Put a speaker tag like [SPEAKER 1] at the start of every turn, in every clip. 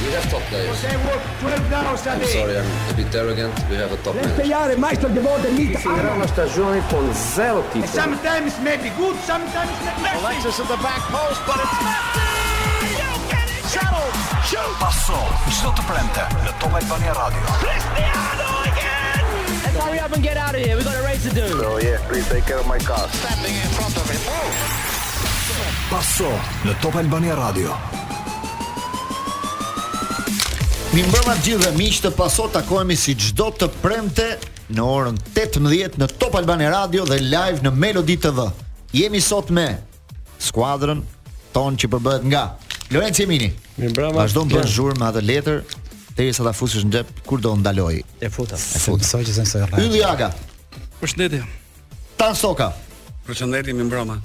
[SPEAKER 1] we have top players.
[SPEAKER 2] They work 12 hours a
[SPEAKER 1] I'm
[SPEAKER 2] day.
[SPEAKER 1] sorry, I'm a bit arrogant. We have a top
[SPEAKER 3] Per
[SPEAKER 1] manager.
[SPEAKER 3] spiegare Meister geworden nicht
[SPEAKER 4] finirà una stagione con zero
[SPEAKER 2] And
[SPEAKER 4] titoli.
[SPEAKER 2] Sometimes maybe good, sometimes maybe not.
[SPEAKER 5] Alexis at the back post, but it's Shuttle, shoot!
[SPEAKER 6] Passo çdo të premte në Top Albania Radio.
[SPEAKER 5] Cristiano again!
[SPEAKER 7] Let's hurry up and get out of here. We've got a race to do.
[SPEAKER 6] Oh yeah, please take care of my car.
[SPEAKER 5] Standing in front of him.
[SPEAKER 6] Passo në Top Albania Radio.
[SPEAKER 8] Mi mbrëma të gjithëve miq të paso takohemi si çdo të premte në orën 18 në Top Albani Radio dhe live në Melodi TV. Jemi sot me skuadrën tonë që përbëhet nga Lorenzo Jemini.
[SPEAKER 9] Mi mbrëma.
[SPEAKER 8] Vazhdon bën zhurmë me atë letër derisa ta fusësh në xhep kur do ndaloj.
[SPEAKER 9] E futa.
[SPEAKER 8] Fut.
[SPEAKER 10] Besoj që s'është rreth.
[SPEAKER 8] Ylli Aga,
[SPEAKER 9] Përshëndetje.
[SPEAKER 8] Tan Soka.
[SPEAKER 10] Përshëndetje mi mbrëma.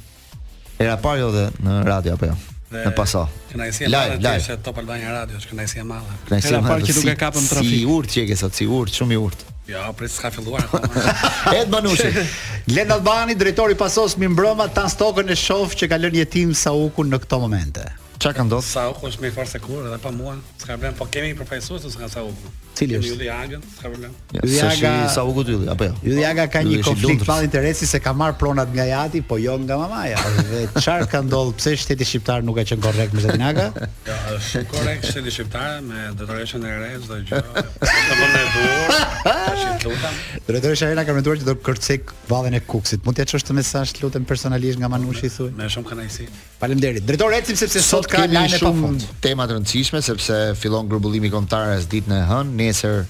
[SPEAKER 8] Era parë jo dhe në radio apo jo? Në paso.
[SPEAKER 10] Kënaqësi e madhe
[SPEAKER 8] Live,
[SPEAKER 10] të
[SPEAKER 8] live.
[SPEAKER 10] ishte Top Albania Radio, është kënaqësi e madhe.
[SPEAKER 8] Kënaqësi
[SPEAKER 9] Hera
[SPEAKER 8] e madhe.
[SPEAKER 9] parë që
[SPEAKER 8] Si-
[SPEAKER 9] duke kapën trafik.
[SPEAKER 8] Si urt që e ke sot, si urt, shumë i urt.
[SPEAKER 10] Jo, pres s'ka filluar akoma.
[SPEAKER 8] Ed Banushi.
[SPEAKER 11] Lend Albani, drejtori pasos mi mbrëma Tan Stokën e shoh që ka lënë jetim Saukun në këto momente.
[SPEAKER 8] Çka ka ndodhur?
[SPEAKER 10] Sa u kush më fort se kur edhe pa mua, s'ka problem, po kemi një profesor që s'ka sa u.
[SPEAKER 11] Cili
[SPEAKER 10] Kemi
[SPEAKER 11] është?
[SPEAKER 10] Ylli Agën, s'ka problem.
[SPEAKER 11] Ylli
[SPEAKER 8] Ylli Aga
[SPEAKER 11] Aga-
[SPEAKER 8] sa u gutylli apo jo?
[SPEAKER 11] Ylliaga ka
[SPEAKER 8] Ylli
[SPEAKER 11] një
[SPEAKER 8] është i
[SPEAKER 11] konflikt
[SPEAKER 8] lumtur.
[SPEAKER 11] madh interesi se ka marr pronat nga jati, po jo nga mamaja. Dhe çfarë ka ndodhur? Pse shteti shqiptar nuk ka qenë korrekt me Zetin Aga?
[SPEAKER 10] Jo, është shumë korrekt shteti shqiptar me detoreshën e re çdo gjë. Të bën e duhur. Tash i lutam.
[SPEAKER 11] Drejtori Sharena ka menduar që do kërcej vallën e Kuksit. Mund t'ia çosh të mesazh lutem personalisht nga Manushi thuj.
[SPEAKER 10] Me shumë kënaqësi.
[SPEAKER 11] Faleminderit. Drejtor Ecim sepse sot, ka
[SPEAKER 8] kemi
[SPEAKER 11] lajme pa fund.
[SPEAKER 8] tema të rëndësishme sepse fillon grumbullimi kombëtar as ditën e hënë. Nesër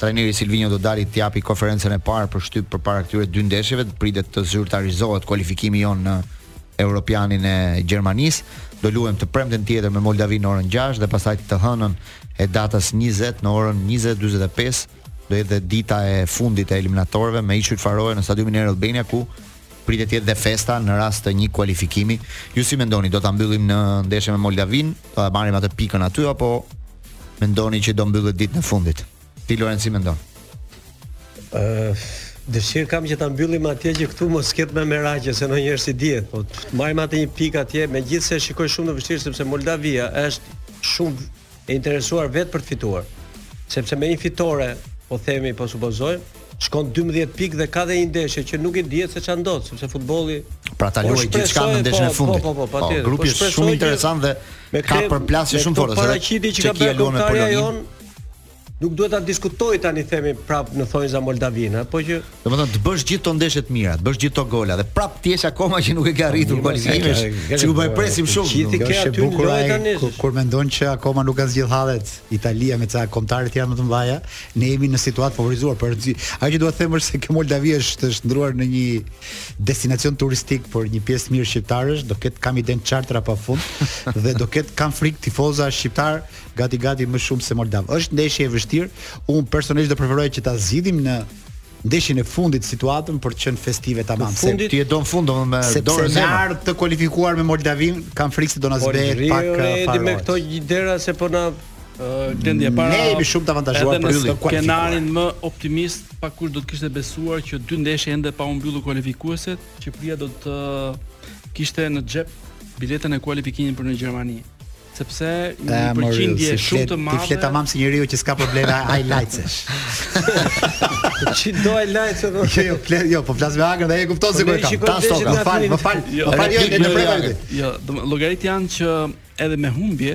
[SPEAKER 8] trajneri Silvinho do dali të japi konferencën e parë për shtyp përpara këtyre dy ndeshjeve, të pritet të zyrtarizohet kualifikimi jon në Europianin e Gjermanisë. Do luajmë të premten tjetër me Moldavi në orën 6 dhe pastaj të hënën e datës 20 në orën 20:45 do jetë dhe dita e fundit e eliminatorëve me iqyt farore në stadiumin e Albania ku pritet të jetë dhe festa në rast të një kualifikimi. Ju si mendoni, do ta mbyllim në ndeshje me Moldavin, do ta marrim atë pikën aty apo mendoni që do mbyllet ditën e fundit? Ti Lorenz si mendon?
[SPEAKER 9] Ë Dëshirë kam që ta mbyllim atje që këtu mos ketë me merakje se ndonjëherë si dihet, po t- marrim atë një pikë atje, megjithse shikoj shumë të vështirë sepse Moldavia është shumë e interesuar vetë për të fituar. Sepse me një fitore, po themi, po supozojmë, shkon 12 pikë dhe ka dhe një ndeshje që nuk i dihet se ç'a ndodh, sepse futbolli
[SPEAKER 8] Pra ta
[SPEAKER 9] po
[SPEAKER 8] luaj gjithçka
[SPEAKER 9] shpresoj,
[SPEAKER 8] në ndeshjen e
[SPEAKER 9] po,
[SPEAKER 8] fundit.
[SPEAKER 9] Po, po, po, patjetër.
[SPEAKER 8] grupi është
[SPEAKER 9] shpresoj
[SPEAKER 8] shumë
[SPEAKER 9] që
[SPEAKER 8] interesant dhe
[SPEAKER 9] me
[SPEAKER 8] ka
[SPEAKER 9] këtë-
[SPEAKER 8] përplasje
[SPEAKER 9] me
[SPEAKER 8] shumë
[SPEAKER 9] këto
[SPEAKER 8] fortë. edhe
[SPEAKER 9] Paraqiti që ka
[SPEAKER 8] Çekia
[SPEAKER 9] bërë
[SPEAKER 8] luan me
[SPEAKER 9] lojtarja
[SPEAKER 8] Poloninë.
[SPEAKER 9] jon nuk duhet ta diskutoj tani themi prap në thonjza Moldavina, po që
[SPEAKER 8] Do të thonë të bësh gjithë këto ndeshje të mira, të bësh gjithë këto gola dhe prap ti jesh akoma që nuk e ke arritur kualifikimin. Si u bë presim shumë.
[SPEAKER 9] Gjithë
[SPEAKER 11] Nuk
[SPEAKER 9] ke
[SPEAKER 11] është e
[SPEAKER 9] aty
[SPEAKER 11] bukur
[SPEAKER 9] lojë
[SPEAKER 11] ai
[SPEAKER 9] tani.
[SPEAKER 11] kur, kur mendon që akoma nuk ka zgjidh hallet Italia me ca kombëtarë të tjerë më të mëdha, ne jemi në situatë favorizuar për zi- ajo që dua të them është se ke Moldavia është është ndruar në një destinacion turistik për një pjesë të mirë shqiptarësh, do ketë kam iden chartra pa fund dhe do ketë kam frikë tifoza shqiptar gati gati më shumë se moldav. Është ndeshje e vështirë. Unë personalisht do preferoj që ta zgjidhim në ndeshjen e fundit situatën për të qenë festive tamam. se-
[SPEAKER 9] fundit-
[SPEAKER 8] Ti e don fund domethënë me
[SPEAKER 11] Sepse
[SPEAKER 8] dorën
[SPEAKER 11] me
[SPEAKER 8] zemër.
[SPEAKER 11] ardhë të kualifikuar me Moldavin, kam frikë se do na
[SPEAKER 9] Po
[SPEAKER 11] zbehet
[SPEAKER 2] jo,
[SPEAKER 11] pak
[SPEAKER 9] Rio
[SPEAKER 11] uh,
[SPEAKER 9] Edi me këto
[SPEAKER 11] faror.
[SPEAKER 9] gjidera se po na
[SPEAKER 11] Ne jemi shumë të avantazhuar për yllin.
[SPEAKER 2] Skenarin më optimist, pa kush do të kishte besuar që dy ndeshje ende pa u mbyllur kualifikueset, Shqipëria do të uh, kishte në xhep biletën e kualifikimit për në Gjermani. Sepse një
[SPEAKER 11] E, mori,
[SPEAKER 2] përqindje
[SPEAKER 11] si
[SPEAKER 2] shumë
[SPEAKER 11] flet-
[SPEAKER 2] të
[SPEAKER 11] Ti
[SPEAKER 2] madhe
[SPEAKER 11] flet tamam si njeriu që s'ka probleme highlightsesh.
[SPEAKER 9] çi do e lajt se do.
[SPEAKER 11] Jo, jo, flet, jo, po flas me Agën dhe ai e kupton se
[SPEAKER 9] Po
[SPEAKER 11] ku
[SPEAKER 9] ne
[SPEAKER 11] e kam.
[SPEAKER 9] shikojmë
[SPEAKER 11] Ta
[SPEAKER 9] ndeshjet
[SPEAKER 11] stoka,
[SPEAKER 9] e
[SPEAKER 11] më fal,
[SPEAKER 9] Atletit.
[SPEAKER 11] më fal.
[SPEAKER 2] Jo,
[SPEAKER 11] Më fal, jo,
[SPEAKER 8] replik
[SPEAKER 11] ne
[SPEAKER 8] me
[SPEAKER 11] prema
[SPEAKER 8] Agën.
[SPEAKER 11] vetë.
[SPEAKER 2] Jo, do llogarit janë që edhe me humbje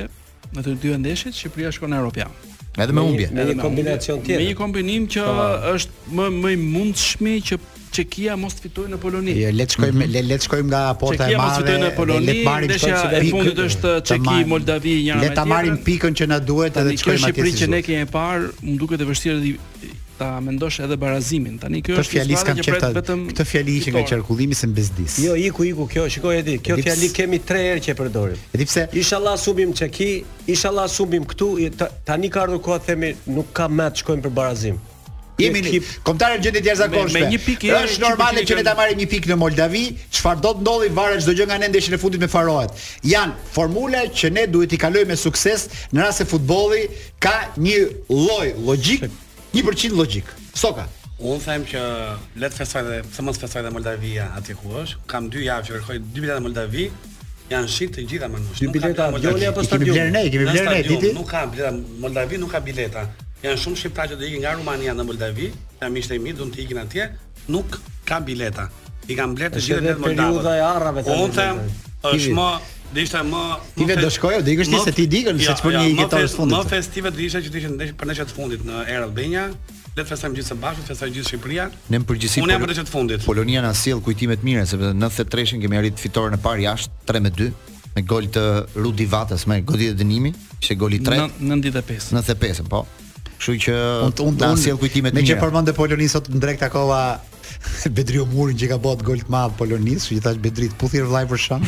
[SPEAKER 2] në të dy ndeshjet Shqipëria shkon në Europian.
[SPEAKER 8] Edhe me humbje.
[SPEAKER 9] Me një kombinacion
[SPEAKER 2] Me
[SPEAKER 9] tjetër. Po.
[SPEAKER 2] një kombinim që është më më i mundshmi që Çekia mos të fitojë në Poloni.
[SPEAKER 11] Jo, le të shkojmë, le le të shkojmë nga porta e
[SPEAKER 2] Çekia mos
[SPEAKER 11] madhe.
[SPEAKER 2] fitoi në
[SPEAKER 11] dhe
[SPEAKER 2] Poloni,
[SPEAKER 11] le të marrim
[SPEAKER 2] ndeshja
[SPEAKER 11] këto
[SPEAKER 2] e
[SPEAKER 11] pikë-
[SPEAKER 2] fundit është
[SPEAKER 11] të
[SPEAKER 2] Çeki,
[SPEAKER 11] marrim.
[SPEAKER 2] Moldavi, njëra
[SPEAKER 11] Le
[SPEAKER 2] me
[SPEAKER 11] ta marrim
[SPEAKER 2] tjetrën.
[SPEAKER 11] pikën që na duhet edhe
[SPEAKER 2] Tani
[SPEAKER 11] të
[SPEAKER 2] kjo
[SPEAKER 11] shkojmë atje.
[SPEAKER 2] Shqipëri
[SPEAKER 11] si
[SPEAKER 2] që ne
[SPEAKER 11] duhet.
[SPEAKER 2] kemi parë, më duket e vështirë di- ta mendosh edhe barazimin. Tani kjo
[SPEAKER 11] Këtë
[SPEAKER 2] është
[SPEAKER 11] fjali
[SPEAKER 2] një
[SPEAKER 11] s'kam
[SPEAKER 2] skuadër që
[SPEAKER 11] qef
[SPEAKER 2] pret
[SPEAKER 11] ta-
[SPEAKER 2] vetëm
[SPEAKER 11] këtë fjali që nga
[SPEAKER 2] fitore.
[SPEAKER 11] qarkullimi se mbezdis.
[SPEAKER 9] Jo, iku iku kjo, shikoj Edi, kjo
[SPEAKER 11] Edi,
[SPEAKER 9] fjali
[SPEAKER 11] ps-
[SPEAKER 9] kemi 3 herë që e përdorim.
[SPEAKER 11] Edhe pse
[SPEAKER 9] Inshallah subim Çeki, inshallah subim këtu, i- ta- tani ka ardhur koha themi nuk ka më të shkojmë për barazim.
[SPEAKER 11] Jemi në
[SPEAKER 9] Ekip-
[SPEAKER 11] kombëtarë gjendje të jashtëzakonshme.
[SPEAKER 2] Me- me një pikë jemi
[SPEAKER 11] është normale
[SPEAKER 2] Shqipërinë
[SPEAKER 11] që ne ta
[SPEAKER 2] kanë-
[SPEAKER 11] marrim një pikë në Moldavi, çfarë do të ndodhi varet çdo gjë nga ne ndeshjen e fundit me Faroet. Jan formula që ne duhet i kalojmë me sukses në rast se futbolli ka një lloj logjik, 1% logjik. Soka.
[SPEAKER 10] Unë them që le të festoj dhe pse mos festoj dhe Moldavia atje ku është. Kam dy javë që kërkoj dy bileta në Moldavi Janë shit të gjitha manush.
[SPEAKER 11] Dy
[SPEAKER 10] Nuk ka
[SPEAKER 11] bileta
[SPEAKER 10] bileta
[SPEAKER 11] avioni
[SPEAKER 10] Moldavi.
[SPEAKER 11] apo Kemi stadium? bler ne, kemi
[SPEAKER 10] Nga
[SPEAKER 11] bler ne,
[SPEAKER 10] stadium,
[SPEAKER 11] Titi?
[SPEAKER 10] Nuk ka bileta Moldavi nuk ka bileta. Janë shumë shqiptarë që do ikin nga Rumania në Moldavi, nga miqtë e mi do të ikin atje, nuk ka bileta. I kanë bler të
[SPEAKER 9] Është
[SPEAKER 10] gjithë
[SPEAKER 9] edhe
[SPEAKER 10] në Moldavi.
[SPEAKER 9] periudha e arrave tani.
[SPEAKER 10] Unë them,
[SPEAKER 11] Tivi.
[SPEAKER 10] është më do ishte më
[SPEAKER 11] Ti
[SPEAKER 10] më
[SPEAKER 11] vetë
[SPEAKER 10] fe-
[SPEAKER 11] do shkoje, do ikësh ti
[SPEAKER 10] më-
[SPEAKER 11] se ti dikën, se ç'bën një
[SPEAKER 10] më
[SPEAKER 11] gitarës
[SPEAKER 10] fe-
[SPEAKER 11] fundit.
[SPEAKER 10] Më festive do ishte që të ishin ndesh- për ndeshjet e fundit në Air Albania, le të festojmë gjithë së bashku, të festojë gjithë Shqipëria.
[SPEAKER 8] Në më përgjithësi
[SPEAKER 10] Unë jam
[SPEAKER 8] Pol-
[SPEAKER 10] për ndeshjet e fundit.
[SPEAKER 8] Polonia na sjell kujtime të mira sepse në 93-shin kemi arrit fitoren e parë jashtë 3-2 me gol të Rudi Vatës me goditë dënimi, ishte goli i tretë.
[SPEAKER 2] 95.
[SPEAKER 8] 95, po. Kështu që
[SPEAKER 11] Unë unë
[SPEAKER 8] na
[SPEAKER 11] unë
[SPEAKER 8] sjell kujtime të
[SPEAKER 11] Me që
[SPEAKER 8] mira.
[SPEAKER 11] përmendë Polonin sot në drejt akova Bedriu Murin që ka bot gol të madh Polonis, që i thash Bedrit puthir vllai për shkak.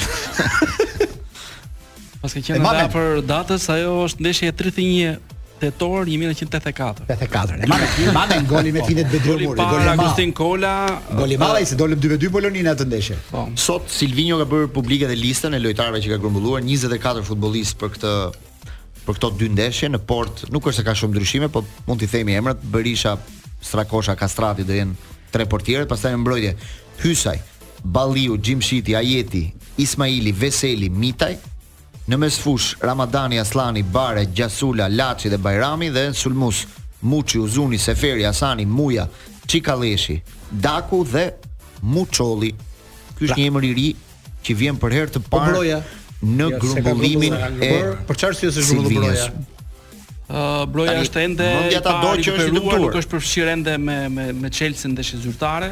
[SPEAKER 2] Pas ka
[SPEAKER 11] E
[SPEAKER 2] qenë
[SPEAKER 11] mamen.
[SPEAKER 2] ata për datës, ajo është ndeshja e 31 tetor 1984.
[SPEAKER 11] 84. E marrë marrë golin me finet Bedriu
[SPEAKER 2] Goli
[SPEAKER 11] Murin, gol
[SPEAKER 2] para
[SPEAKER 11] i madh.
[SPEAKER 2] Agustin Kola.
[SPEAKER 11] Gol i madh ai se dolëm 2-2 Polonin atë ndeshje.
[SPEAKER 8] Sot Silvinho ka bërë publike dhe listën e lojtarëve që ka grumbulluar 24 futbollistë për këtë për këto dy ndeshje në port. Nuk është se ka shumë ndryshime, po mund t'i themi emrat. Berisha, Strakosha, Kastrati do jenë tre portierët, pastaj në mbrojtje Hysaj, Balliu, Gjimshiti, Ajeti, Ismaili, Veseli, Mitaj. Në mesfush Ramadani, Aslani, Bare, Gjasula, Laçi dhe Bajrami dhe në sulmus Muçi, Uzuni, Seferi, Asani, Muja, Çikalleshi, Daku dhe Muçolli. Ky është një emër i ri që vjen për herë të parë
[SPEAKER 11] Pra. Po broja.
[SPEAKER 8] në
[SPEAKER 9] Ja, se ka
[SPEAKER 8] grumbullimin
[SPEAKER 10] grumbulluar.
[SPEAKER 8] e
[SPEAKER 10] Por-
[SPEAKER 11] Për çfarë arsye është zhvilluar
[SPEAKER 8] Silvinjës.
[SPEAKER 11] broja?
[SPEAKER 2] Ë, broja
[SPEAKER 8] Tani,
[SPEAKER 2] është ende
[SPEAKER 8] mendja ta
[SPEAKER 2] i pa
[SPEAKER 8] do që është i
[SPEAKER 2] rikuperuar,
[SPEAKER 8] dëmtuar.
[SPEAKER 2] Nuk është përfshirë ende me me me Chelsea ndeshje zyrtare.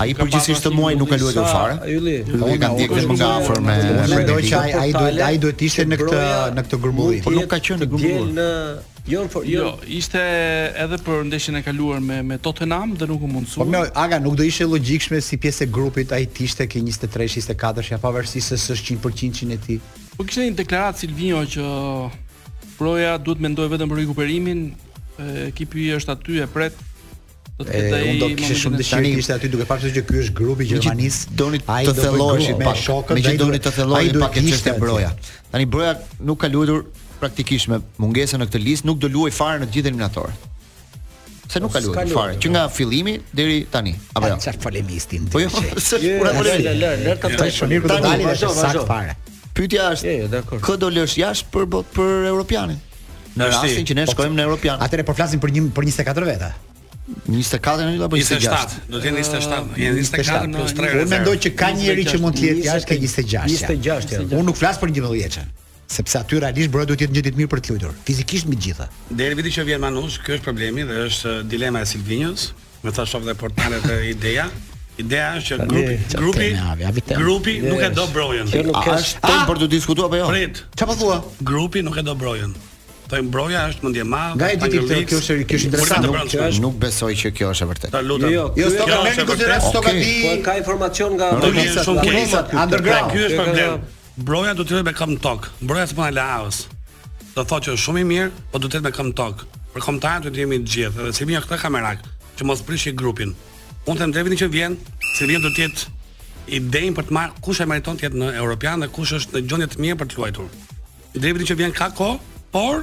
[SPEAKER 8] Ai
[SPEAKER 2] Ka
[SPEAKER 8] përgjithsisht të
[SPEAKER 2] pasur
[SPEAKER 8] muaj
[SPEAKER 2] një
[SPEAKER 8] nuk ka luajtur
[SPEAKER 9] sa,
[SPEAKER 8] fare.
[SPEAKER 9] Ylli.
[SPEAKER 8] Unë kam ndjekë më nga afër me
[SPEAKER 11] Unë
[SPEAKER 8] me
[SPEAKER 11] mendoj që
[SPEAKER 8] Premier
[SPEAKER 11] ai ai duhet ai duhet ishte në këtë në këtë grumbullim.
[SPEAKER 8] Po nuk ka qenë i grumbulluar.
[SPEAKER 9] Në jo në for, jo.
[SPEAKER 2] Jo, ishte edhe për ndeshjen e kaluar me me Tottenham dhe nuk
[SPEAKER 11] Po
[SPEAKER 2] u mundsua.
[SPEAKER 11] më aga nuk do ishte logjikshme si pjesë e grupit ai të ishte ke 23 24 ja pavarësisht se s'është 100% e tij.
[SPEAKER 2] Po kishte një deklaratë Silvino që Broja duhet mendoj vetëm për rikuperimin, e, ekipi është aty e pret. Do të
[SPEAKER 11] E,
[SPEAKER 2] ketë ai.
[SPEAKER 11] unë do kishe
[SPEAKER 2] momentin
[SPEAKER 11] shumë
[SPEAKER 2] e
[SPEAKER 11] dëshirë
[SPEAKER 8] tani-
[SPEAKER 11] të ishte aty duke parë që ky është grupi i
[SPEAKER 8] Meqë
[SPEAKER 11] Gjermanisë.
[SPEAKER 8] doni
[SPEAKER 11] Ai
[SPEAKER 8] të
[SPEAKER 11] do bëj
[SPEAKER 8] thelloheshin
[SPEAKER 11] grup
[SPEAKER 8] pak.
[SPEAKER 11] me shokët.
[SPEAKER 8] Meqë
[SPEAKER 11] ai
[SPEAKER 8] doni
[SPEAKER 11] duhet-
[SPEAKER 8] të
[SPEAKER 11] ai
[SPEAKER 8] thelloheshin
[SPEAKER 11] duhet
[SPEAKER 8] pak e
[SPEAKER 11] ishte
[SPEAKER 8] çështë
[SPEAKER 11] atje.
[SPEAKER 8] broja. Tani broja nuk ka luajtur praktikisht me mungesën në këtë listë, nuk do luaj fare në të gjithë eliminatorët. Se nuk ka
[SPEAKER 11] S'ka
[SPEAKER 8] luajtur
[SPEAKER 11] luajtur,
[SPEAKER 8] fare, që nga fillimi deri tani. Apo
[SPEAKER 11] Ai
[SPEAKER 8] jo.
[SPEAKER 11] çfarë polemistin.
[SPEAKER 8] Po jo, se puna
[SPEAKER 11] lër,
[SPEAKER 8] polemik.
[SPEAKER 9] lër, lër ta
[SPEAKER 11] Ai shonir do
[SPEAKER 8] Tani,
[SPEAKER 11] dalin
[SPEAKER 9] vazhdo,
[SPEAKER 11] është sakt
[SPEAKER 9] vazhdo.
[SPEAKER 11] fare.
[SPEAKER 8] Pyetja është,
[SPEAKER 9] Je, je, dakor.
[SPEAKER 8] kë do lësh jashtë për bot për europianin? Në
[SPEAKER 10] Është i-
[SPEAKER 8] rastin që ne shkojmë në europian.
[SPEAKER 11] Atëre po flasim për një për 24 veta.
[SPEAKER 8] 24 apo 26?
[SPEAKER 10] 27, do të jenë 27, janë 24 plus 3.
[SPEAKER 11] Unë mendoj që ka njëri që mund të jetë jashtë ke 26.
[SPEAKER 9] 26 janë.
[SPEAKER 11] Unë nuk flas për 11-çën, sepse aty realisht broja duhet të jetë një ditë mirë për të luajtur. Fizikisht me gjitha.
[SPEAKER 10] Deri viti që vjen Manush, ky është problemi dhe është eh, dilema e Silvinjos, me ta shoh dhe portalet e ideja. Ideja është që grupi
[SPEAKER 9] qa
[SPEAKER 10] grupi
[SPEAKER 11] tema, ja, vi tema.
[SPEAKER 10] grupi nuk e do
[SPEAKER 9] është.
[SPEAKER 10] brojen.
[SPEAKER 9] Kjo
[SPEAKER 8] A
[SPEAKER 9] nuk është
[SPEAKER 8] është tem për të diskutuar apo jo?
[SPEAKER 10] Prit,
[SPEAKER 11] Çfarë po thua?
[SPEAKER 10] grupi nuk e do brojen. Thonë broja është mendje madh.
[SPEAKER 11] Nga e di ti këtë, kjo është- kjo është interesant,
[SPEAKER 10] Nuk
[SPEAKER 11] nuk-
[SPEAKER 10] kjo është
[SPEAKER 8] Nuk besoj që kjo është e vërtetë.
[SPEAKER 10] ta lutem.
[SPEAKER 9] Jo,
[SPEAKER 11] Jo,
[SPEAKER 9] Kjo
[SPEAKER 11] stoka
[SPEAKER 10] është
[SPEAKER 11] merr në
[SPEAKER 10] e
[SPEAKER 11] konsiderat
[SPEAKER 10] vërtetë.
[SPEAKER 11] stoka
[SPEAKER 8] Okej.
[SPEAKER 11] di.
[SPEAKER 9] po ka informacion nga
[SPEAKER 10] Do të jenë
[SPEAKER 11] Punesa-
[SPEAKER 10] shumë
[SPEAKER 11] punesa
[SPEAKER 10] kesa.
[SPEAKER 11] aty, underground.
[SPEAKER 10] Ky është
[SPEAKER 9] Kjo ka-
[SPEAKER 10] problem. Broja do të jetë me këmbë tok. Broja s'po na laos. Do thotë që është shumë i mirë, po do të jetë me këmbë tok. Për kombëtarët do të jemi të gjithë, edhe Silvia këtë kamerak, që mos prishi grupin. Unë them drejtin që vjen, Silvia do të jetë idejnë për të marrë kush e meriton të jetë në Europian dhe kush është në gjendje të mirë për të luajtur. Drejtin që vjen ka kohë, por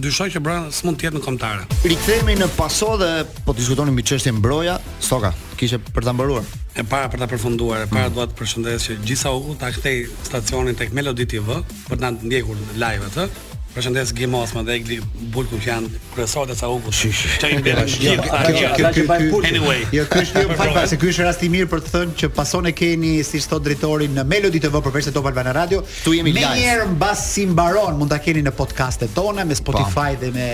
[SPEAKER 10] dyshoj që broja s'mund të jetë në kombëtare.
[SPEAKER 8] Rikthehemi në paso dhe po diskutonim mbi çështjen broja, Stoka, kishe për ta mbaruar.
[SPEAKER 10] E para për ta përfunduar, e para
[SPEAKER 11] Mm.
[SPEAKER 10] dua të përshëndes që gjithsa u ta kthej stacionin tek Melodi TV për të na ndjekur live atë. Përshëndes Gim Osman dhe Egli Bulku që janë kryesorët e Saukut. Që i bën gjithë
[SPEAKER 11] Jo, Kjo-
[SPEAKER 10] ata që-
[SPEAKER 11] kjo- kjo-
[SPEAKER 9] ata që
[SPEAKER 11] kjo-
[SPEAKER 9] bajnë
[SPEAKER 11] kjo-
[SPEAKER 9] punë.
[SPEAKER 10] Anyway.
[SPEAKER 11] Jo, ky është jo
[SPEAKER 10] Për
[SPEAKER 11] fal
[SPEAKER 10] brojën.
[SPEAKER 11] pak se ky është rast i mirë për të thënë që pason e keni, siç thot drejtori, në Melody TV përveç se Top Albana Radio.
[SPEAKER 8] Tu jemi live.
[SPEAKER 11] Menjëherë mbas si mbaron mund ta keni në podcastet tona me Spotify dhe me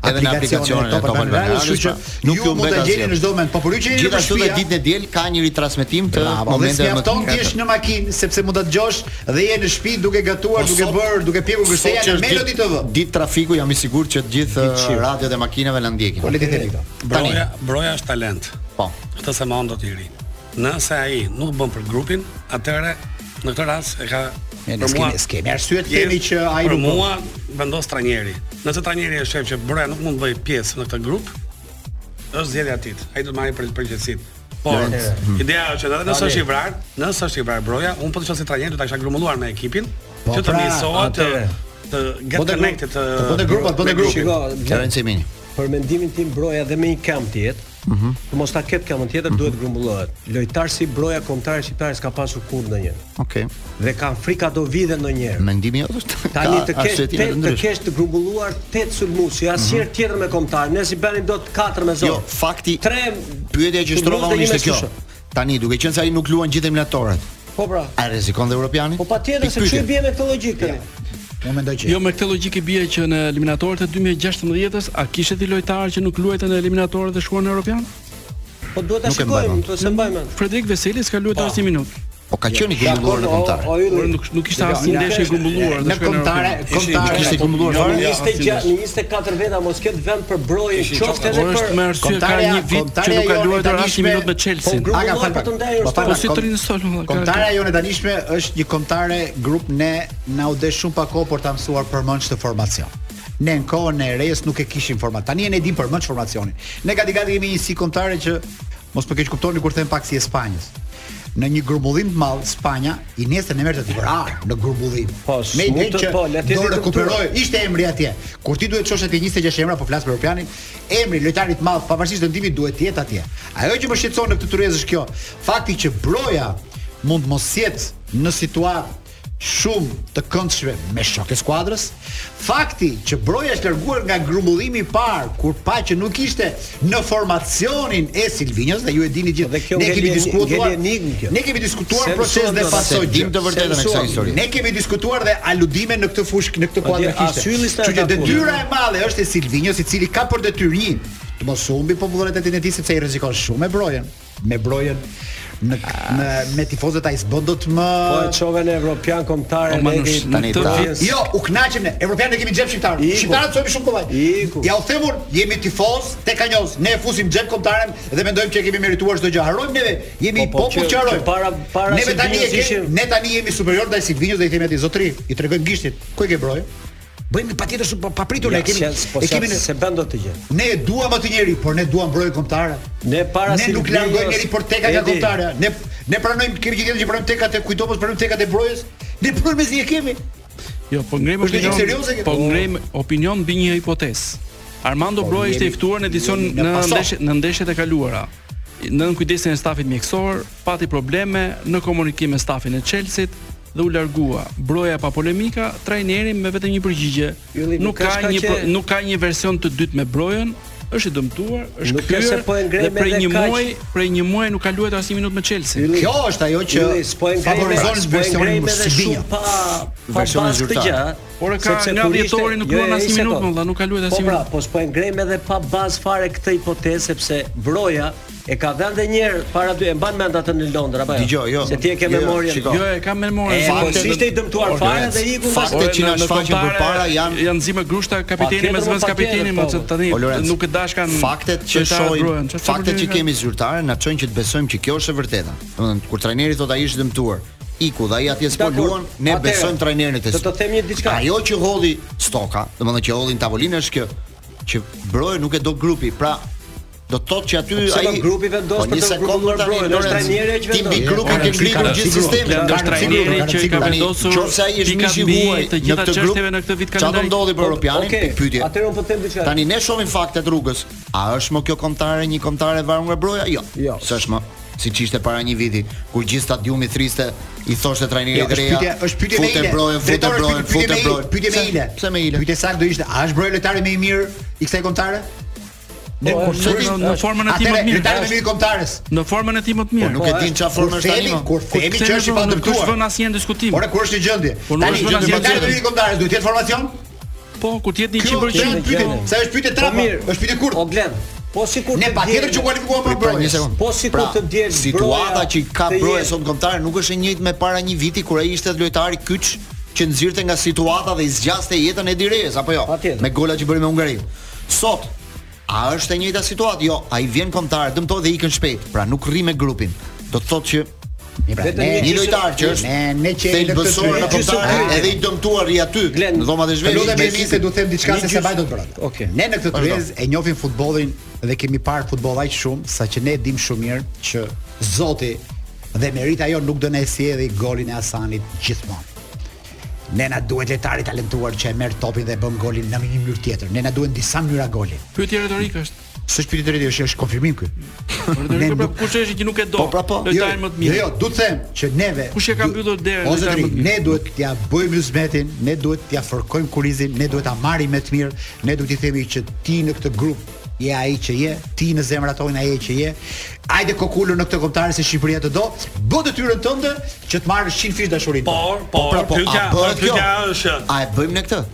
[SPEAKER 8] Po. Edhe në aplikacionin
[SPEAKER 11] aplikacionin
[SPEAKER 8] e Top Albana Radio, po.
[SPEAKER 11] kështu që
[SPEAKER 8] nuk ju
[SPEAKER 11] ju mund ta
[SPEAKER 8] mbet
[SPEAKER 11] gjeni
[SPEAKER 8] asgjë.
[SPEAKER 11] në çdo moment. Po për ju që jeni në
[SPEAKER 8] Gjithashtu
[SPEAKER 11] shtëpi,
[SPEAKER 8] dhe ditën e diel ka një ritransmetim të
[SPEAKER 11] Bravo, dhe
[SPEAKER 8] momenteve më të
[SPEAKER 11] s'mjafton ti jesh në makinë sepse mund ta dëgjosh dhe je në shtëpi duke gatuar,
[SPEAKER 8] Po
[SPEAKER 11] duke
[SPEAKER 8] sot-
[SPEAKER 11] bërë, duke pjekur gërseja në Melody TV.
[SPEAKER 8] Ditë trafiku jam i sigurt që të gjithë
[SPEAKER 11] Ditë
[SPEAKER 8] eh,
[SPEAKER 11] qiu.
[SPEAKER 8] radiot e makinave na ndjekin.
[SPEAKER 11] Po le të themi këto.
[SPEAKER 8] Tani,
[SPEAKER 10] Broja, broja është talent.
[SPEAKER 8] po.
[SPEAKER 10] Këtë se ma do të i ri. Nëse ai nuk bën për grupin, atëherë në këtë rast e ka
[SPEAKER 11] Ne skemi, skemi arsye të themi që ai
[SPEAKER 10] për
[SPEAKER 11] nuk bën.
[SPEAKER 10] mua vendos trajneri. Nëse trajneri e shef që broja nuk mund të bëj pjesë në këtë grup, është zgjedhja e tij. Ai do të marrë për përgjegjësinë. Por ideja është që edhe nëse është i vrarë, nëse është i vrarë broja, unë po të shoh si trajner do ta kisha grumbulluar me ekipin,
[SPEAKER 11] Po,
[SPEAKER 10] që të
[SPEAKER 11] pra, Po
[SPEAKER 10] misohet të
[SPEAKER 9] atëre.
[SPEAKER 10] të get
[SPEAKER 11] Bote
[SPEAKER 10] connected të
[SPEAKER 11] grupat, bote
[SPEAKER 10] me grupin.
[SPEAKER 11] grupat, bote po grupi.
[SPEAKER 9] Shiko,
[SPEAKER 8] Terrenci Mini.
[SPEAKER 9] për mendimin tim broja dhe me një kamp të jetë. Mhm. mos ta ketë kamën tjetër
[SPEAKER 8] Mhm.
[SPEAKER 9] duhet grumbullohet. Lojtar si broja kombëtare shqiptare s'ka pasur kurrë ndonjë.
[SPEAKER 8] Okej.
[SPEAKER 9] Dhe ka frika do vide ndonjëherë.
[SPEAKER 8] Mendimi jot është
[SPEAKER 9] Tani të
[SPEAKER 8] ka
[SPEAKER 9] kesh
[SPEAKER 8] arsye
[SPEAKER 9] te,
[SPEAKER 8] time të
[SPEAKER 9] të
[SPEAKER 8] ndryshme. Mhm.
[SPEAKER 9] kesh të grumbulluar 8 sulmuesi, asnjëherë tjetër me kombëtar. Ne si bënim dot 4 me zon.
[SPEAKER 8] Jo, fakti
[SPEAKER 9] Tre
[SPEAKER 8] pyetja që shtrova
[SPEAKER 9] sulmues dhe
[SPEAKER 8] unë
[SPEAKER 9] një
[SPEAKER 8] ishte
[SPEAKER 9] me
[SPEAKER 8] kjo.
[SPEAKER 9] sushe.
[SPEAKER 8] Tani duke qenë se ai nuk luan gjithë eliminatorët,
[SPEAKER 9] Po pra.
[SPEAKER 8] a rrezikon dhe europiani? Po
[SPEAKER 9] Patjetër se çu bie me këtë logjikë tani.
[SPEAKER 11] Unë mendoj që
[SPEAKER 2] Jo me këtë logjikë bie që në eliminatorët e 2016-s a kishte ti lojtarë që nuk luajtën në eliminatorët dhe shkuan në Europian?
[SPEAKER 9] Po duhet ta
[SPEAKER 2] Nuk e mbaj
[SPEAKER 9] shikojmë,
[SPEAKER 2] mend.
[SPEAKER 9] duhet se mbajmë.
[SPEAKER 2] Fredrik Veseli s'ka luajtur asnjë minutë.
[SPEAKER 8] Po ka qenë i grumbulluar në kombëtar.
[SPEAKER 9] O, o, Ylli.
[SPEAKER 2] Por nuk nuk ishte asnjë ndeshje e grumbulluar
[SPEAKER 8] Në kombëtare, kombëtare kishte grumbulluar
[SPEAKER 9] Jo,
[SPEAKER 8] fare.
[SPEAKER 9] në 24 në 24 veta mos ket vend për broje, qoftë edhe
[SPEAKER 2] Por është me
[SPEAKER 9] për
[SPEAKER 2] arsye ka një vit që nuk ka luajtur asnjë minutë me Chelsea.
[SPEAKER 9] Po,
[SPEAKER 11] A ka fal
[SPEAKER 9] Grumbulluar për të ndarë
[SPEAKER 11] Po
[SPEAKER 9] Eurostar.
[SPEAKER 2] Po si Trin Sol.
[SPEAKER 11] Komtarea jone tanishme është një komtare grup ne na u de shumë pa kohë për ta mësuar përmend të formacion. Ne në kohën e rejës nuk e kishim format. Tani e ne dim përmend formacionin. Ne gati gati kemi një si komtare që mos më keq kuptoni kur them pak si e Spanjës. Në një grumbullim të madh Spanja i nesër në merrte Tiranë në grumbullim.
[SPEAKER 9] Po,
[SPEAKER 11] me
[SPEAKER 9] smutën,
[SPEAKER 11] ide që
[SPEAKER 9] po, le të jetë
[SPEAKER 11] do
[SPEAKER 9] i kuptuar.
[SPEAKER 11] rekuperoj ishte emri atje. Kur ti duhet të shoshë te 26 emra, po flas për Europianin, emri lojtarit të madh, pavarësisht ndimit duhet të jetë atje. Ajo që më shqetëson në këtë turrezë është kjo, fakti që Broja mund mos jetë në situatë shumë të këndshme me shok e skuadrës. Fakti që Broja është larguar nga grumbullimi i parë kur pa që nuk ishte në formacionin e Silvinjos dhe ju e dini gjithë.
[SPEAKER 9] Dhe kjo
[SPEAKER 11] Ne kemi
[SPEAKER 9] ngeli-
[SPEAKER 11] diskutuar.
[SPEAKER 9] ngeli enigmë kjo.
[SPEAKER 11] Ne kemi diskutuar
[SPEAKER 9] Se
[SPEAKER 11] proces
[SPEAKER 9] mësuam
[SPEAKER 11] dhe
[SPEAKER 9] do të
[SPEAKER 11] pasoj
[SPEAKER 9] them.
[SPEAKER 11] gjë.
[SPEAKER 8] Dim të vërtetën e
[SPEAKER 11] Se
[SPEAKER 8] kësaj
[SPEAKER 11] mësuam.
[SPEAKER 8] historie.
[SPEAKER 11] Ne kemi diskutuar dhe aludime në këtë fushë në këtë kuadër
[SPEAKER 9] Atje,
[SPEAKER 11] kishte.
[SPEAKER 9] asylli s'ta
[SPEAKER 11] Kështu që
[SPEAKER 9] ka punë.
[SPEAKER 11] detyra e madhe është e Silvinjos i cili ka për detyrim të mos humbi populloritetin e tij sepse i rrezikon shumë me brojen, me brojen në në me tifozët ai s'bën dot më
[SPEAKER 9] Po e çove në Evropian kombëtare
[SPEAKER 2] O, Manush,
[SPEAKER 9] ne-
[SPEAKER 8] tani
[SPEAKER 9] të
[SPEAKER 8] ta-
[SPEAKER 9] vjen-
[SPEAKER 11] Jo, u kënaqem ne. Evropianët e kemi xhep shqiptar.
[SPEAKER 9] Iku.
[SPEAKER 11] Shqiptarët sojmë shumë kollaj.
[SPEAKER 9] Iku.
[SPEAKER 11] Ja u themun, jemi tifoz te kanjoz. Ne e fusim xhep kombëtaren dhe mendojmë që e kemi merituar çdo gjë. Harrojmë neve. Jemi
[SPEAKER 9] Po, po,
[SPEAKER 11] popull
[SPEAKER 9] që-
[SPEAKER 11] që harrojmë.
[SPEAKER 9] që para- para
[SPEAKER 11] neve tani e
[SPEAKER 9] Silvinjos
[SPEAKER 11] kemi,
[SPEAKER 9] ishim-
[SPEAKER 11] ne tani jemi superior ndaj Silvinjos dhe i themi atij zotri, i tregojmë gishtit. Ku e ke broje? Bëjmë patjetër shumë pa- papritur ne e
[SPEAKER 9] Ja,
[SPEAKER 11] kemi.
[SPEAKER 9] se- po
[SPEAKER 11] E kemi
[SPEAKER 9] se-
[SPEAKER 11] në-
[SPEAKER 9] se bën dot të gjë.
[SPEAKER 11] Ne e duam atë njeri, por ne duam brojën kombëtare.
[SPEAKER 9] Ne para
[SPEAKER 11] ne nuk
[SPEAKER 9] Silvinjos-
[SPEAKER 11] largojmë njeri por teka nga
[SPEAKER 9] Edi.
[SPEAKER 11] kombëtare. Ne ne pranojmë kemi gjithë tjetër që pranojmë tekat e kujtopos, pranojmë tekat e brojës. Ne pranojmë mezi e kemi.
[SPEAKER 2] Jo, po ngrejmë
[SPEAKER 11] Është një
[SPEAKER 2] opinion.
[SPEAKER 11] serioze kjo?
[SPEAKER 2] Po ngrejmë opinion mbi një hipotezë. Armando
[SPEAKER 11] Po,
[SPEAKER 2] Broja ishte i
[SPEAKER 11] jemi-
[SPEAKER 2] ftuar në edicion
[SPEAKER 11] jemi-
[SPEAKER 2] në
[SPEAKER 11] na paso.
[SPEAKER 2] ndeshjet në ndeshjet e kaluara. Në kujdesin e stafit mjekësor, pati probleme në komunikim me stafin e Chelsea-t dhe u largua. Broja pa polemika, trajneri me vetëm një përgjigje.
[SPEAKER 9] Ylli,
[SPEAKER 2] Nuk
[SPEAKER 9] nuk
[SPEAKER 2] ka
[SPEAKER 9] është ka
[SPEAKER 2] një
[SPEAKER 9] që-
[SPEAKER 2] pro- nuk ka një version të dytë me Brojën, është i dëmtuar, është
[SPEAKER 9] Nuk është se
[SPEAKER 2] kryer.
[SPEAKER 9] po e
[SPEAKER 2] Dhe
[SPEAKER 9] ngrejmë
[SPEAKER 2] prej
[SPEAKER 9] edhe
[SPEAKER 2] një
[SPEAKER 9] kaq.
[SPEAKER 2] muaj, prej një muaj nuk ka luajtur asnjë minutë me Chelsea.
[SPEAKER 9] Ylli,
[SPEAKER 11] Kjo është ajo që
[SPEAKER 9] Ylli, s'po e ngrejmë-
[SPEAKER 11] favorizon
[SPEAKER 9] s'po e
[SPEAKER 11] versionin
[SPEAKER 9] ngrejmë edhe
[SPEAKER 11] Silvinjo.
[SPEAKER 9] shumë pa pa
[SPEAKER 8] Versionin
[SPEAKER 9] pas këtë
[SPEAKER 8] zyrtar.
[SPEAKER 9] gjë.
[SPEAKER 2] Por e ka
[SPEAKER 9] sepse
[SPEAKER 2] nga
[SPEAKER 9] kur
[SPEAKER 2] 10
[SPEAKER 9] ishte-
[SPEAKER 2] ori nuk
[SPEAKER 9] jo,
[SPEAKER 2] luan
[SPEAKER 9] jo,
[SPEAKER 2] asnjë
[SPEAKER 9] një
[SPEAKER 2] minutë,
[SPEAKER 9] sekond.
[SPEAKER 2] më valla, nuk ka luajtur asnjë
[SPEAKER 9] Po pra,
[SPEAKER 2] minutë.
[SPEAKER 9] po s'po e ngrejmë edhe pa bazë fare këtë hipotezë sepse Vroja e ka dhënë edhe një herë para dy e mban mend atë në Londër apo jo?
[SPEAKER 8] Dgjoj, jo.
[SPEAKER 9] Se ti e ke
[SPEAKER 8] Jo, jo,
[SPEAKER 9] memorien.
[SPEAKER 8] shiko.
[SPEAKER 2] Jo, e kam memorin.
[SPEAKER 9] E, po
[SPEAKER 2] Fakte-
[SPEAKER 9] s'ishte i dëmtuar fare dhe iku nga
[SPEAKER 8] Fakte që na shfaqin përpara janë-
[SPEAKER 2] janë zi me grushta kapiteni
[SPEAKER 9] Patjetër,
[SPEAKER 2] me
[SPEAKER 9] po,
[SPEAKER 2] zvend
[SPEAKER 9] patjetër,
[SPEAKER 2] kapiteni, më
[SPEAKER 9] po.
[SPEAKER 2] që tani
[SPEAKER 8] O, Lorenz,
[SPEAKER 2] nuk e dash kanë
[SPEAKER 8] faktet që
[SPEAKER 2] lojtarët
[SPEAKER 8] shohim,
[SPEAKER 2] Brojen. Çfarë
[SPEAKER 8] faktet që
[SPEAKER 2] problemi ka?
[SPEAKER 8] kemi zyrtare na çojnë që të besojmë që kjo është e vërteta. Domethënë kur trajneri thotë ai është dëmtuar, iku dhe ai atje s'po
[SPEAKER 9] Dakor.
[SPEAKER 8] luan, ne
[SPEAKER 9] Atëherë,
[SPEAKER 8] besojmë trajnerin të.
[SPEAKER 9] do të them një diçka.
[SPEAKER 8] Ajo që hodhi Stoka, domethënë që hodhi në tavolinë është kjo, që Broja nuk e do grupi, pra do të thotë që aty
[SPEAKER 9] pse do grupi vendos për
[SPEAKER 8] një
[SPEAKER 9] të
[SPEAKER 8] sekondë
[SPEAKER 9] grupulluar
[SPEAKER 8] tani,
[SPEAKER 9] Brojen,
[SPEAKER 8] Lorenz,
[SPEAKER 9] është trajneri që
[SPEAKER 8] Ti mbi
[SPEAKER 9] vendos.
[SPEAKER 8] grupin
[SPEAKER 11] Lorenz,
[SPEAKER 8] ke mbritur
[SPEAKER 11] ka
[SPEAKER 8] gjithë
[SPEAKER 11] rëndësi
[SPEAKER 8] sistemin.
[SPEAKER 11] grupi,
[SPEAKER 2] Kjo është
[SPEAKER 11] Garantimi,
[SPEAKER 2] trajneri që i ka
[SPEAKER 11] garantimi.
[SPEAKER 2] vendosur
[SPEAKER 8] Nëse ai është
[SPEAKER 2] pikat
[SPEAKER 8] mishi
[SPEAKER 2] mbi
[SPEAKER 8] huaj
[SPEAKER 2] të
[SPEAKER 8] në
[SPEAKER 2] gjitha
[SPEAKER 8] këtë grup,
[SPEAKER 2] çështjeve në këtë vit
[SPEAKER 8] çfarë do
[SPEAKER 2] kalendari.
[SPEAKER 8] ndodhi për europianin?
[SPEAKER 9] Okej,
[SPEAKER 8] Tek pyetje.
[SPEAKER 9] atëherë unë po të them diçka.
[SPEAKER 8] Tani ne shohim faktet rrugës. A është më kjo kombëtare një kombëtare e varur nga broja? Jo.
[SPEAKER 9] Jo.
[SPEAKER 8] S'është më siç ishte para një viti, kur gjithë stadiumi thriste i thoshte trajnerit
[SPEAKER 11] Jo, është
[SPEAKER 8] Dreja.
[SPEAKER 11] pyetje, është pyetje me
[SPEAKER 8] Fute
[SPEAKER 11] ile.
[SPEAKER 8] brojen, fute
[SPEAKER 11] Drejtor, është
[SPEAKER 8] brojen,
[SPEAKER 11] pyetje-
[SPEAKER 8] fute
[SPEAKER 11] pyetje me
[SPEAKER 8] brojen.
[SPEAKER 11] ile, Pyetje me
[SPEAKER 8] Pse-
[SPEAKER 11] ile.
[SPEAKER 8] Pse me ile?
[SPEAKER 11] Pyetje saktë do ishte, a është broja lojtari më i mirë i kësaj kombëtare? Ne
[SPEAKER 2] Po,
[SPEAKER 11] kur
[SPEAKER 2] është,
[SPEAKER 11] thotim-
[SPEAKER 2] në- në formën e tij më
[SPEAKER 11] Atëre,
[SPEAKER 2] të mirë. po
[SPEAKER 11] Lojtari më i mirë i kombëtares.
[SPEAKER 2] Në formën e tij më të
[SPEAKER 8] Po
[SPEAKER 2] mirë.
[SPEAKER 8] nuk e din çfarë
[SPEAKER 11] Kur
[SPEAKER 8] formë është tani.
[SPEAKER 11] themi-
[SPEAKER 8] mo.
[SPEAKER 11] kur
[SPEAKER 2] Kur
[SPEAKER 11] themi që
[SPEAKER 2] kthehemi,
[SPEAKER 11] është i
[SPEAKER 2] po, nuk është
[SPEAKER 11] pandërtuar.
[SPEAKER 2] vënë asnjë diskutim.
[SPEAKER 11] Ora kur është një gjendje?
[SPEAKER 2] Po, nuk
[SPEAKER 11] Tani
[SPEAKER 2] është vënë
[SPEAKER 11] gjendje
[SPEAKER 2] asnjë
[SPEAKER 11] lojtari më i
[SPEAKER 2] gjendje.
[SPEAKER 11] mirë i kombëtares duhet të jetë formacion?
[SPEAKER 2] Po, kur të jetë
[SPEAKER 11] Kjo kjo është
[SPEAKER 2] 100%
[SPEAKER 11] pyetje,
[SPEAKER 9] gjendje.
[SPEAKER 11] se është pyetje
[SPEAKER 9] Po
[SPEAKER 11] trapa,
[SPEAKER 9] mirë.
[SPEAKER 11] është pyetje kurtë.
[SPEAKER 9] Po blen. Po sikur
[SPEAKER 11] Ne
[SPEAKER 9] të
[SPEAKER 11] patjetër
[SPEAKER 9] diel-
[SPEAKER 11] që kualifikuam për
[SPEAKER 8] Pra, një
[SPEAKER 11] brojës.
[SPEAKER 8] sekond.
[SPEAKER 9] Po, si kur të diel
[SPEAKER 8] situata
[SPEAKER 9] Broja
[SPEAKER 8] që ka
[SPEAKER 9] të
[SPEAKER 8] broja
[SPEAKER 9] jetë-
[SPEAKER 8] sot kombëtare nuk është e njëjtë me para një viti kur ai ishte lojtari kyç që nxirrte nga situata dhe i zgjaste jetën e Direjës apo jo?
[SPEAKER 9] Patjetër.
[SPEAKER 8] Me gola që bëri me Hungarinë. Sot a është e njëjta situatë? Jo, ai vjen kombëtare, dëmtohet dhe ikën shpejt. Pra nuk rri me grupin. Do të thotë që
[SPEAKER 11] Një pra,
[SPEAKER 9] Vetëm
[SPEAKER 11] ne-
[SPEAKER 8] një lojtar që është
[SPEAKER 11] Ne- ne që jemi në këtë
[SPEAKER 8] thelbësor
[SPEAKER 11] tryezë-
[SPEAKER 8] në kombëtare
[SPEAKER 9] gjysmë
[SPEAKER 8] edhe i dëmtuar i aty
[SPEAKER 9] Glenn,
[SPEAKER 8] në dhomat e
[SPEAKER 11] Të
[SPEAKER 8] zhvetit.
[SPEAKER 11] lutem
[SPEAKER 8] me
[SPEAKER 11] me mi se
[SPEAKER 8] ekipin.
[SPEAKER 11] du them diçka
[SPEAKER 9] Një
[SPEAKER 11] se se
[SPEAKER 9] gjysmë-
[SPEAKER 11] baj do të bërat.
[SPEAKER 9] Okej.
[SPEAKER 11] Ne në këtë
[SPEAKER 8] Vazhdo.
[SPEAKER 11] tryezë e njohim futbollin dhe kemi parë futboll aq shumë saqë ne dim shumë mirë që jo Zoti dhe merita jon nuk do na e sjellë golin e Hasanit gjithmonë. Ne na duhet lojtari talentuar që e merr topin dhe e bën golin në një mënyrë tjetër. Ne na duhen disa mënyra goli.
[SPEAKER 2] Pyetja retorike është.
[SPEAKER 11] S'është pyetje drejtë, është është konfirmim ky.
[SPEAKER 2] Retorika pra kush është që nuk e do?
[SPEAKER 11] Po pra po. jo,
[SPEAKER 2] Lojtarin më të mirë.
[SPEAKER 11] Jo, du të them që neve
[SPEAKER 2] Kush e ka
[SPEAKER 11] du-
[SPEAKER 2] mbyllur derën
[SPEAKER 11] O zotri,
[SPEAKER 2] lojtarin më të mirë?
[SPEAKER 11] ne duhet t'ja bëjmë yzmetin, ne duhet t'ja fërkojmë kurizin, ne duhet ta marrim me të mirë, ne duhet i themi që ti në këtë grup je ai që je, ti në zemrat tona je që je. Hajde kokulur në këtë kombëtare se Shqipëria të do, bë detyrën tënde që të marrësh 100 fish dashurinë.
[SPEAKER 10] Por, por,
[SPEAKER 11] pra, po,
[SPEAKER 10] pyetja,
[SPEAKER 11] a bëhet
[SPEAKER 10] por, pyetja
[SPEAKER 11] kjo?
[SPEAKER 10] është,
[SPEAKER 8] A e bëjmë ne këtë?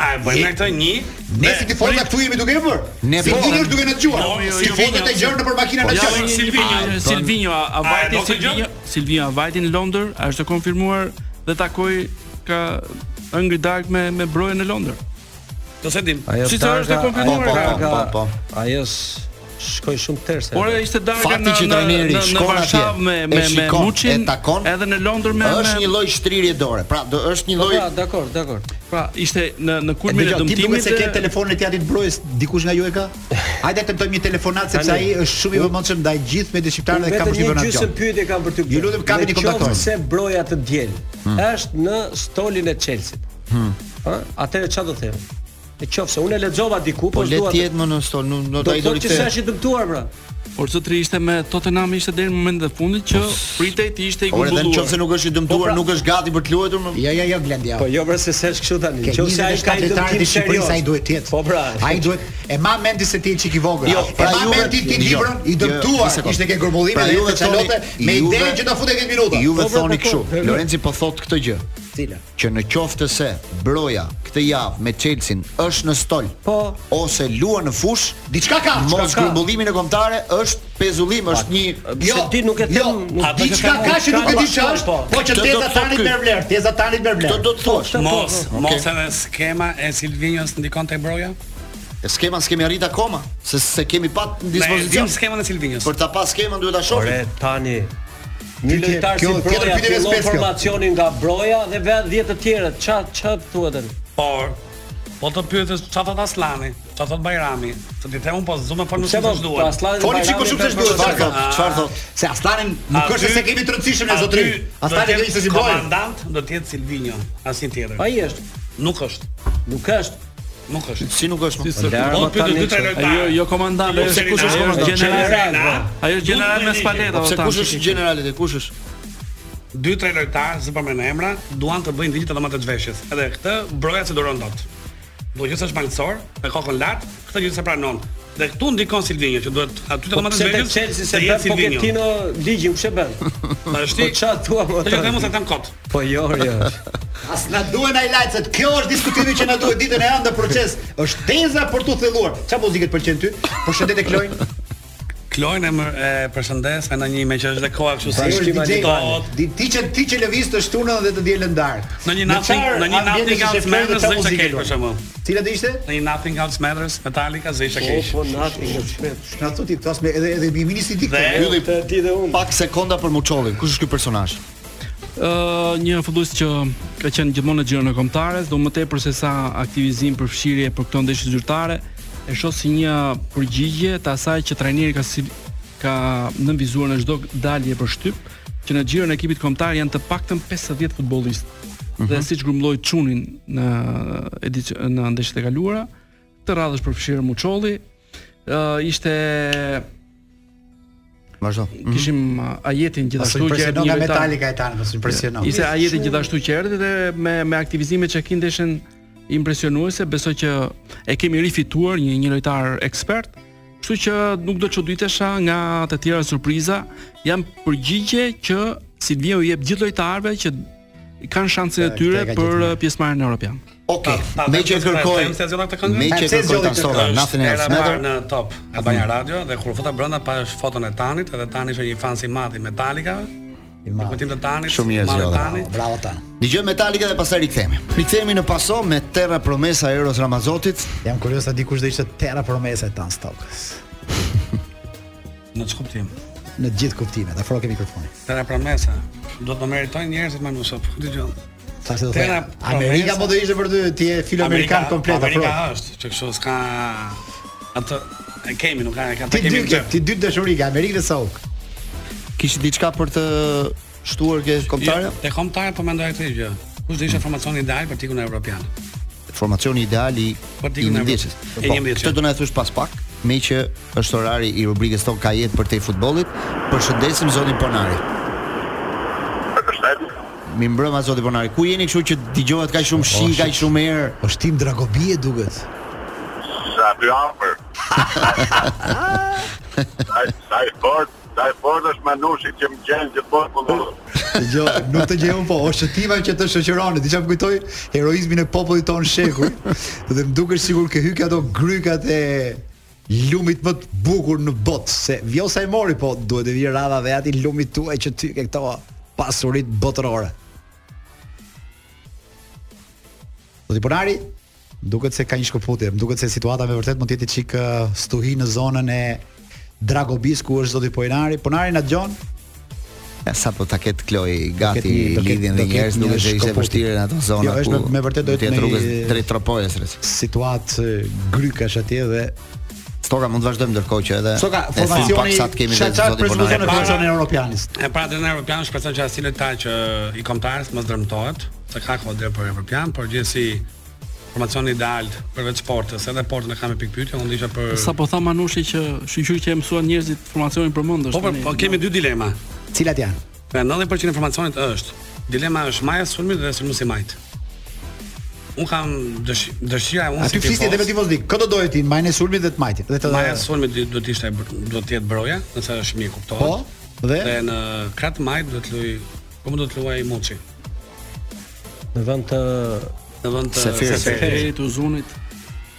[SPEAKER 10] a e bëjmë ne këtë një?
[SPEAKER 11] Ne
[SPEAKER 10] dhe-
[SPEAKER 11] si ti folna këtu jemi duke e bër.
[SPEAKER 8] Ne
[SPEAKER 11] si
[SPEAKER 8] po-
[SPEAKER 11] ti është duke na dëgjuar.
[SPEAKER 10] Jo, jo,
[SPEAKER 11] Si
[SPEAKER 10] jo,
[SPEAKER 11] fotot
[SPEAKER 10] jo,
[SPEAKER 11] e gjërë nëpër makina na
[SPEAKER 10] Po, jo,
[SPEAKER 11] dëgjon.
[SPEAKER 10] jo,
[SPEAKER 2] Silvinho,
[SPEAKER 10] Ai,
[SPEAKER 2] Silvinho, a- a
[SPEAKER 10] ai,
[SPEAKER 2] vajti
[SPEAKER 10] do këtë gjë?
[SPEAKER 2] Silvinho, Silvinho a vajti në Londër, a është e konfirmuar dhe takoi ka Angry Dark me me brojen në Londër.
[SPEAKER 10] Do se dim.
[SPEAKER 11] Po,
[SPEAKER 2] Ajo Si sa është e konfirmuar?
[SPEAKER 8] Po, po,
[SPEAKER 2] ka-
[SPEAKER 8] po, po.
[SPEAKER 9] Ajo s- shkoj shumë tërse.
[SPEAKER 2] Por e ishte darka
[SPEAKER 8] Fakti
[SPEAKER 2] në
[SPEAKER 8] që
[SPEAKER 2] në
[SPEAKER 8] trajneri
[SPEAKER 2] në, në
[SPEAKER 8] shkon
[SPEAKER 2] Varshav
[SPEAKER 8] atje,
[SPEAKER 2] me
[SPEAKER 8] e
[SPEAKER 2] me me
[SPEAKER 8] shikon,
[SPEAKER 2] Muçin,
[SPEAKER 8] e takon,
[SPEAKER 2] edhe në Londër me
[SPEAKER 8] Është
[SPEAKER 2] me-
[SPEAKER 8] një lloj shtrirje dore. Pra, do është një lloj
[SPEAKER 9] Ja, Ah, dakor, dakor.
[SPEAKER 2] pra ishte në në kulmin e
[SPEAKER 11] Dëgjoj, ti duhet
[SPEAKER 2] dëmtimit.
[SPEAKER 11] se ke
[SPEAKER 2] dhe-
[SPEAKER 11] telefonin e tjatit brojës, dikush nga ju e ka? Hajde tentojmë një telefonat sepse ai
[SPEAKER 9] Tani,
[SPEAKER 11] është shumë i vëmendshëm ndaj gjithë me shqiptarë dhe ka
[SPEAKER 9] Vetëm një
[SPEAKER 11] përshtypën atë.
[SPEAKER 9] gjysmë pyetje kam për ty.
[SPEAKER 11] Ju lutem, kapni një kontaktor.
[SPEAKER 9] Se broja të diel
[SPEAKER 11] Hmm.
[SPEAKER 9] është në stolin e Chelsea-t. Ëh, atëherë çfarë do të them? Në qoftë se unë e lexova diku,
[SPEAKER 8] po
[SPEAKER 9] po
[SPEAKER 8] le
[SPEAKER 9] dua
[SPEAKER 8] të
[SPEAKER 9] të
[SPEAKER 8] jetë më në stol, nuk do
[SPEAKER 9] do
[SPEAKER 8] ta
[SPEAKER 9] të
[SPEAKER 8] i do
[SPEAKER 9] thotë që s'është i dëmtuar pra.
[SPEAKER 2] Por zotri ishte me Tottenham ishte deri në momentin e fundit që pritej ti ishte i
[SPEAKER 8] Ore, Po dhe në qoftë se
[SPEAKER 2] gumbulluar.
[SPEAKER 8] nuk është i dëmtuar, nuk është gati për të luajtur, më
[SPEAKER 11] Jo, jo, jo, Glendi.
[SPEAKER 9] Po jo pra se s'është kështu tani.
[SPEAKER 11] Ke
[SPEAKER 9] Nëse ai ka
[SPEAKER 11] 24
[SPEAKER 9] i
[SPEAKER 11] lojtarë
[SPEAKER 9] dëmtim
[SPEAKER 11] të Shqipërisë
[SPEAKER 9] serioz.
[SPEAKER 11] ai duhet të jetë.
[SPEAKER 9] Po pra.
[SPEAKER 11] Ai duhet e ma mendi se ti je çik i vogël.
[SPEAKER 8] Jo, pra
[SPEAKER 11] e ma
[SPEAKER 8] Juve-
[SPEAKER 11] mendi ti
[SPEAKER 8] jo,
[SPEAKER 11] librën i
[SPEAKER 8] jo, një
[SPEAKER 11] dëmtuar.
[SPEAKER 8] sekond.
[SPEAKER 11] Ishte ke grumbullime
[SPEAKER 8] Pra
[SPEAKER 11] dhe
[SPEAKER 8] Juve
[SPEAKER 11] Juve çalote
[SPEAKER 8] thoni-
[SPEAKER 11] me
[SPEAKER 8] Juve-
[SPEAKER 11] idenë që do futet 10 minuta.
[SPEAKER 8] Juve
[SPEAKER 9] Po, po,
[SPEAKER 8] thoni
[SPEAKER 9] po, po.
[SPEAKER 8] kështu. Lorenzi po thot këtë gjë.
[SPEAKER 9] Cila?
[SPEAKER 8] Që në qoftë se Broja këtë javë me Chelsea është në stol,
[SPEAKER 9] Po.
[SPEAKER 8] ose luan në fush,
[SPEAKER 11] Diçka ka,
[SPEAKER 8] mos
[SPEAKER 9] ka.
[SPEAKER 8] grumbullimin e kombëtare është pezullim, është një
[SPEAKER 9] Jo, se ti nuk e
[SPEAKER 11] jo,
[SPEAKER 9] them, nuk di
[SPEAKER 11] diçka ka që nuk e di çfarë është, po që
[SPEAKER 8] Këtë do
[SPEAKER 11] teza
[SPEAKER 8] të thotë
[SPEAKER 11] tani
[SPEAKER 8] ky.
[SPEAKER 11] merr vlerë, teza tani merr
[SPEAKER 8] Do
[SPEAKER 11] vlerë.
[SPEAKER 8] do të thuash.
[SPEAKER 10] Mos,
[SPEAKER 11] po,
[SPEAKER 10] mos edhe skema e Silvinjos ndikon te broja?
[SPEAKER 8] E Skema s'kemi arrit akoma, se se kemi pat në dispozicion.
[SPEAKER 10] Ne dim skemën e Silvinjos.
[SPEAKER 8] Për ta pas skemën duhet ta
[SPEAKER 9] Ore
[SPEAKER 8] shohim.
[SPEAKER 9] tani Një
[SPEAKER 11] Pyetje-
[SPEAKER 9] lojtar si
[SPEAKER 11] kjo tjetër
[SPEAKER 9] Broja
[SPEAKER 11] pyetje me
[SPEAKER 9] fillon
[SPEAKER 11] spec kjo.
[SPEAKER 9] formacionin nga Broja dhe vetë 10 të tjerët. Ça ça thuhet tani?
[SPEAKER 10] Por, po të pyetës çfarë thot Aslani, çfarë thot Bajrami, se ti them unë po zume po nuk
[SPEAKER 9] Pse po
[SPEAKER 10] s'është duhet.
[SPEAKER 9] Aslani
[SPEAKER 11] Foli çiko shumë se duhet. Çfarë thot?
[SPEAKER 10] Ah.
[SPEAKER 11] Çfarë thot? Se Aslanin nuk
[SPEAKER 10] Aty-
[SPEAKER 11] është se kemi të rëndësishëm ne
[SPEAKER 10] aty
[SPEAKER 11] zotrin.
[SPEAKER 10] do
[SPEAKER 11] Aslani
[SPEAKER 10] t'jetë
[SPEAKER 11] do ishte si bojë.
[SPEAKER 10] Komandant do të jetë Silvinjo, asnjë tjetër.
[SPEAKER 9] Ai është,
[SPEAKER 10] Nuk është,
[SPEAKER 9] nuk është.
[SPEAKER 10] nuk është.
[SPEAKER 8] Si nuk është. më?
[SPEAKER 10] Po
[SPEAKER 9] Larma
[SPEAKER 10] pyetë
[SPEAKER 9] tani
[SPEAKER 10] dy tre
[SPEAKER 9] që-
[SPEAKER 10] lojtarë. Po
[SPEAKER 2] Ajo jo komandant, ajo është kush është
[SPEAKER 10] Ajo
[SPEAKER 2] komandant? General.
[SPEAKER 9] bro.
[SPEAKER 2] Ajo është general me spaleta.
[SPEAKER 8] Po
[SPEAKER 2] o,
[SPEAKER 8] pse
[SPEAKER 2] tam,
[SPEAKER 8] kush
[SPEAKER 2] që
[SPEAKER 8] është
[SPEAKER 2] ki-
[SPEAKER 8] generalet e kush është?
[SPEAKER 10] Dy tre lojtarë, se përmend emra, duan të bëjnë ligjit edhe më të zhveshjes. Edhe këtë broja se duron dot. Do që është mangësor, me kokën lart, këtë gjë se pranon. Dhe këtu ndikon Silvinjo që duhet aty të
[SPEAKER 9] Po
[SPEAKER 10] më të
[SPEAKER 9] pse te
[SPEAKER 10] zhveshjes.
[SPEAKER 9] Chelsea se
[SPEAKER 10] të
[SPEAKER 9] bën po
[SPEAKER 10] jetë Silvinho.
[SPEAKER 9] Pochettino ligjin kush e bën?
[SPEAKER 10] Është.
[SPEAKER 9] Po ça thua më
[SPEAKER 10] Po që them se kam kot.
[SPEAKER 9] Po jo, jo.
[SPEAKER 11] As na duhen ai lajcet. Kjo është diskutimi që na duhet ditën e ëndë në proces. Është teza për tu thelluar. Çfarë muzikë të pëlqen ty? Përshëndetje Kloin.
[SPEAKER 2] Pra,
[SPEAKER 10] Klojnë e, më, e përshëndes me në një me që është dhe koha kështu
[SPEAKER 11] Pra
[SPEAKER 10] si
[SPEAKER 11] është DJ.
[SPEAKER 10] agitohet.
[SPEAKER 11] Di ti që ti që lëviz të shtunën dhe të dielën darkë.
[SPEAKER 10] Në një nothing, në një nothing else matters dhe çka për shembull.
[SPEAKER 11] Cila do ishte?
[SPEAKER 10] Në një nothing else matters Metallica zë ishte
[SPEAKER 9] Po
[SPEAKER 10] keq.
[SPEAKER 9] po nati nga shpejt.
[SPEAKER 11] Na thotë ti tas me edhe edhe mi ministri ti.
[SPEAKER 10] Dhe
[SPEAKER 8] Ylli
[SPEAKER 9] Të ti dhe unë.
[SPEAKER 8] pak sekonda për Muçollin. Kush është ky personazh?
[SPEAKER 2] Ë, një futbollist që ka qenë gjithmonë në gjirën e kombëtares, do më tepër se sa aktivizim për fshirje për këto ndeshje zyrtare, e shoh si një përgjigje të asaj që trajneri ka si, ka nënvizuar në çdo dalje për shtyp, që në gjirën e ekipit kombëtar janë të paktën 50 futbollistë.
[SPEAKER 11] Mhm.
[SPEAKER 2] Dhe siç grumbulloi Çunin në edici- në ndeshjet e kaluara, të radhësh përfshirë Muçolli, ë ishte
[SPEAKER 11] Mhm.
[SPEAKER 8] Vazhdo.
[SPEAKER 2] kishim uh, Ajetin
[SPEAKER 11] Ashtu
[SPEAKER 2] gjithashtu që
[SPEAKER 11] impresionon
[SPEAKER 2] një
[SPEAKER 11] nga
[SPEAKER 2] lojtar-
[SPEAKER 11] Metallica e tani, mos impresionon.
[SPEAKER 2] Ishte ajeti gjithashtu që erdhi dhe me me aktivizime që kin ndeshën impresionuese, besoj që e kemi rifituar një një lojtar ekspert, kështu që nuk do të çuditesha nga të tjera surpriza, jam përgjigje që Silvio i jep gjithë lojtarëve që kanë shansin e
[SPEAKER 11] Te-
[SPEAKER 2] tyre
[SPEAKER 11] te ka
[SPEAKER 2] për
[SPEAKER 11] gjithmonë.
[SPEAKER 2] uh, pjesëmarrjen në European.
[SPEAKER 8] Okej.
[SPEAKER 10] Ta- ta-
[SPEAKER 8] Me që e
[SPEAKER 10] ta-
[SPEAKER 8] kërkoj.
[SPEAKER 10] them se zgjodha këtë këngë?
[SPEAKER 8] Me që
[SPEAKER 11] Ta-
[SPEAKER 8] e
[SPEAKER 11] pse
[SPEAKER 8] kërkoj
[SPEAKER 11] zgjodhi
[SPEAKER 8] tan
[SPEAKER 11] këtë
[SPEAKER 8] sora,
[SPEAKER 10] Është
[SPEAKER 8] nothing else
[SPEAKER 10] era e parë
[SPEAKER 8] matter.
[SPEAKER 10] në top Albania Radio dhe kur u futa brenda pa foton e Tanit edhe Tani është një fan si madh i Metallica. I
[SPEAKER 11] madh.
[SPEAKER 10] Kutim të Tanit.
[SPEAKER 8] Shumë njerëz
[SPEAKER 10] madh i
[SPEAKER 8] zgjodha.
[SPEAKER 10] Tanit.
[SPEAKER 11] Bravo ta.
[SPEAKER 8] Dëgjojmë Metallica dhe pastaj rikthehemi. Rikthehemi në paso me Terra Promesa e Eros Ramazotit.
[SPEAKER 11] Jam kurioz sa dikush do ishte tera promesa e tan stokës.
[SPEAKER 10] Në çfarë kuptim?
[SPEAKER 11] Në të gjithë kuptimet, afro ke mikrofonin.
[SPEAKER 10] Tëra promesa. Do të meritojnë njerëzit me nusop. Dëgjoj.
[SPEAKER 11] Thashë do
[SPEAKER 10] Tera
[SPEAKER 11] thotë. Amerika
[SPEAKER 10] promesa.
[SPEAKER 11] po do ishte për ty, ti je filo amerikan komplet afro.
[SPEAKER 10] Amerika është, që kështu s'ka atë e kemi, nuk ka e ka
[SPEAKER 11] Ti dy
[SPEAKER 10] kemi.
[SPEAKER 11] ke,
[SPEAKER 10] këtë.
[SPEAKER 11] ti dy dashuri ke Amerikë dhe Sauk.
[SPEAKER 8] Kishte diçka për të shtuar ke kombëtare?
[SPEAKER 10] Jo, Te kombëtare po mendoj këtë gjë. Kush do ishte formacioni ideal për tikun evropian?
[SPEAKER 8] Formacioni ideal i
[SPEAKER 10] Për
[SPEAKER 8] i
[SPEAKER 10] tikun e
[SPEAKER 8] ndjeqës.
[SPEAKER 10] Evropës. E
[SPEAKER 8] Po,
[SPEAKER 10] njëmbëdhjetë.
[SPEAKER 8] këtë do na e thosh pas pak, me që është orari i rubrikës tonë ka jetë për te futbollit, përshëndesim zonin Ponari. Mi mbrëma zoti Ponari. Ku jeni kështu që dëgjohet kaq shumë shi, kaq shumë herë?
[SPEAKER 11] Është tim Po Dragobie duket.
[SPEAKER 3] Sa dy afër. Sa sa i fort, sa i fort është Manushi që më gjen që po po.
[SPEAKER 11] Dgjoj, nuk të gjejon po, është shëtima që të shoqëroni. Diçka më kujtoi heroizmin e popullit ton shekuj. Dhe më duket sigur ke hyk ato grykat e lumit më të bukur në botë, se Vjosa i mori, po duhet të vi radha dhe ati lumit tuaj që ty ke këto pasurit botërore. Do ti ponari? Duket se ka një shkëputje, më duket se situata me vërtet mund të jetë çik ë, stuhi në zonën e Dragobis ku është zoti Ponari. Ponari na dëgjon?
[SPEAKER 8] Ja, sa po ta ketë Kloj
[SPEAKER 11] ketë një-
[SPEAKER 8] gati
[SPEAKER 11] do ketë-
[SPEAKER 8] lidhjen
[SPEAKER 11] do
[SPEAKER 8] dhe
[SPEAKER 11] ketë
[SPEAKER 8] njerëz
[SPEAKER 11] një
[SPEAKER 8] nuk është ishte
[SPEAKER 11] shkoput.
[SPEAKER 8] vështirë në ato zona
[SPEAKER 11] Jo, është me- me vërtet do jetë
[SPEAKER 8] jetë
[SPEAKER 11] një-
[SPEAKER 8] rrugës drejt tropojës rreth.
[SPEAKER 11] situatë e, grykash atje dhe
[SPEAKER 8] Stoka mund të vazhdojmë ndërkohë që edhe
[SPEAKER 11] Stoka,
[SPEAKER 8] e
[SPEAKER 11] formacioni
[SPEAKER 8] thumë pak sa të kemi
[SPEAKER 11] çat-
[SPEAKER 8] dhe
[SPEAKER 11] çat
[SPEAKER 8] zotin
[SPEAKER 11] prezanton
[SPEAKER 8] Ponari.
[SPEAKER 11] në formacionin europianist.
[SPEAKER 10] E para trajneri evropian shpresoj që asile ta që i kombëtarës mos dërmtohet, se ka kohë deri për evropian, por gjithsesi formacioni ideal përveç portës, edhe portën e kam me pikë pyetje, unë isha për
[SPEAKER 2] Sa po tha Manushi që shqyqyr që e mësuan njerëzit formacionin për mendësh.
[SPEAKER 10] Po, po, po kemi dy dilema.
[SPEAKER 11] Cilat janë?
[SPEAKER 10] Pra 90% e informacionit është dilema është maja e sulmit dhe sulmuesi majt. Un kam dësh- dëshira unë
[SPEAKER 11] Aty flisni edhe me
[SPEAKER 10] tifoz,
[SPEAKER 11] tifozdik. Kë do dohet ti, majën e sulmit dhe të majtit. Dhe të
[SPEAKER 10] Maja e sulmit do të ishte do të jetë broja, nëse është mirë kuptohet.
[SPEAKER 11] Po, dhe?
[SPEAKER 10] dhe në krat majt do të luaj, komo do të luaj Moçi.
[SPEAKER 9] Në vend të
[SPEAKER 10] Në vend të
[SPEAKER 2] Seferit.
[SPEAKER 10] Seferit.
[SPEAKER 2] Seferit, Uzunit.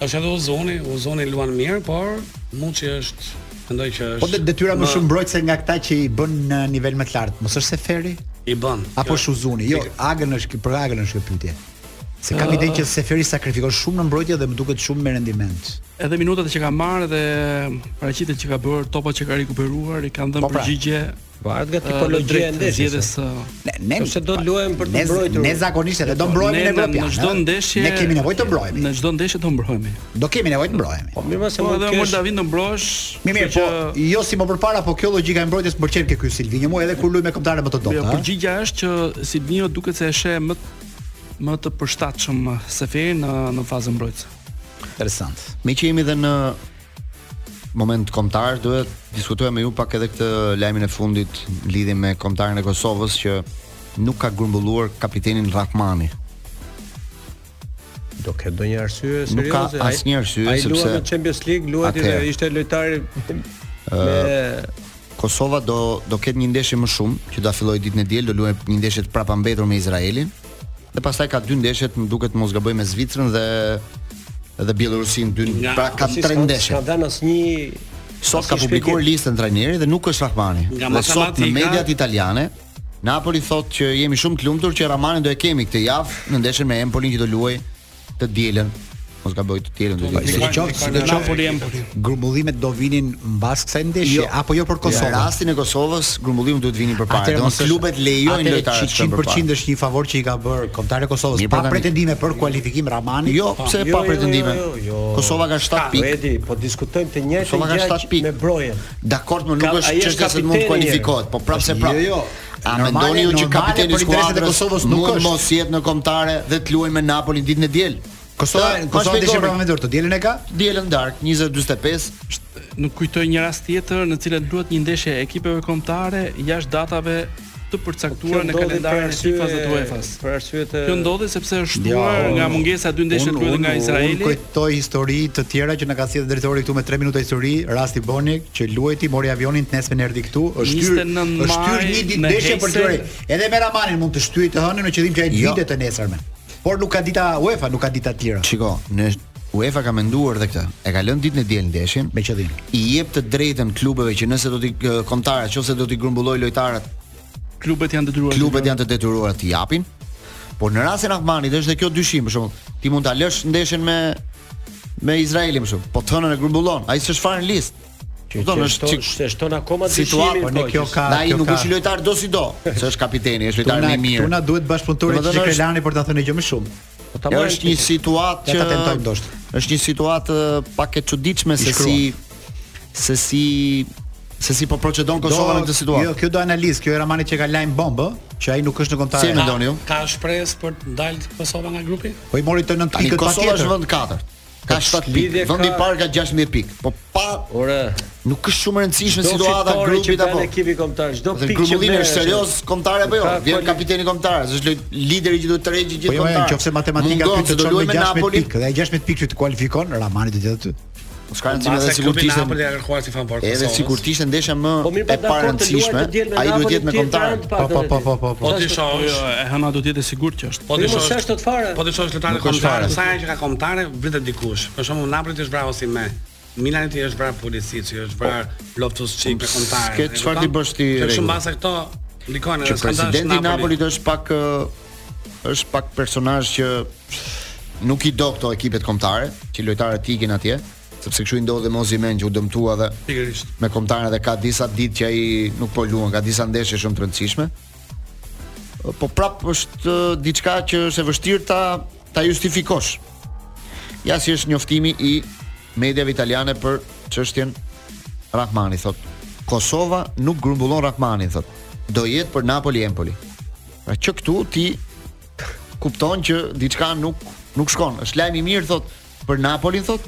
[SPEAKER 10] Është edhe Ozoni, Ozoni luan mirë, por Muçi është mendoj që është
[SPEAKER 11] Po det detyra më
[SPEAKER 10] në-
[SPEAKER 11] shumë mbrojtëse nga këta që i bën në nivel më të lartë. Mos është se Feri
[SPEAKER 10] i bën.
[SPEAKER 11] apo Shuzuni. Jo, Agën është për Agën është kjo pyetje. Se kam idenë që Seferi sakrifikon shumë në mbrojtje dhe më duket shumë me rendiment.
[SPEAKER 2] Edhe minutat që ka marrë dhe paraqitet që ka bërë, topat që ka rikuperuar, i kanë dhënë
[SPEAKER 11] Po, pra.
[SPEAKER 2] përgjigje.
[SPEAKER 9] varet nga
[SPEAKER 2] ë, në
[SPEAKER 9] tipologjia e
[SPEAKER 2] drejtë
[SPEAKER 9] ndeshjes.
[SPEAKER 2] zgjedhjes, uh, ë,
[SPEAKER 11] Ne ne
[SPEAKER 9] Ose do të luajmë për të
[SPEAKER 11] ne-
[SPEAKER 9] mbrojtur.
[SPEAKER 11] Ne zakonisht edhe do mbrojmë
[SPEAKER 2] ne-
[SPEAKER 11] në Evropë.
[SPEAKER 2] Në çdo ndeshje
[SPEAKER 11] ne kemi nevojë të mbrojmë.
[SPEAKER 2] Në çdo ndeshje do mbrohemi.
[SPEAKER 11] Do kemi nevojë të mbrojmë.
[SPEAKER 9] Po mirë më se
[SPEAKER 2] Po
[SPEAKER 9] mund
[SPEAKER 2] edhe
[SPEAKER 9] të kesh.
[SPEAKER 2] Moldavi do mbrohesh.
[SPEAKER 11] Mi mirë,
[SPEAKER 2] kështu
[SPEAKER 11] po
[SPEAKER 2] që-
[SPEAKER 11] jo si më përpara, po kjo logjika e mbrojtjes më pëlqen ke ky Silvinjo, mua edhe kur luaj me kombëtare më të dobët.
[SPEAKER 2] Jo,
[SPEAKER 11] ha?
[SPEAKER 2] përgjigja është që Silvinho duket se e sheh më më të përshtatshëm Seferin në në fazën mbrojtëse.
[SPEAKER 11] Interesant.
[SPEAKER 8] Me që jemi edhe në moment kombëtar, duhet diskutojmë me ju pak edhe këtë lajmin e fundit në lidhje me kombëtarin e Kosovës që nuk ka grumbulluar kapitenin Rahmani.
[SPEAKER 9] Do ketë ndonjë arsye serioze.
[SPEAKER 8] Nuk ka
[SPEAKER 9] Ai-
[SPEAKER 8] asnjë arsye,
[SPEAKER 9] ai luan
[SPEAKER 8] sepse-
[SPEAKER 9] në Champions League, luajti dhe
[SPEAKER 8] Atëherë.
[SPEAKER 9] ishte lojtari me
[SPEAKER 8] Kosova do do ketë një ndeshje më shumë që do filloj ditën e diel, do luajë një ndeshje të prapambetur me Izraelin. Dhe pastaj ka dy ndeshje, më duket mos gaboj me Zvicrën dhe edhe Bielorusin dy
[SPEAKER 10] Nga-
[SPEAKER 8] pra ka
[SPEAKER 9] si
[SPEAKER 8] tre
[SPEAKER 9] s'ka-
[SPEAKER 8] ndeshje.
[SPEAKER 9] S'ka dhënë asnjë
[SPEAKER 8] Sot ka
[SPEAKER 9] asnjë
[SPEAKER 8] publikuar
[SPEAKER 9] shpjegim.
[SPEAKER 8] listën trajneri dhe nuk është Rahmani.
[SPEAKER 10] Nga
[SPEAKER 8] Dhe sot në
[SPEAKER 10] matematika-
[SPEAKER 8] mediat italiane Napoli thotë që jemi shumë të lumtur që Rahmanin do e kemi këtë javë në ndeshjen me Empolin që do luaj të dielën. Mos gaboj të dielën do
[SPEAKER 11] Po, Si
[SPEAKER 8] luaj.
[SPEAKER 11] do qoftë, si do qoftë,
[SPEAKER 2] Napoli Empoli.
[SPEAKER 11] grumbullimet do vinin mbas kësaj ndeshje apo jo për
[SPEAKER 8] Në
[SPEAKER 11] Kosovën.
[SPEAKER 8] rastin e Kosovës, grumbullimin duhet vinin përpara.
[SPEAKER 11] Atëherë
[SPEAKER 8] Do
[SPEAKER 11] mos
[SPEAKER 8] të
[SPEAKER 11] është-
[SPEAKER 8] klubet lejojnë
[SPEAKER 11] atëherë
[SPEAKER 8] lojtarët të
[SPEAKER 11] 100% është një favor që i ka bërë kombëtare Kosovës
[SPEAKER 8] Mirë,
[SPEAKER 11] pa
[SPEAKER 8] po tani-
[SPEAKER 11] pretendime për kualifikim Ramani.
[SPEAKER 8] Jo, pse
[SPEAKER 9] jo,
[SPEAKER 8] pa
[SPEAKER 9] jo,
[SPEAKER 8] pretendime.
[SPEAKER 9] jo, jo, jo.
[SPEAKER 8] Kosova ka 7
[SPEAKER 10] Ka,
[SPEAKER 8] pikë.
[SPEAKER 9] Edi, po diskutojmë të njëjtën
[SPEAKER 8] Kosova ka
[SPEAKER 9] gjë
[SPEAKER 8] shtat
[SPEAKER 9] që-
[SPEAKER 8] pikë.
[SPEAKER 9] me brojen.
[SPEAKER 8] Dakord, më nuk
[SPEAKER 9] Ka-
[SPEAKER 8] është
[SPEAKER 9] ai është
[SPEAKER 8] çështja se mund
[SPEAKER 9] kapiteni
[SPEAKER 8] të kualifikohet, po prapë se prapë.
[SPEAKER 11] Jo, jo.
[SPEAKER 8] A
[SPEAKER 11] Normale-
[SPEAKER 8] mendoni ju që
[SPEAKER 11] normale
[SPEAKER 8] kapiteni
[SPEAKER 11] për
[SPEAKER 8] i
[SPEAKER 11] intereset e
[SPEAKER 8] skuadrës
[SPEAKER 11] Kosovës nuk
[SPEAKER 8] mund
[SPEAKER 11] është.
[SPEAKER 8] mos jetë në kombëtare dhe të luajë me Napolin ditën e diel?
[SPEAKER 11] Kosova,
[SPEAKER 8] Ta-
[SPEAKER 11] Kosova
[SPEAKER 8] ma
[SPEAKER 11] ndeshje
[SPEAKER 8] shpjegoni.
[SPEAKER 11] para me dorë, të dielën e ka?
[SPEAKER 8] Dielën dark 20-45
[SPEAKER 2] Nuk kujtoj një rast tjetër në cilën luhet një ndeshje e ekipeve kombëtare jashtë datave të përcaktuara në kalendarin e FIFA-s dhe të UEFA-s.
[SPEAKER 9] Për arsye të
[SPEAKER 2] Kjo ndodhi sepse është shtuar
[SPEAKER 11] unë-
[SPEAKER 2] nga mungesa e dy ndeshjeve të luajta nga
[SPEAKER 11] Unë
[SPEAKER 2] Izraeli.
[SPEAKER 11] kujtoj histori të tjera që na ka sjellë drejtori këtu me 3 minuta histori, rasti Boni që luajti mori avionin të nesër erdhi këtu, është hyrë
[SPEAKER 2] 29
[SPEAKER 11] është hyrë
[SPEAKER 2] maj
[SPEAKER 11] një ditë
[SPEAKER 2] në
[SPEAKER 11] ndeshje për
[SPEAKER 2] Heysel.
[SPEAKER 11] tyre. Edhe me Ramanin mund të shtyjë të hënën me qëllim që ai
[SPEAKER 8] Jo.
[SPEAKER 11] ditë të nesërme. Por nuk ka dita UEFA, nuk ka dita të tjera.
[SPEAKER 8] Shiko, në UEFA ka menduar dhe këtë. E ka lënë ditën e diel ndeshin.
[SPEAKER 11] Me qëllim.
[SPEAKER 8] I jep të drejtën klubeve që nëse do t'i eh, kombëtare, nëse do t'i grumbulloj lojtarët,
[SPEAKER 2] Klubet janë
[SPEAKER 11] Po,
[SPEAKER 2] detyruar.
[SPEAKER 8] klubet janë të detyruar t'i japin. Por në rastin e Ahmanit është dhe kjo dyshim, për shembull, ti mund ta lësh ndeshjen me me Izraelin për shembull, po të hënën e grumbullon, ai s'është fare në listë. Kupton, është
[SPEAKER 9] shton-
[SPEAKER 8] çik-
[SPEAKER 9] shte- shton akoma
[SPEAKER 8] situatë,
[SPEAKER 9] dyshimin.
[SPEAKER 11] po, ne
[SPEAKER 9] po,
[SPEAKER 11] kjo
[SPEAKER 9] që-
[SPEAKER 11] ka-
[SPEAKER 8] Dhe ai nuk
[SPEAKER 11] ka-
[SPEAKER 8] është lojtar do si do, se është kapiteni, është
[SPEAKER 11] Këtu
[SPEAKER 8] lojtar
[SPEAKER 11] na-
[SPEAKER 8] më i mirë.
[SPEAKER 11] këtu na duhet bashkëpunëtorit
[SPEAKER 8] Domethënë
[SPEAKER 11] që
[SPEAKER 8] është-
[SPEAKER 11] Krelani për ta thënë gjë më shumë.
[SPEAKER 9] Po ta
[SPEAKER 8] Ja,
[SPEAKER 9] marrim
[SPEAKER 8] është një
[SPEAKER 9] pikë.
[SPEAKER 8] situatë
[SPEAKER 11] Ja
[SPEAKER 8] që
[SPEAKER 11] ta tentojmë ndoshta.
[SPEAKER 8] Është një situatë eh, pak e çuditshme
[SPEAKER 11] I
[SPEAKER 8] se si se si se si po procedon Kosova në këtë situatë.
[SPEAKER 11] Jo, kjo do analizë, kjo e Ramani që ka lajm bombë, që ai nuk është në kontar.
[SPEAKER 8] Si e mendoni ju?
[SPEAKER 10] Ka shpresë për të dalë Kosova nga grupi?
[SPEAKER 11] Po i mori të nën
[SPEAKER 8] Tani
[SPEAKER 11] pikët
[SPEAKER 8] Kosova është
[SPEAKER 11] patjetër.
[SPEAKER 8] vend katërt. Ka 7
[SPEAKER 9] lidhje
[SPEAKER 8] pikë. Vendi i
[SPEAKER 9] ka-
[SPEAKER 8] parë ka 16 pikë. Po pa
[SPEAKER 9] Ore.
[SPEAKER 8] nuk është shumë e rëndësishme
[SPEAKER 9] çdo
[SPEAKER 8] situata e
[SPEAKER 9] fitore që
[SPEAKER 8] grupit
[SPEAKER 9] bën
[SPEAKER 8] apo.
[SPEAKER 9] Ekipi kombëtar, çdo
[SPEAKER 8] Dhe
[SPEAKER 9] pikë që
[SPEAKER 8] grumbullimi
[SPEAKER 9] merr
[SPEAKER 8] është serioz kombëtar apo jo?
[SPEAKER 9] Ka
[SPEAKER 8] Vjen
[SPEAKER 9] kuali-
[SPEAKER 8] kapiteni kombëtar, është loj- lideri që duhet të rregjë
[SPEAKER 11] Po
[SPEAKER 8] gjithë
[SPEAKER 11] jo,
[SPEAKER 8] kombëtar.
[SPEAKER 11] nëse matematika
[SPEAKER 8] Mungon,
[SPEAKER 11] pyet
[SPEAKER 8] se
[SPEAKER 11] të
[SPEAKER 8] do
[SPEAKER 11] çon me
[SPEAKER 8] luajmë me
[SPEAKER 11] 16
[SPEAKER 8] Napoli.
[SPEAKER 11] pikë, dhe ai 16 pikë që të kualifikon, Ramani do të jetë aty.
[SPEAKER 8] Po s'ka rëndësi
[SPEAKER 10] Pas
[SPEAKER 8] edhe
[SPEAKER 10] e
[SPEAKER 8] sikur
[SPEAKER 10] klubi
[SPEAKER 8] ishte
[SPEAKER 10] Napoli e kërkuar si favor
[SPEAKER 8] edhe
[SPEAKER 10] Kosovës.
[SPEAKER 8] sikur ishte ndeshja më
[SPEAKER 9] Po mirë, po
[SPEAKER 8] e
[SPEAKER 9] dakord të luajë
[SPEAKER 8] parandësishme,
[SPEAKER 9] të diel me
[SPEAKER 8] ai duhet
[SPEAKER 9] Napoli,
[SPEAKER 8] të jetë me
[SPEAKER 9] tjetër
[SPEAKER 8] kombëtar.
[SPEAKER 9] anë
[SPEAKER 11] Po
[SPEAKER 9] të
[SPEAKER 11] po po po po. po.
[SPEAKER 10] Po ti shohësh,
[SPEAKER 2] Jo, e hëna do të jetë e sigurt që është.
[SPEAKER 10] po ti
[SPEAKER 9] Po mos
[SPEAKER 10] shohësh.
[SPEAKER 9] është të fare.
[SPEAKER 10] Po ti shohësh lojtarë
[SPEAKER 8] Nuk është
[SPEAKER 10] kombëtarë,
[SPEAKER 8] fare.
[SPEAKER 10] sa herë që ka kombëtare vritet dikush. Për shembull Napoli ti është vrarë si me Milani ti është vrarë Pulisic, ti është vrarë Loftus Cheek me kombëtare.
[SPEAKER 8] s'ke çfarë ti bësh ti,
[SPEAKER 10] Kjo
[SPEAKER 8] Regu.
[SPEAKER 10] shumë mbase këto ndikojnë
[SPEAKER 8] që
[SPEAKER 10] edhe skandal
[SPEAKER 8] presidenti i
[SPEAKER 10] Napoli.
[SPEAKER 8] Napolit është pak ë, është pak personazh që nuk i do këto ekipet kombëtare, që lojtarët ikin atje, sepse kështu i ndodhi me Osimhen që u dëmtua dhe
[SPEAKER 10] Pikërisht.
[SPEAKER 8] me kombëtarën dhe ka disa ditë që ai nuk po luan, ka disa ndeshje shumë të rëndësishme. Po prap është ë, diçka që është e vështirë ta ta justifikosh. Ja si është njoftimi i mediave italiane për çështjen Rahmani thot. Kosova nuk grumbullon Rahmani thot. Do jetë për Napoli Empoli. Pra që këtu ti kupton që diçka nuk nuk shkon. Është lajm i mirë thot për Napolin thot,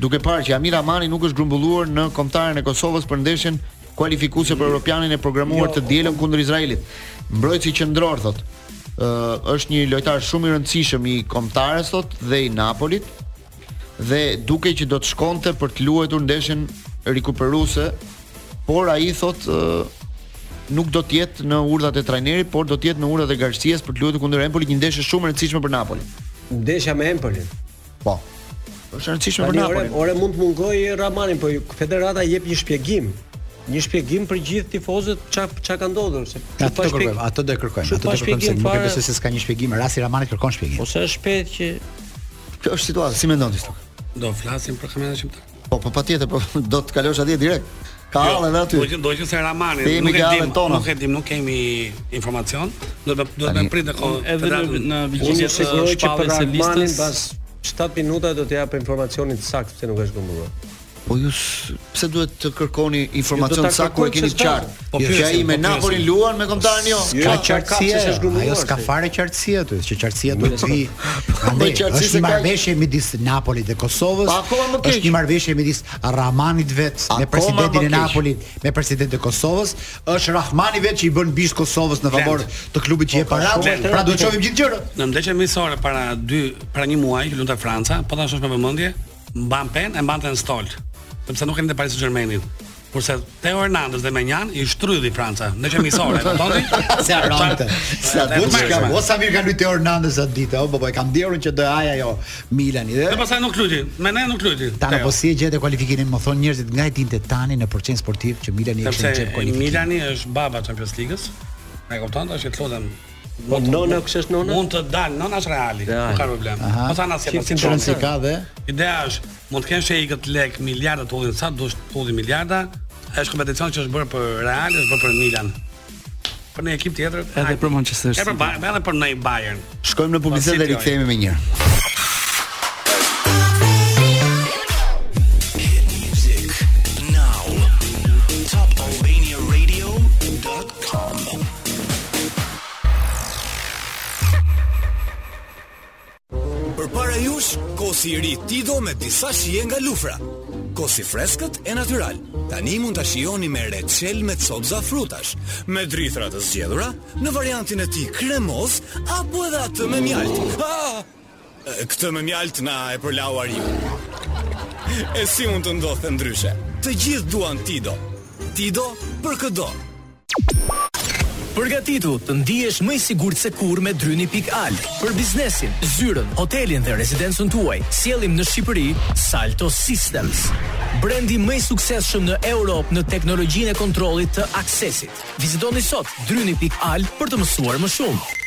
[SPEAKER 8] duke parë që Amir Amani nuk është grumbulluar në kombëtaren e Kosovës për ndeshjen kualifikuese për Europianin e programuar të dielën kundër Izraelit. Mbrojtësi qendror thot, ë, është një lojtar shumë i rëndësishëm i kombëtares thot dhe i Napolit dhe duke që do të shkonte për të luajtur ndeshjen rikuperuese, por ai thot ë, nuk do të jetë në urdhat e trajnerit, por do të jetë në urdhat e Garcias për të luajtur kundër Empoli, një ndeshje shumë e rëndësishme për Napoli.
[SPEAKER 9] Ndeshja me Empolin.
[SPEAKER 8] Po. Është e rëndësishme për
[SPEAKER 9] Tani ore,
[SPEAKER 8] Napoli.
[SPEAKER 9] ore mund të mungoj Ramanin, po ju- federata jep një shpjegim. Një shpjegim për gjithë tifozët ç'a ç'a ka ndodhur, se
[SPEAKER 11] Ato
[SPEAKER 9] pa
[SPEAKER 11] do
[SPEAKER 9] shpjeg-
[SPEAKER 11] kërkojmë, ato do e kërkojmë,
[SPEAKER 9] Kështu
[SPEAKER 11] ato do e kërkojmë
[SPEAKER 9] pa
[SPEAKER 11] se
[SPEAKER 9] shpjegim
[SPEAKER 11] nuk e
[SPEAKER 9] fare-
[SPEAKER 11] besoj se s'ka një shpjegim. Rasti Ramani kërkon shpjegim.
[SPEAKER 9] Ose është shpejt që
[SPEAKER 8] Kjo është situata, si mendon ti? Stok?
[SPEAKER 10] Do flasim për kampionatin shqiptar.
[SPEAKER 8] Po, po patjetër, po do të kalosh atje direkt. Ka
[SPEAKER 10] Jo,
[SPEAKER 8] hallë edhe aty.
[SPEAKER 10] Do që do që se Ramani,
[SPEAKER 8] Themi
[SPEAKER 10] nuk e
[SPEAKER 8] ke
[SPEAKER 10] dim,
[SPEAKER 8] hallet tona.
[SPEAKER 10] nuk e dim, nuk kemi informacion. Do të do të
[SPEAKER 8] Tani-
[SPEAKER 10] prit kohë.
[SPEAKER 2] Edhe në,
[SPEAKER 10] federatën.
[SPEAKER 2] në
[SPEAKER 9] Unë
[SPEAKER 2] vigjilje
[SPEAKER 9] jam uh,
[SPEAKER 2] të
[SPEAKER 9] sigurt që për
[SPEAKER 2] shpalljes së
[SPEAKER 9] Armanin
[SPEAKER 2] listës.
[SPEAKER 9] pas 7 minuta do të jap informacionin të saktë se nuk është gëmbulluar.
[SPEAKER 8] Po ju s- pse duhet të kërkoni informacion
[SPEAKER 9] Jo, do ta
[SPEAKER 8] saktë kur e
[SPEAKER 9] kërkoj
[SPEAKER 8] keni
[SPEAKER 9] që
[SPEAKER 8] qartë?
[SPEAKER 10] Po
[SPEAKER 8] Po që
[SPEAKER 10] pyesim,
[SPEAKER 8] ai me
[SPEAKER 10] po
[SPEAKER 8] Napolin
[SPEAKER 10] pyesim.
[SPEAKER 8] luan me kombëtarin jo.
[SPEAKER 9] Jo,
[SPEAKER 11] Ka
[SPEAKER 9] qartësia,
[SPEAKER 11] qartësia,
[SPEAKER 9] se është grumbuar,
[SPEAKER 11] ajo s'ka
[SPEAKER 9] se-
[SPEAKER 11] fare qartësi aty, që qartësia duhet të vi.
[SPEAKER 8] Po,
[SPEAKER 11] Andaj
[SPEAKER 8] qartësi
[SPEAKER 11] është
[SPEAKER 8] se
[SPEAKER 11] një
[SPEAKER 8] ka-
[SPEAKER 11] marrëveshje midis Napolit dhe Kosovës.
[SPEAKER 8] Po, akoma më keq.
[SPEAKER 11] Është një marrëveshje midis Rahmanit vet
[SPEAKER 8] Akoma
[SPEAKER 11] me
[SPEAKER 8] më
[SPEAKER 11] presidentin e
[SPEAKER 8] keq.
[SPEAKER 11] Napolit, me presidentin e Kosovës, është Rahmani vet që i bën bish Kosovës në favor të klubit
[SPEAKER 8] Po,
[SPEAKER 11] që jep paratë.
[SPEAKER 10] shumë
[SPEAKER 11] Pra duhet shohim gjithë gjërat.
[SPEAKER 10] Në ndeshjen miqësore para dy para një muaji që lunte Franca, po ta shosh me vëmendje, mban pen e mbante në stol, sepse nuk kemi të Paris Saint-Germainin. Kurse Theo Hernandez dhe Menjan i shtrydhi Franca. Ndeshja miqësore, e kuptoni?
[SPEAKER 11] Se arrante. Sa
[SPEAKER 10] E
[SPEAKER 11] duhet
[SPEAKER 10] mërshme.
[SPEAKER 11] shka. O sa mirë kanë luajtur Hernandez atë ditë, o po po e kam ndjerun që do haj ajo Milani dhe
[SPEAKER 10] Dhe Jo. pastaj nuk luajti. Me ne nuk luajti.
[SPEAKER 11] Tana
[SPEAKER 10] Theo.
[SPEAKER 11] po si e gjete kualifikimin, më thon njerëzit nga i dinte tani në procent sportiv që Milani ishte në çep
[SPEAKER 10] sepse
[SPEAKER 11] kualifikim.
[SPEAKER 10] Milani është baba e Champions League-s. E kupton tash që të lutem.
[SPEAKER 9] Po nona, kush është nona?
[SPEAKER 10] Mund të dal, nona është Reali, nuk ka problem.
[SPEAKER 11] Aha.
[SPEAKER 10] Po tani asnjë
[SPEAKER 11] Që
[SPEAKER 10] problem.
[SPEAKER 11] rëndësi ka dhe
[SPEAKER 10] Ideja është, mund të kenë sheikët lek miliarda të ullin sa, dush të ullin miliarda, është kompeticion që është bërë për Real, është bërë për Milan. Për një ekip tjetër,
[SPEAKER 2] Edhe për
[SPEAKER 10] e
[SPEAKER 2] Manchester
[SPEAKER 10] për
[SPEAKER 2] City.
[SPEAKER 10] Bayern, edhe për në Bayern.
[SPEAKER 8] Shkojmë në publicitet
[SPEAKER 10] Po, si
[SPEAKER 8] dhe
[SPEAKER 10] ti,
[SPEAKER 8] rikthehemi me një.
[SPEAKER 12] Për para jush, kosi i ri Tido me disa shije nga lufra. Kosi freskët e natyral. Tani mund ta shijoni me reçel me copza frutash, me drithra të zgjedhura, në variantin e tij kremoz apo edhe atë me mjalt. Ah! E, Këtë me mjalt na e përlau ariu. E si mund të ndodhte ndryshe? Të gjithë duan Tido. Tido për këdo.
[SPEAKER 13] Përgatitu të ndihesh më i sigurt se kur me dryni.al. Për biznesin, zyrën, hotelin dhe rezidencën tuaj, sjellim në Shqipëri Salto Systems. Brendi më i suksesshëm në Europë në teknologjinë e kontrollit të aksesit. Vizitoni sot dryni.al për të mësuar më shumë.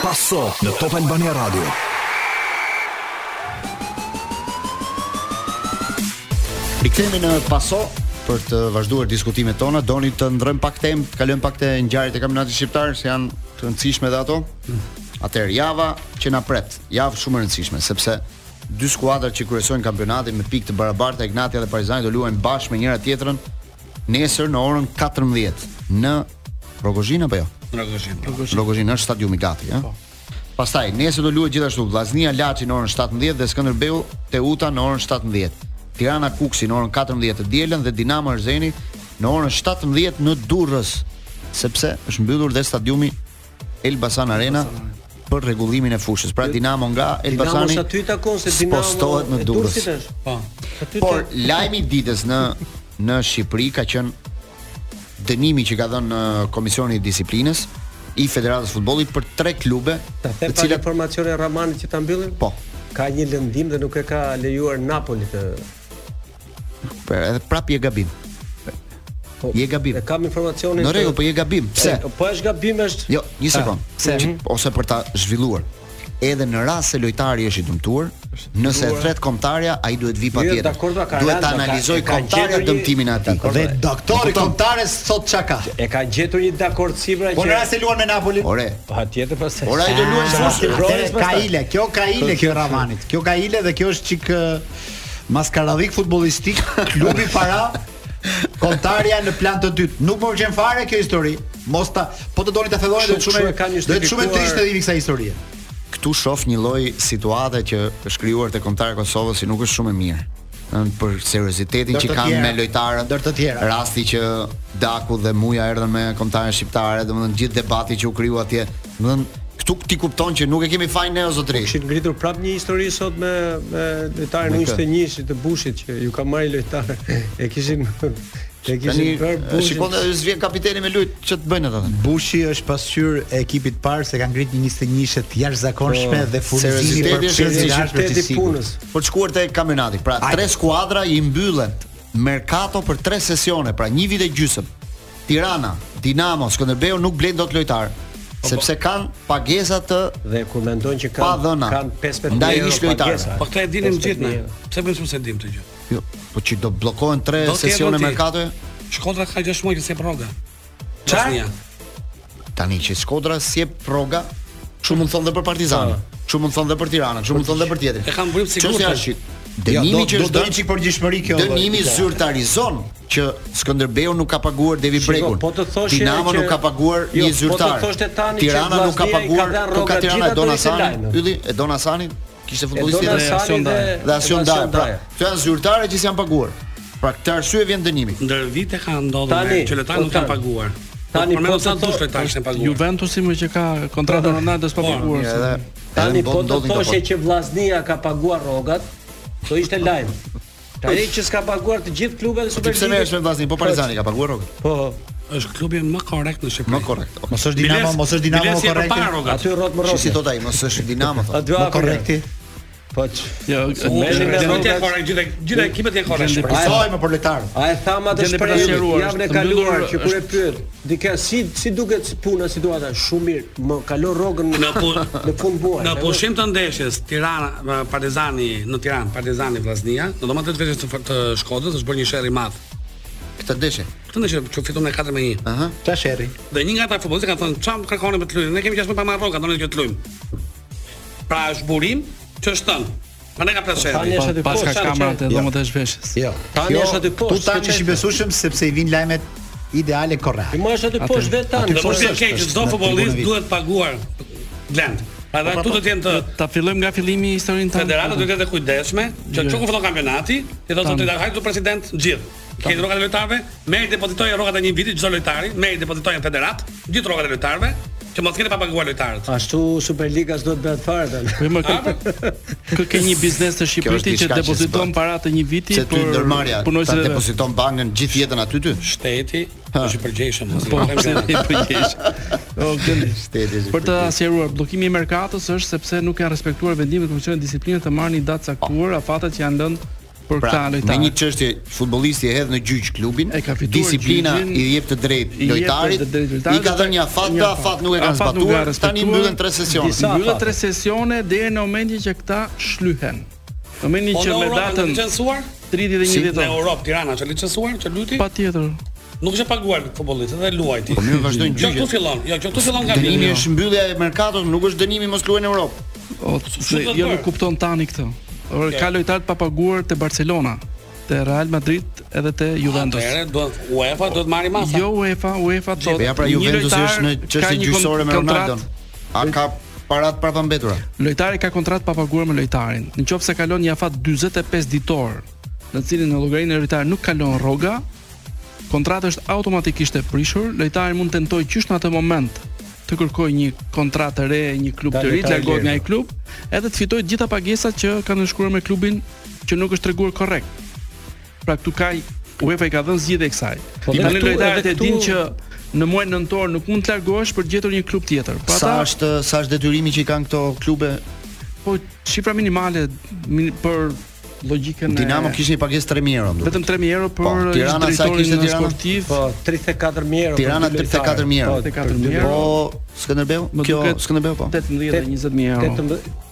[SPEAKER 6] Paso në Top Albania Radio.
[SPEAKER 8] Rikthehemi në paso për të vazhduar diskutimet tona. Doni të ndrojmë pak temë, të kalojmë pak te ngjarjet e kampionatit shqiptar se janë të rëndësishme edhe ato. Atëherë java që na pret, javë shumë e rëndësishme sepse dy skuadrat që kryesojnë kampionatin me pikë të barabarta, Ignatia dhe Partizani do luajnë bashkë me njëra tjetrën nesër në orën 14 në Rogozhin apo jo?
[SPEAKER 10] Rogozhin.
[SPEAKER 8] Rogozhin është stadiumi gati,
[SPEAKER 9] Po.
[SPEAKER 8] ëh. Pastaj nesër do luhet gjithashtu Vllaznia Laçi në orën 17 dhe Skënderbeu Teuta në orën 17. Tirana Kuksi në orën 14 të dielën dhe Dinamo Erzeni në orën 17 në Durrës, sepse është mbyllur dhe stadiumi Elbasan Arena për rregullimin e fushës. Pra Dinamo nga
[SPEAKER 9] Dinamo
[SPEAKER 8] Elbasani
[SPEAKER 9] është aty i takon se Dinamo
[SPEAKER 8] spostohet në
[SPEAKER 9] e
[SPEAKER 8] Durrës.
[SPEAKER 9] Durrësit është. Po. Aty të-
[SPEAKER 8] Por lajmi i ditës në në Shqipëri ka qenë dënimi që ka dhënë uh, Komisioni i Disiplinës i Federatës së Futbollit për tre klube,
[SPEAKER 9] Ta them pak informacionin e Ramanit që ta mbyllim?
[SPEAKER 8] Po.
[SPEAKER 9] Ka një lëndim dhe nuk e ka lejuar Napoli të
[SPEAKER 8] për- edhe prap je gabim.
[SPEAKER 9] Po,
[SPEAKER 8] Je gabim.
[SPEAKER 9] E kam informacionin.
[SPEAKER 8] Në
[SPEAKER 9] që-
[SPEAKER 8] rregull, po je gabim. Pse?
[SPEAKER 9] E, Po është gabim është.
[SPEAKER 8] Jo, një sekond.
[SPEAKER 9] Ah, Pse? Mhm.
[SPEAKER 8] Që- Ose për ta zhvilluar. Edhe në rast se lojtari është i dëmtuar, nëse e
[SPEAKER 9] dëmtuar.
[SPEAKER 8] thret kombëtarja, ai duhet vi
[SPEAKER 9] Jo,
[SPEAKER 8] patjetër.
[SPEAKER 9] dakord, ka
[SPEAKER 8] Duhet
[SPEAKER 9] randa,
[SPEAKER 8] ta
[SPEAKER 9] ka-
[SPEAKER 8] analizoj
[SPEAKER 9] e ka
[SPEAKER 8] kombëtarja
[SPEAKER 9] gjetur një-
[SPEAKER 8] dëmtimin e atij.
[SPEAKER 9] Dakord, e-
[SPEAKER 11] doktori kombëtares sot çka ka?
[SPEAKER 9] E ka gjetur një dakord sivra
[SPEAKER 11] Po në rast se luan me Napoli.
[SPEAKER 8] Ore.
[SPEAKER 9] Patjetër pastaj.
[SPEAKER 8] Ora, ai do luajë
[SPEAKER 11] Ah,
[SPEAKER 8] fushë.
[SPEAKER 11] atëre, Ka ile, kjo ka ile kjo e Ramanit. Kjo ka ile dhe kjo është çik ë, maskaradhik futbollistik, klubi para kontarja në plan të dytë. Nuk më pëlqen fare kjo histori. Mos ta, po të doni ta thelloni do të
[SPEAKER 9] Shumë-
[SPEAKER 11] shumë
[SPEAKER 9] shumë e kanë
[SPEAKER 11] do të shumë e
[SPEAKER 9] justifikuar-
[SPEAKER 11] trishtë edhe kësaj historie.
[SPEAKER 8] këtu shoh një lloj situate që është krijuar te kombëtari i Kosovës si nuk është shumë e mirë. Ëh, për seriozitetin
[SPEAKER 11] Ndër
[SPEAKER 8] që
[SPEAKER 11] të
[SPEAKER 8] kanë
[SPEAKER 11] tjera.
[SPEAKER 8] me lojtarët,
[SPEAKER 11] Ndër të tjera.
[SPEAKER 8] Rasti që Daku dhe Muja erdhën me kombëtarën shqiptare, domethënë gjithë debati që u kriju atje, domethënë këtu ti kupton që nuk e kemi fajin ne o zotri.
[SPEAKER 9] Kishin ngritur prap një histori sot me me lojtarin
[SPEAKER 8] Me
[SPEAKER 9] e
[SPEAKER 8] kë?
[SPEAKER 9] 21-shit të Bushit që ju ka marrë lojtar. E kishin e
[SPEAKER 8] Tani
[SPEAKER 9] kishin bërë
[SPEAKER 8] e,
[SPEAKER 9] Bushin.
[SPEAKER 8] shikon se vjen kapiteni me lojt, ç't bëjnë ata?
[SPEAKER 11] Bushi është pasqyrë e ekipit parë se kanë ngritur një 21-shë të jashtëzakonshme
[SPEAKER 8] Po,
[SPEAKER 11] dhe furnizimi për
[SPEAKER 8] serioziteti është
[SPEAKER 11] pjesën e
[SPEAKER 8] serioziteti
[SPEAKER 11] jashtme të
[SPEAKER 8] i punës.
[SPEAKER 11] punës.
[SPEAKER 8] Por të shkuar te kampionati, pra tre skuadra i mbyllen merkato për tre sesione, pra një vit e gjysmë. Tirana, Dinamo, Skënderbeu nuk blejnë dot lojtar,
[SPEAKER 10] Po,
[SPEAKER 8] sepse kanë pagesa të
[SPEAKER 9] Dhe kur mendojnë që
[SPEAKER 8] pa
[SPEAKER 9] kanë
[SPEAKER 8] dhëna.
[SPEAKER 9] kanë 15
[SPEAKER 8] Ndaj
[SPEAKER 9] euro
[SPEAKER 8] ish lojtarëve.
[SPEAKER 9] pagesa.
[SPEAKER 10] Po këtë e dinim
[SPEAKER 9] 15
[SPEAKER 10] gjithë ne.
[SPEAKER 9] euro.
[SPEAKER 10] Pse më shumë se dim të gjë?
[SPEAKER 8] Jo, po që do bllokohen tre
[SPEAKER 10] Do t'jep, do
[SPEAKER 8] sesione
[SPEAKER 10] t'i-
[SPEAKER 8] merkatoje.
[SPEAKER 10] Shkodra ka 6 muaj që se proga. Çfarë?
[SPEAKER 8] Tani që Shkodra si e proga, kështu mund thonë dhe për Partizanin, kështu mund thonë dhe për Tiranën, kështu mund thonë dhe për tjetrin.
[SPEAKER 10] Po. E kanë burim sigurt,
[SPEAKER 8] Çështja
[SPEAKER 10] tash.
[SPEAKER 8] është që Dënimi që
[SPEAKER 11] do
[SPEAKER 8] është
[SPEAKER 11] do
[SPEAKER 8] dhënë-
[SPEAKER 11] një çik përgjithshmëri kjo.
[SPEAKER 8] Dënimi
[SPEAKER 11] vëllai.
[SPEAKER 8] zyrtarizon që Skënderbeu nuk ka paguar Devi
[SPEAKER 9] Shiko,
[SPEAKER 8] Brekun.
[SPEAKER 9] po të thoshje
[SPEAKER 8] Dinamo
[SPEAKER 9] që-
[SPEAKER 8] nuk ka paguar
[SPEAKER 9] Jo,
[SPEAKER 8] një
[SPEAKER 9] po të
[SPEAKER 8] zyrtar.
[SPEAKER 9] thoshte tani që
[SPEAKER 8] Tirana nuk ka
[SPEAKER 9] Vllaznia i ka
[SPEAKER 8] paguar,
[SPEAKER 9] dhënë
[SPEAKER 8] nuk ka
[SPEAKER 9] rrogat
[SPEAKER 8] Tirana
[SPEAKER 9] gjitha
[SPEAKER 8] e Don
[SPEAKER 9] do ishte
[SPEAKER 8] Hasani.
[SPEAKER 9] lajme.
[SPEAKER 8] Ylli e Don Hasani kishte futbollist
[SPEAKER 9] E Don
[SPEAKER 8] tjetër
[SPEAKER 9] Hasani
[SPEAKER 8] dhe
[SPEAKER 9] dhe-
[SPEAKER 8] dhe Asion
[SPEAKER 9] dhe
[SPEAKER 8] Daja.
[SPEAKER 9] Asion
[SPEAKER 8] Pra,
[SPEAKER 9] Daja.
[SPEAKER 8] këto janë zyrtarë që s'janë paguar. Pra këtë arsye vjen dënimi.
[SPEAKER 10] Ndër vite ka ndodhur
[SPEAKER 9] Tani,
[SPEAKER 10] me që lojtarët nuk
[SPEAKER 9] po,
[SPEAKER 10] kanë
[SPEAKER 9] tani.
[SPEAKER 10] paguar.
[SPEAKER 9] Tani,
[SPEAKER 10] Por më
[SPEAKER 9] po,
[SPEAKER 10] sa
[SPEAKER 9] të
[SPEAKER 10] dush
[SPEAKER 9] thotë-
[SPEAKER 10] lojtarë kanë paguar.
[SPEAKER 2] Juventusi më që ka kontratën Ronaldo s'pa
[SPEAKER 10] Po,
[SPEAKER 2] paguar.
[SPEAKER 8] Mirë,
[SPEAKER 2] se-
[SPEAKER 8] edhe
[SPEAKER 9] Tani po të
[SPEAKER 8] ndodhin
[SPEAKER 9] thoshe
[SPEAKER 8] këto.
[SPEAKER 9] që Vllaznia ka paguar rrogat, do ishte lajm. Tani që s'ka paguar të gjithë klubet
[SPEAKER 8] Ti
[SPEAKER 9] e
[SPEAKER 8] pse merresh me
[SPEAKER 9] Superligës.
[SPEAKER 8] Vllaznin? Po Partizani ka paguar rrogën.
[SPEAKER 9] Po,
[SPEAKER 10] Është klubi më korrekt në Shqipëri.
[SPEAKER 8] Më korrekt. ok.
[SPEAKER 11] Mos është Dinamo,
[SPEAKER 10] Biles-
[SPEAKER 11] mos është Dinamo
[SPEAKER 10] Bilesi e
[SPEAKER 11] korrekt.
[SPEAKER 10] përpara rrogat.
[SPEAKER 9] aty rrot më
[SPEAKER 8] Shi si
[SPEAKER 9] rrot.
[SPEAKER 8] thot ai, mos është Dinamo
[SPEAKER 9] A
[SPEAKER 8] thot.
[SPEAKER 9] dy
[SPEAKER 11] Më
[SPEAKER 9] hapin,
[SPEAKER 11] korrekti.
[SPEAKER 9] Po. ç-
[SPEAKER 2] Jo,
[SPEAKER 9] Merreni me
[SPEAKER 10] Gjithë janë
[SPEAKER 9] rrogat.
[SPEAKER 10] korrekt, gjithë gjithë ekipet janë korrekt. në Shqipëri.
[SPEAKER 11] Soi më për lojtar.
[SPEAKER 9] A e tha ma të
[SPEAKER 2] Gjende për ta
[SPEAKER 9] shprehur
[SPEAKER 2] sqaruar,
[SPEAKER 9] javën e
[SPEAKER 2] është të
[SPEAKER 9] kaluar
[SPEAKER 2] mbyllur,
[SPEAKER 9] që kur e
[SPEAKER 2] është-
[SPEAKER 9] pyet dika si si duket si puna situata shumë mirë, më kalon rrogën
[SPEAKER 10] Në pu-
[SPEAKER 9] në fund buaj.
[SPEAKER 10] Në pushim të ndeshjes Tirana Partizani në Tiranë Partizani Vllaznia, në domethënë të veçës të, të Shkodrës është bërë një sherr i madh.
[SPEAKER 8] Këtë deshe.
[SPEAKER 10] Këtë ndeshje që fiton me 4 me 1.
[SPEAKER 8] Aha.
[SPEAKER 11] Ta sherri.
[SPEAKER 10] Dhe një nga ata futbollistët kanë thënë çam kërkoni me të luajnë. Ne kemi qenë pa marrë rroga, donë që të luajmë. Pra është burim që është tën. Ma ne ka plasë
[SPEAKER 9] Tani
[SPEAKER 10] sherri.
[SPEAKER 9] është
[SPEAKER 8] po,
[SPEAKER 9] aty
[SPEAKER 2] Pas ka
[SPEAKER 9] poshtë,
[SPEAKER 2] kamerat e
[SPEAKER 9] çfarë?
[SPEAKER 2] dhomët e zhveshjes.
[SPEAKER 11] Jo.
[SPEAKER 9] Tani
[SPEAKER 11] Kjo-
[SPEAKER 9] është aty poshtë,
[SPEAKER 11] Tu tani është
[SPEAKER 9] s'ke
[SPEAKER 11] i
[SPEAKER 9] qenë.
[SPEAKER 11] besueshëm sepse i vin lajmet ideale korrekte.
[SPEAKER 9] Më është aty poshtë vetë tani.
[SPEAKER 10] Do të
[SPEAKER 11] poshtë
[SPEAKER 10] vjen
[SPEAKER 11] është,
[SPEAKER 10] keq,
[SPEAKER 11] është
[SPEAKER 10] çdo
[SPEAKER 11] në
[SPEAKER 10] futbollist
[SPEAKER 11] tribunën
[SPEAKER 10] duhet paguar blend. Pra dhe këtu do të jenë të
[SPEAKER 2] Ta fillojmë nga fillimi historinë tonë.
[SPEAKER 10] Federata do të jetë e kujdesshme, që çu ku fillon kampionati, ti do të thotë hajde tu president gjithë. Ke rrogat e lojtarëve, merr depozitoje rrogat e një viti çdo lojtari, merr depozitoje në federat, gjithë rrogat e lojtarëve, që mos ketë pa paguar lojtarët.
[SPEAKER 9] Ashtu Superliga s'do të bëhet fare tani.
[SPEAKER 2] Po më kë kë ke një biznes të
[SPEAKER 8] Ah, Kjo është
[SPEAKER 2] Shqipërisë që
[SPEAKER 8] diçka që
[SPEAKER 2] depoziton
[SPEAKER 8] s'bën.
[SPEAKER 2] para të një viti
[SPEAKER 8] Se ty ndërmarja ta
[SPEAKER 2] punojësve.
[SPEAKER 8] depoziton bankën gjithë jetën aty ty.
[SPEAKER 10] Shteti
[SPEAKER 8] Ha.
[SPEAKER 10] është i përgjegjshëm. mos e
[SPEAKER 2] Po,
[SPEAKER 10] lëmë
[SPEAKER 2] pse
[SPEAKER 10] gjëra.
[SPEAKER 2] ti po gjesh? O, gëndi.
[SPEAKER 8] Shteti është i
[SPEAKER 2] Për të asjeruar, bllokimi i merkatos është sepse nuk janë respektuar vendimet e Komisionit të Disiplinës të marrë një datë caktuar afatat që janë lënë për
[SPEAKER 8] Pra,
[SPEAKER 2] këta
[SPEAKER 8] me
[SPEAKER 2] lojtarë.
[SPEAKER 8] një çështje futbollisti e hedh në gjyq klubin,
[SPEAKER 2] E ka fituar
[SPEAKER 8] disiplina
[SPEAKER 2] gjyqin,
[SPEAKER 8] i jep të drejtë
[SPEAKER 2] i jep
[SPEAKER 8] lojtarit,
[SPEAKER 2] të drejtë lojtarit,
[SPEAKER 8] i ka dhënë një afat,
[SPEAKER 2] një
[SPEAKER 8] të
[SPEAKER 2] afat.
[SPEAKER 8] afat nuk e kanë
[SPEAKER 2] Afat nuk e ka
[SPEAKER 8] zbatuar, tani
[SPEAKER 2] respektuar.
[SPEAKER 8] mbyllen tre sesione.
[SPEAKER 9] Disa-
[SPEAKER 2] Mbyllën
[SPEAKER 9] afat.
[SPEAKER 2] tre sesione deri në momentin që këta shlyhen. Në momentin
[SPEAKER 10] Po
[SPEAKER 2] që
[SPEAKER 10] në
[SPEAKER 2] me
[SPEAKER 10] Europë janë
[SPEAKER 2] datën
[SPEAKER 10] licencuar?
[SPEAKER 2] 31
[SPEAKER 10] Në
[SPEAKER 2] dhjetor.
[SPEAKER 10] Europë Tirana është licencuar, që luti
[SPEAKER 2] Patjetër.
[SPEAKER 10] nuk është e paguar futbollistët dhe luajti.
[SPEAKER 8] Po mirë vazhdojnë
[SPEAKER 10] Jo këtu
[SPEAKER 8] gjyqet.
[SPEAKER 10] fillon, jo që këtu fillon nga
[SPEAKER 8] Dënimi është mbyllja e merkatos, nuk është dënimi mos luajnë në Europë.
[SPEAKER 2] O,
[SPEAKER 10] do të
[SPEAKER 2] jo
[SPEAKER 10] bërë?
[SPEAKER 2] nuk kupton tani këtë. Por ka lojtar të papaguar te Barcelona, te Real Madrid edhe te Juventus.
[SPEAKER 10] Atëherë do UEFA do të marrë masa.
[SPEAKER 2] Jo UEFA, UEFA
[SPEAKER 8] Po
[SPEAKER 2] thotë.
[SPEAKER 8] ja pra
[SPEAKER 2] një
[SPEAKER 8] Juventusi
[SPEAKER 2] lojtar
[SPEAKER 8] është në
[SPEAKER 2] ka
[SPEAKER 8] çështje
[SPEAKER 2] një
[SPEAKER 8] gjyqësore me
[SPEAKER 2] kontrat-
[SPEAKER 8] Ronaldon. A ka parat pra para mbetura?
[SPEAKER 2] Lojtari ka kontratë pa paguar me lojtarin. Në qoftë se kalon një afat 45 ditor, në cilin në llogarinë e lojtarit nuk kalon rroga, kontrata është automatikisht e prishur. Lojtari mund të tentojë qysh në atë moment të kërkojë një kontratë të re, një klub
[SPEAKER 9] Nga
[SPEAKER 2] të ri, të
[SPEAKER 9] lojtari
[SPEAKER 2] largohet
[SPEAKER 9] lirë.
[SPEAKER 2] nga ai klub, edhe të fitojë të gjitha pagesat që kanë shkruar me klubin që nuk është treguar korrekt. Pra këtu ka UEFA i ka dhënë zgjidhje e kësaj.
[SPEAKER 8] Po,
[SPEAKER 2] Tani
[SPEAKER 8] dhe këtu-
[SPEAKER 2] lojtarët
[SPEAKER 8] edhe
[SPEAKER 2] e dinë
[SPEAKER 8] këtu-
[SPEAKER 2] që në muajin nëntor nuk mund të largohesh për të gjetur një klub tjetër. Pra
[SPEAKER 8] Sa
[SPEAKER 2] ata-
[SPEAKER 8] është sa është detyrimi që i kanë këto klube?
[SPEAKER 2] Po shifra minimale min, për logjikën
[SPEAKER 8] Dinamo kishte një pagesë 3000 euro. më duket.
[SPEAKER 2] vetëm 3000 euro për
[SPEAKER 8] Po, Tirana sa
[SPEAKER 2] drejtorin
[SPEAKER 8] kishte Tirana?
[SPEAKER 2] sportiv.
[SPEAKER 9] Po 34000 euro.
[SPEAKER 8] Tirana 34000 euro.
[SPEAKER 2] Po 34000 euro.
[SPEAKER 8] Po Skënderbeu,
[SPEAKER 2] Më
[SPEAKER 8] kjo
[SPEAKER 2] duket
[SPEAKER 8] Skënderbeu po.
[SPEAKER 2] 18 dhe 20000 euro.